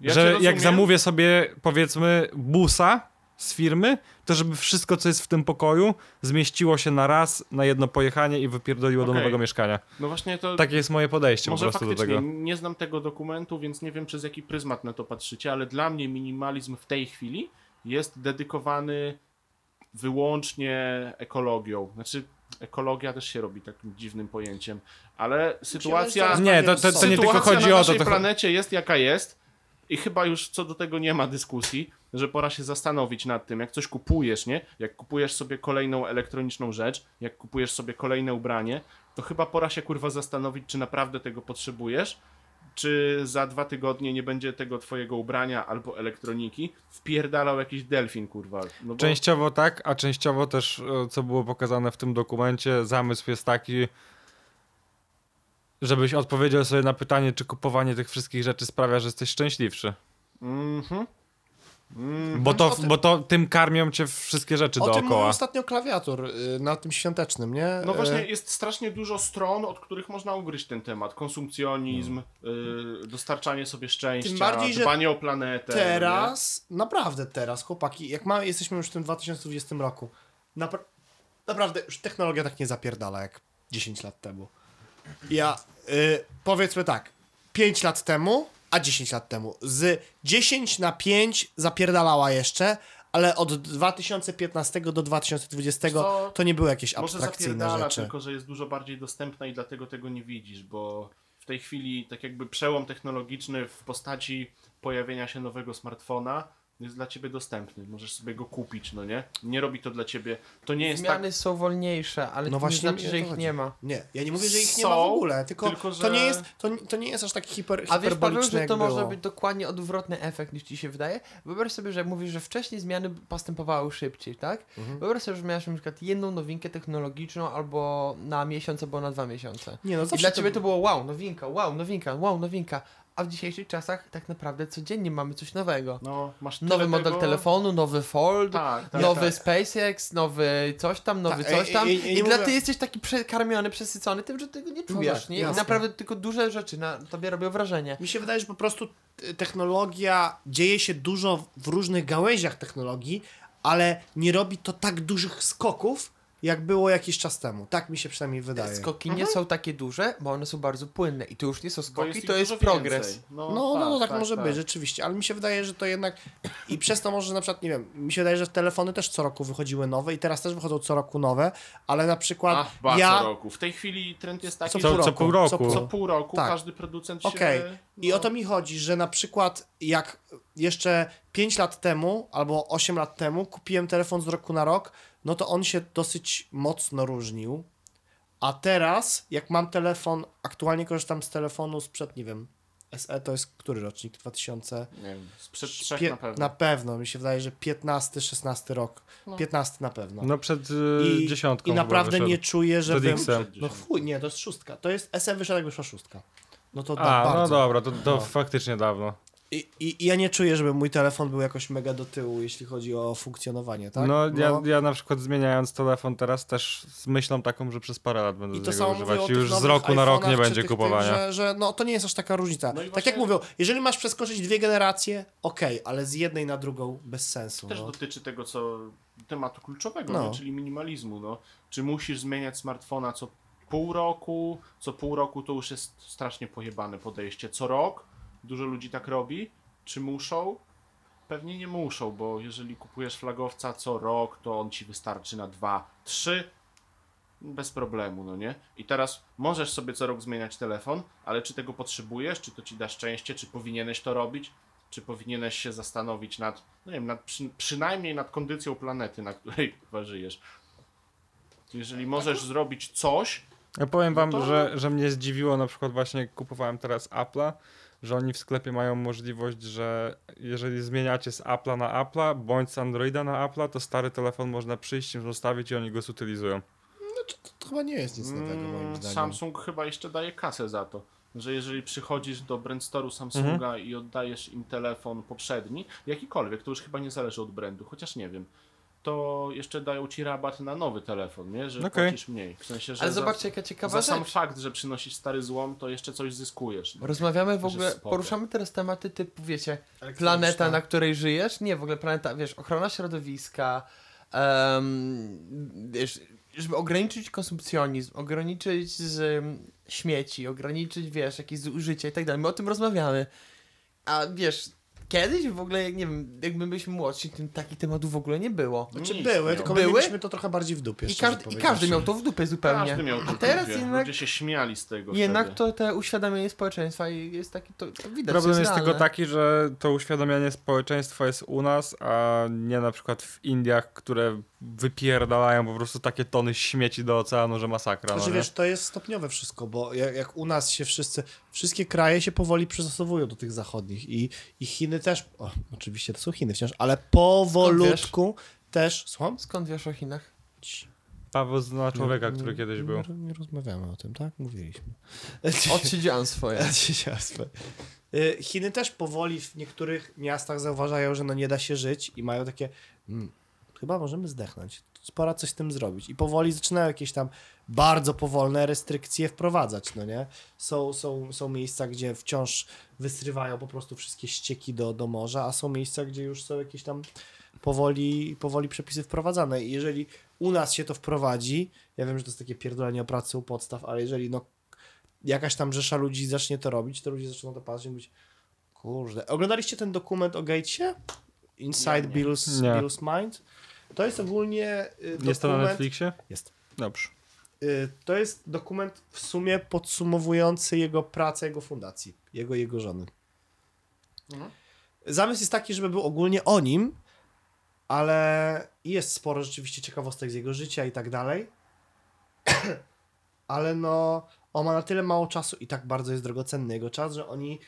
S4: Ja cię
S2: że
S4: rozumiem.
S2: jak zamówię sobie powiedzmy busa z firmy, to żeby wszystko, co jest w tym pokoju, zmieściło się na raz, na jedno pojechanie i wypierdoliło do
S4: Okej.
S2: nowego mieszkania.
S4: No właśnie to...
S2: Takie jest moje podejście
S4: Może
S2: Tak po prostu
S4: faktycznie
S2: do tego.
S4: nie znam tego dokumentu, więc nie wiem przez jaki pryzmat na to patrzycie, ale dla mnie minimalizm w tej chwili jest dedykowany wyłącznie ekologią. Znaczy ekologia też się robi takim dziwnym pojęciem, ale sytuacja
S3: coraz
S2: Nie, to, to, to nie
S4: sytuacja
S2: tylko chodzi
S4: na
S2: o to.
S4: naszej
S2: to... cho-
S4: planecie jest jaka jest i chyba już co do tego nie ma dyskusji, że pora się zastanowić nad tym, jak coś kupujesz, nie? Jak kupujesz sobie kolejną elektroniczną rzecz, jak kupujesz sobie kolejne ubranie, to chyba pora się kurwa zastanowić, czy naprawdę tego potrzebujesz, czy za dwa tygodnie nie będzie tego twojego ubrania albo elektroniki wpierdalał jakiś delfin, kurwa. No bo...
S2: Częściowo tak, a częściowo też, e, co było pokazane w tym dokumencie, zamysł jest taki, żebyś odpowiedział sobie na pytanie, czy kupowanie tych wszystkich rzeczy sprawia, że jesteś szczęśliwszy.
S4: Mhm.
S2: Bo, to, bo to tym karmią cię wszystkie rzeczy
S3: O tym mówił
S2: dookoła.
S3: ostatnio klawiatur y, na tym świątecznym, nie?
S4: No
S3: Y,
S4: właśnie, jest strasznie dużo stron, od których można ugryźć ten temat. Konsumpcjonizm, y, dostarczanie sobie szczęścia,
S3: No. Tym bardziej, że
S4: dbanie o planetę.
S3: Teraz, naprawdę teraz, chłopaki, jak ma, jesteśmy już w tym 2020 roku, napra naprawdę już technologia tak nie zapierdala jak 10 lat temu. Ja, y, powiedzmy tak, 5 lat temu, a 10 lat temu, z 10 na 5 zapierdalała jeszcze, ale od 2015 do 2020
S4: Co?
S3: to nie były jakieś
S4: nie? Może
S3: abstrakcyjne
S4: zapierdala,
S3: rzeczy.
S4: tylko że jest dużo bardziej dostępna i dlatego tego nie widzisz, bo w tej chwili tak jakby przełom technologiczny w postaci pojawienia się nowego smartfona jest dla ciebie dostępny. Możesz sobie go kupić, no nie? Nie robi to dla ciebie. To nie jest tak...
S1: Zmiany są wolniejsze, ale
S3: No
S1: to nie
S3: właśnie
S1: znaczy,
S3: o
S1: że
S3: to
S1: ich
S3: chodzi.
S1: nie ma.
S3: Nie, ja nie mówię, że ich nie ma w
S4: Są,
S3: ogóle, tylko,
S4: tylko
S3: to,
S4: że-
S3: nie jest, to, to nie jest aż tak hiper,
S1: A wiesz, Paweł,
S3: hiperboliczne
S1: że
S3: jak
S1: to może
S3: było.
S1: być dokładnie odwrotny efekt niż ci się wydaje? Wyobraź sobie, że mówisz, że wcześniej zmiany postępowały szybciej, tak? Wyobraź sobie, że miałeś na przykład jedną nowinkę technologiczną albo na miesiąc, albo na dwa miesiące.
S3: Nie, no
S1: I
S3: zawsze
S1: dla
S3: to
S1: ciebie to było wow, nowinka, wow, nowinka, wow, nowinka. a w dzisiejszych czasach tak naprawdę codziennie mamy coś nowego.
S4: No, masz tyle
S1: Nowy model
S4: tego...
S1: telefonu, nowy Fold,
S4: Tak, tak,
S1: nowy
S4: tak.
S1: SpaceX, nowy coś tam, nowy
S3: Tak,
S1: coś
S3: i-
S1: tam. I,
S3: i- i nie
S1: dla
S3: mówię-
S1: ty jesteś taki przekarmiony, przesycony tym, że tego nie czujesz.
S3: tak,
S1: nie? I
S3: jasne.
S1: naprawdę tylko duże rzeczy na tobie robią wrażenie.
S3: Mi się wydaje, że po prostu y, technologia dzieje się dużo w różnych gałęziach technologii, ale nie robi to tak dużych skoków, jak było jakiś czas temu. Tak mi się przynajmniej wydaje.
S1: Skoki nie są takie duże, bo one są bardzo płynne. I to już nie są
S4: Mhm. tak, Bo
S1: skoki,
S4: ich
S1: to jest
S4: dużo
S1: progres.
S4: więcej. No,
S3: No, no, no tak, może być, rzeczywiście, ale mi się wydaje, że to jednak i przez to może na przykład, nie wiem, mi się wydaje, że telefony też co roku wychodziły nowe i teraz też wychodzą co roku nowe, ale na przykład
S4: Ach, ba,
S3: ja...
S4: co roku. W tej chwili trend jest taki,
S2: Co-
S4: że
S2: co pół roku.
S4: co pół roku
S3: Tak.
S4: każdy producent się...
S3: Okej, i
S4: no.
S3: o to mi chodzi, że na przykład jak jeszcze 5 lat temu albo 8 lat temu kupiłem telefon z roku na rok, no to on się dosyć mocno różnił. A teraz, jak mam telefon, aktualnie korzystam z telefonu sprzed, nie wiem, SE to jest który rocznik? 2000.
S4: Nie wiem, sprzed trzech
S3: Pie-
S4: na pewno.
S3: Na pewno, mi się wydaje, że 15, 16 rok. 15 na pewno.
S2: No przed y, dziesiątką
S3: I
S2: chyba
S3: naprawdę
S2: wyszedł.
S3: nie czuję, że
S2: Przed
S3: bym...
S2: X-em.
S3: No chuj, nie, to jest szóstka. To jest SE wyszedł, jak wyszła szóstka. No to da,
S2: A, no
S3: bardzo.
S2: dobra, to, to faktycznie dawno.
S3: I, i, I ja nie czuję, żeby mój telefon był jakoś mega do tyłu, jeśli chodzi o funkcjonowanie, tak?
S2: No, ja, ja na przykład zmieniając telefon teraz też z myślą taką, że przez parę lat będę
S3: I to
S2: tego
S3: samo mówię o
S2: używać.
S3: tych
S2: Już z
S3: nowych
S2: roku na rok
S3: iPhone'ach
S2: nie
S3: czy
S2: będzie
S3: tych- tych,
S2: kupowania.
S3: że, że no to nie jest aż taka różnica.
S4: No i
S3: tak
S4: właśnie-
S3: jak mówią, jeżeli masz przeskoczyć dwie generacje, okej, ale z jednej na drugą bez sensu.
S4: Też
S3: No.
S4: dotyczy tego, co tematu kluczowego,
S3: No.
S4: nie? czyli minimalizmu. No. Czy musisz zmieniać smartfona co pół roku? Co pół roku to już jest strasznie pojebane podejście. Co rok? Dużo ludzi tak robi. Czy muszą? Pewnie nie muszą, bo jeżeli kupujesz flagowca co rok, to on ci wystarczy na dwa, trzy. Bez problemu, no nie? I teraz możesz sobie co rok zmieniać telefon, ale czy tego potrzebujesz? Czy to ci da szczęście? Czy powinieneś to robić? czy powinieneś się zastanowić nad, no nie wiem, nad, przy, przynajmniej nad kondycją planety, na której chyba żyjesz. Jeżeli możesz zrobić coś,
S2: Ja powiem wam,
S4: to-
S2: że, że mnie zdziwiło na przykład właśnie jak kupowałem teraz Apple'a, że oni w sklepie mają możliwość, że jeżeli zmieniacie z Apple'a na Apple'a, bądź z Androida na Apple'a, to stary telefon można przyjść, im zostawić i oni go zutylizują.
S7: To chyba nie jest nic
S3: tak
S7: nowego moim
S4: mm,
S7: zdaniem.
S4: Samsung chyba jeszcze daje kasę za to. Że jeżeli przychodzisz do brandstoru Samsunga i oddajesz im telefon poprzedni, jakikolwiek, to już chyba nie zależy od brandu, chociaż nie wiem, to jeszcze dają ci rabat na nowy telefon, nie? Że
S2: Okej.
S4: płacisz mniej. W sensie, że
S1: Ale
S4: za-
S1: zobaczcie, jaka ciekawa
S4: za sam
S1: rzecz.
S4: fakt, że przynosisz stary złom, to jeszcze coś zyskujesz. no. nie?
S1: Rozmawiamy w
S4: Że
S1: ogóle,
S4: spoko.
S1: poruszamy teraz tematy typu, wiecie, planeta, na której żyjesz. Nie, w ogóle planeta, wiesz, ochrona środowiska, em, wiesz, żeby ograniczyć konsumpcjonizm, ograniczyć z, em, śmieci, ograniczyć, wiesz, jakieś zużycie i tak dalej. My o tym rozmawiamy. A wiesz, kiedyś w ogóle, jak nie wiem, jak my byliśmy młodsi, tym takich tematów w ogóle nie było.
S3: Znaczy
S4: Nic
S3: były,
S4: nie
S3: tylko
S1: Były?
S3: były? mieliśmy to trochę bardziej w dupie,
S1: I,
S3: szczerze
S1: każdy, I
S3: powiedziawszy.
S1: każdy miał to w dupie zupełnie.
S4: Każdy miał to
S1: A teraz
S4: ludzie.
S1: jednak,
S4: Ludzie się śmiali z tego
S1: jednak
S4: wtedy.
S1: to te uświadamianie społeczeństwa i jest taki, to, to widać.
S2: Problem
S1: to
S2: jest tylko
S1: realne.
S2: taki, że to uświadamianie społeczeństwa jest u nas, a nie na przykład w Indiach, które wypierdalają po prostu takie tony śmieci do oceanu, że masakra. No,
S3: Znaczy,
S2: nie?
S3: wiesz, to jest stopniowe wszystko, bo jak, jak u nas się wszyscy, wszystkie kraje się powoli przystosowują do tych zachodnich i, i Chiny też, o, oczywiście to są Chiny wciąż, ale powolutku też, słucham?
S1: Skąd wiesz o Chinach?
S2: Paweł zna człowieka, który kiedyś był.
S3: Nie, nie rozmawiamy o tym, tak? Mówiliśmy.
S1: Odsiedziałem swoje.
S3: Dzieciarstwo. Y, Chiny też powoli w niektórych miastach zauważają, że no nie da się żyć i mają takie mm, chyba możemy zdechnąć. Pora coś z tym zrobić. I powoli zaczynają jakieś tam bardzo powolne restrykcje wprowadzać, no nie? Są, są, są miejsca, gdzie wciąż wysrywają po prostu wszystkie ścieki do, do morza, a są miejsca, gdzie już są jakieś tam powoli, powoli przepisy wprowadzane. I jeżeli u nas się to wprowadzi, ja wiem, że to jest takie pierdolenie o pracy u podstaw, ale jeżeli no jakaś tam rzesza ludzi zacznie to robić, to ludzie zaczną to patrzeć i mówić, kurde. Oglądaliście ten dokument o Gatesie? Inside
S4: Nie, nie.
S3: Bill's,
S2: Nie.
S3: Bill's Mind? To jest ogólnie y, dokument...
S2: Jest to na Netflixie?
S3: Jest.
S2: Dobrze.
S3: Y, To jest dokument w sumie podsumowujący jego pracę, jego fundacji, jego i jego żony. Zamysł jest taki, żeby był ogólnie o nim, ale jest sporo rzeczywiście ciekawostek z jego życia i tak dalej. ale no, on ma na tyle mało czasu i tak bardzo jest drogocenny jego czas, że oni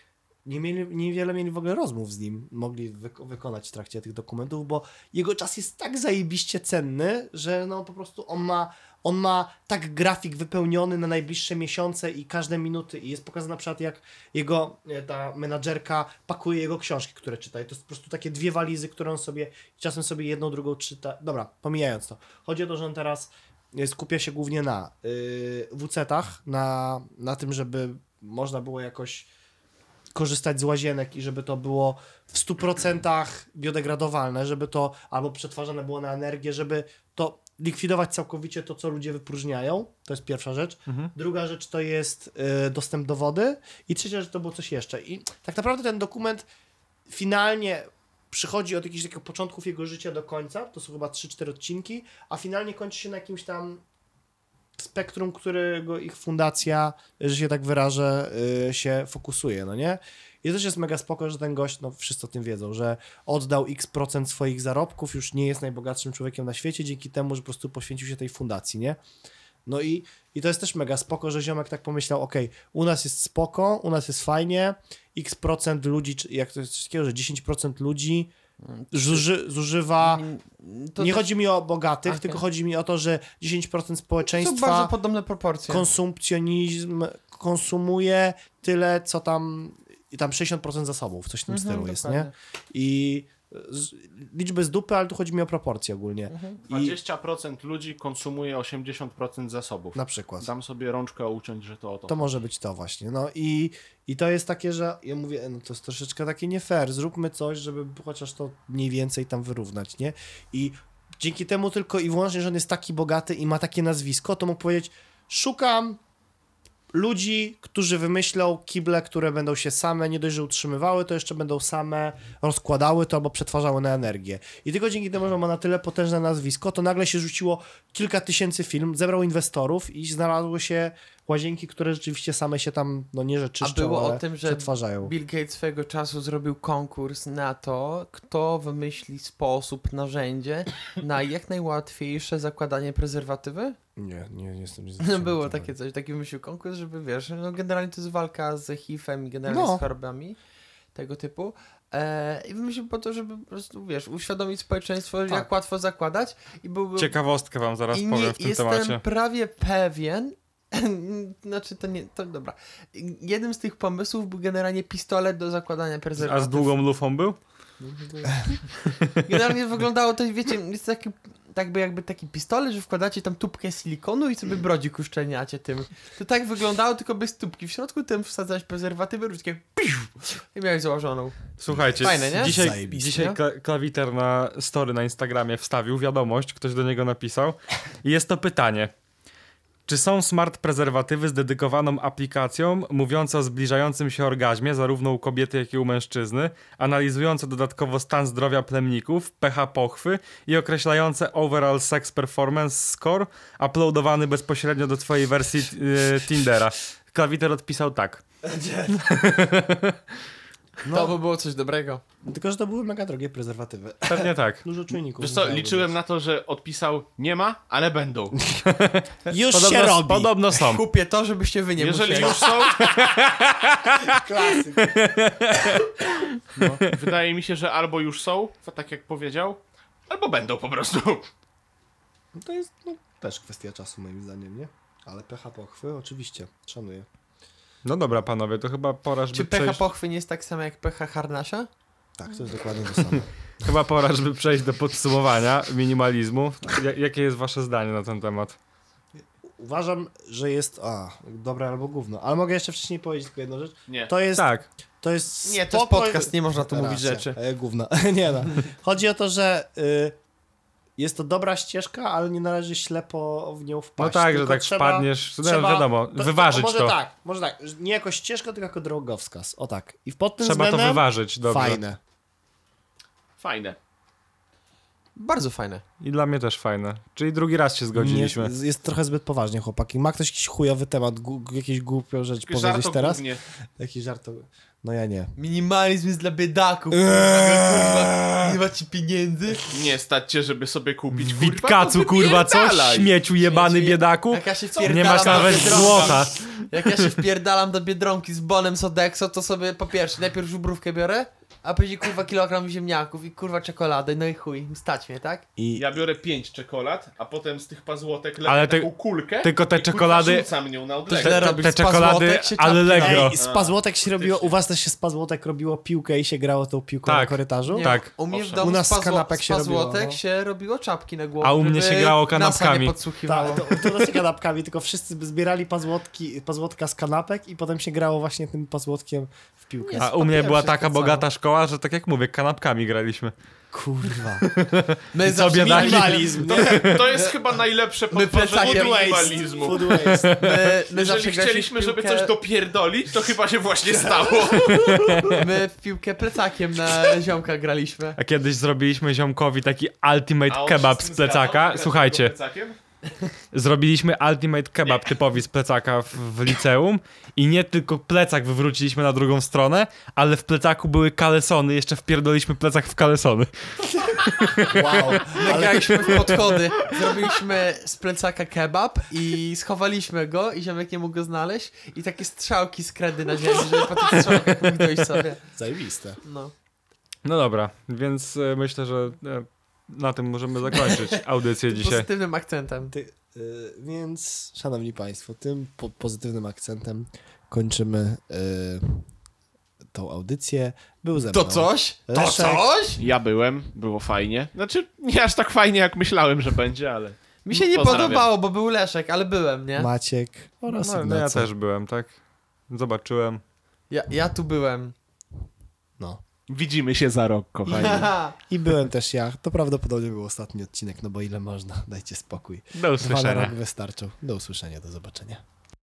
S3: nie mieli, niewiele mieli w ogóle rozmów z nim, mogli wyko- wykonać w trakcie tych dokumentów, bo jego czas jest tak zajebiście cenny, że no po prostu on ma On ma tak grafik wypełniony na najbliższe miesiące i każde minuty i jest pokazane na przykład jak jego e, ta menadżerka pakuje jego książki, które czyta. I to jest po prostu takie dwie walizy, które on sobie czasem sobie jedną, drugą czyta. Dobra, pomijając to. Chodzi o to, że on teraz e, skupia się głównie na yy, WC-tach, na, na tym, żeby można było jakoś korzystać z łazienek i żeby to było w 100% biodegradowalne, żeby to albo przetwarzane było na energię, żeby to likwidować całkowicie to, co ludzie wypróżniają. To jest pierwsza rzecz. Druga rzecz to jest y, dostęp do wody i trzecia rzecz to było coś jeszcze. I tak naprawdę ten dokument finalnie przychodzi od jakichś takich początków jego życia do końca, to są chyba 3-4 odcinki, a finalnie kończy się na jakimś tam spektrum, którego ich fundacja, że się tak wyrażę, y, się fokusuje, no nie? I to też jest mega spoko, że ten gość, no wszyscy o tym wiedzą, że oddał x procent swoich zarobków, już nie jest najbogatszym człowiekiem na świecie dzięki temu, że po prostu poświęcił się tej fundacji, nie? No i, i to jest też mega spoko, że ziomek tak pomyślał, okej, u nas jest spoko, u nas jest fajnie, x procent ludzi, czy jak to jest coś takiego, że 10% ludzi zuży, zużywa...
S1: Mm, To
S3: nie
S1: to-
S3: chodzi mi o bogatych,
S1: Okej.
S3: tylko chodzi mi o to, że 10%
S1: To są bardzo
S3: społeczeństwa
S1: podobne proporcje.
S3: konsumpcjonizm konsumuje tyle, co tam i tam 60% zasobów, coś w tym stylu jest, nie?
S1: dokładnie.
S3: I z, liczby z dupy, ale tu chodzi mi o proporcje ogólnie.
S4: Mhm.
S3: I
S4: 20% ludzi konsumuje 80% zasobów.
S3: na przykład.
S4: Dam sobie rączkę uciąć, że to o to.
S3: To może być to właśnie. No i, i to jest takie, że ja mówię, no to jest troszeczkę takie nie fair. Zróbmy coś, żeby chociaż to mniej więcej tam wyrównać, nie? I dzięki temu tylko i wyłącznie, że on jest taki bogaty i ma takie nazwisko, to mógł powiedzieć, szukam ludzi, którzy wymyślą kible, które będą się same nie dość, że utrzymywały, to jeszcze będą same rozkładały to albo przetwarzały na energię. I tylko dzięki temu, że ma na tyle potężne nazwisko, to nagle się rzuciło kilka tysięcy film, zebrał inwestorów i znalazły się łazienki, które rzeczywiście same się tam, no nie że czyszczą,
S1: A było
S3: ale
S1: o tym, że
S3: przetwarzają.
S1: Bill Gates swego czasu zrobił konkurs na to, kto wymyśli sposób, narzędzie na jak najłatwiejsze zakładanie prezerwatywy.
S3: Nie, nie, nie jestem...
S1: No było takie coś, taki wymyślił konkurs, żeby wiesz, no generalnie to jest walka z HIV-em i generalnie
S3: No.
S1: z chorobami tego typu. E, I wymyślił po to, żeby po prostu, wiesz, uświadomić społeczeństwo,
S3: Tak.
S1: jak łatwo zakładać i byłby...
S2: Ciekawostkę wam zaraz
S1: I
S2: powiem w tym
S1: jestem
S2: temacie.
S1: prawie pewien, znaczy to nie, to dobra. Jednym z tych pomysłów był generalnie pistolet do zakładania
S2: A
S1: prezerwatyw.
S2: z długą lufą był?
S1: Generalnie wyglądało to, wiecie, jest taki, tak by jakby taki pistolet, że wkładacie tam tubkę silikonu i sobie brodzik uszczelniacie tym. To tak wyglądało, tylko bez tubki. W środku tym wsadzałeś prezerwatywy, rzuciłem i miałeś założoną.
S2: Słuchajcie,
S1: Fajne, nie?
S2: dzisiaj,
S8: Zajebiste.
S2: dzisiaj
S1: No.
S2: kla- klawiter na story na Instagramie wstawił wiadomość, ktoś do niego napisał i jest to pytanie. Czy są smart prezerwatywy z dedykowaną aplikacją mówiąca o zbliżającym się orgazmie zarówno u kobiety, jak i u mężczyzny, analizujące dodatkowo stan zdrowia plemników, pH pochwy i określające overall sex performance score uploadowany bezpośrednio do twojej wersji e, Tindera? Klawiter odpisał tak. No.
S1: To by było coś dobrego.
S3: Tylko, że to były mega drogie prezerwatywy.
S2: Pewnie tak.
S3: Dużo czujników.
S4: Wiesz co, liczyłem na to, że odpisał nie ma, ale będą.
S3: Już się
S2: Podobno,
S3: robi!
S2: podobno są.
S1: Kupię to, żebyście wy nie
S4: Jeżeli
S1: musieli.
S4: już są. No, wydaje mi się, że albo już są, tak jak powiedział, albo będą po prostu.
S3: No To jest no, też kwestia czasu moim zdaniem, nie? Ale pH pochwy oczywiście, szanuję.
S2: No dobra, panowie, to chyba pora, żeby
S1: Czy pH
S2: przejść,
S1: pochwy nie jest tak samo jak pH harnasza?
S3: Tak, to jest dokładnie to samo.
S2: chyba pora, żeby przejść do podsumowania minimalizmu. Ja, jakie jest wasze zdanie na ten temat?
S3: Uważam, że jest a, dobre albo gówno. Ale mogę jeszcze wcześniej powiedzieć tylko jedną rzecz.
S4: Nie.
S3: To jest...
S2: Tak,
S3: To jest
S1: Nie, to jest
S3: spoko-
S1: podcast, nie można tu
S3: Racja.
S1: mówić rzeczy.
S3: E, Gówno. nie no. Chodzi o to, że y, jest to dobra ścieżka, ale nie należy ślepo w nią
S2: no
S3: wpaść.
S2: tak, że
S3: Tylko
S2: tak
S3: trzeba-
S2: wpadniesz, no
S3: trzeba-
S2: wiadomo, wyważyć to.
S3: Może tak, może tak. Nie jako ścieżka, tylko jako drogowskaz. O tak. I pod tym
S2: Trzeba to
S3: względem
S2: wyważyć, dobrze.
S3: fajne.
S4: Fajne.
S1: Bardzo fajne.
S2: I dla mnie też fajne. Czyli drugi raz się
S3: Nie,
S2: zgodziliśmy.
S3: jest- jest trochę zbyt poważnie, chłopaki. Ma ktoś jakiś chujowy temat, gu, jakieś głupią rzecz powiedzieć
S4: Żartów
S3: teraz?
S4: głównie.
S3: Jakiś żart? No ja nie.
S1: Minimalizm jest dla biedaków.
S3: Eee.
S1: Kurwa, nie macie pieniędzy.
S4: Nie stać cię, żeby sobie kupić. kurwa,
S2: Witkacu,
S4: to
S2: kurwa, co?
S4: wypierdalaj.
S2: Śmieciu jebany
S1: Śmieciu je-
S2: biedaku?
S1: Jak ja się
S2: Nie masz
S1: wpierdalam do
S2: nawet
S1: Biedronki-
S2: złota.
S1: Jak ja się wpierdalam do Biedronki z bonem Sodexo, to sobie po pierwsze najpierw żubrówkę biorę, a później kurwa kilogram ziemniaków i kurwa czekoladę, no i chuj, stać mnie, tak?
S3: I
S4: Ja biorę pięć czekolad, a potem z tych pazłotek lepiej
S2: Ale
S4: Ale
S2: ty-
S4: taką kulkę
S2: tylko te
S4: i kurwa
S2: czekolady-
S4: rzucam nią na
S1: źle
S4: odległość.
S2: Te,
S1: robisz
S2: te
S1: z
S2: czekolady
S1: pazłotek czy czapki?
S2: Allegro.
S3: Ej, z pazłotek się robiło, u was też się z pazłotek robiło piłkę i się grało tą piłką
S2: Tak.
S3: na korytarzu?
S1: Nie,
S2: Tak.
S1: U mnie w
S4: Owszem.
S1: domu
S3: U nas
S1: z pazło-
S3: kanapek
S1: z
S3: się robiło,
S1: pazłotek
S3: no.
S1: się robiło czapki na głowę.
S2: A u mnie
S1: żeby
S2: się grało
S1: NASA
S2: kanapkami.
S1: nie
S3: Tak,
S1: podsłuchiwało.
S3: to, to nie z kanapkami, tylko wszyscy by zbierali pazłotki, pazłotka z kanapek i potem się grało właśnie tym pazłotkiem w piłkę.
S1: Nie.
S2: A u mnie była
S1: Wszystko
S2: taka
S1: całe.
S2: bogata szkoła, że tak jak mówię, kanapkami graliśmy.
S3: Kurwa.
S1: My
S2: co,
S1: zawsze
S2: biedaki?
S1: minimalizm.
S4: To, to jest chyba najlepsze podważenie
S1: plecakiem-
S4: minimalizmu.
S3: Food waste.
S1: My, my zawsze
S4: Jeżeli
S1: graliśmy
S4: chcieliśmy,
S1: w
S4: żeby
S1: piłkę-
S4: coś dopierdolić, to chyba się właśnie stało.
S1: My w piłkę plecakiem na ziomka graliśmy.
S2: A kiedyś zrobiliśmy ziomkowi taki ultimate
S4: A on
S2: kebab
S4: się
S2: z
S4: tym zgadzał,
S2: plecaka.
S4: grać
S2: Słuchajcie,
S4: tego plecakiem?
S2: zrobiliśmy ultimate kebab typowi z plecaka w, w liceum i nie tylko plecak wywróciliśmy na drugą stronę, ale w plecaku były kalesony, jeszcze wpierdoliśmy plecak w kalesony.
S3: Wow. Ale
S1: Graliśmy w podchody. Zrobiliśmy z plecaka kebab i schowaliśmy go i ziomek nie mógł go znaleźć. I takie strzałki z kredy na ziemi, żeby po tych strzałkach mógł dojść sobie.
S3: zajebiste.
S1: No.
S2: No dobra, więc e, myślę, że e, na tym możemy zakończyć audycję dzisiaj.
S1: Pozytywnym akcentem.
S3: Ty, y, więc, szanowni państwo, tym po pozytywnym akcentem kończymy y, tą audycję. Był ze mną.
S1: To coś? To
S3: Leszek.
S1: coś?
S4: Ja byłem, było fajnie. Znaczy, nie aż tak fajnie, jak myślałem, że będzie, ale...
S1: Mi się nie
S4: Pozdrawiam.
S1: podobało, bo był Leszek, ale byłem, nie?
S3: Maciek oraz
S2: No, no
S3: Ignacy.
S2: ja też byłem, tak? Zobaczyłem.
S1: Ja, ja tu byłem.
S3: No.
S4: Widzimy się za rok, kochani.
S3: I byłem też ja. To prawdopodobnie był ostatni odcinek, no bo ile można, dajcie spokój.
S2: Do
S3: Dwa na
S2: usłyszenia.
S3: rok wystarczą. Do usłyszenia, do zobaczenia.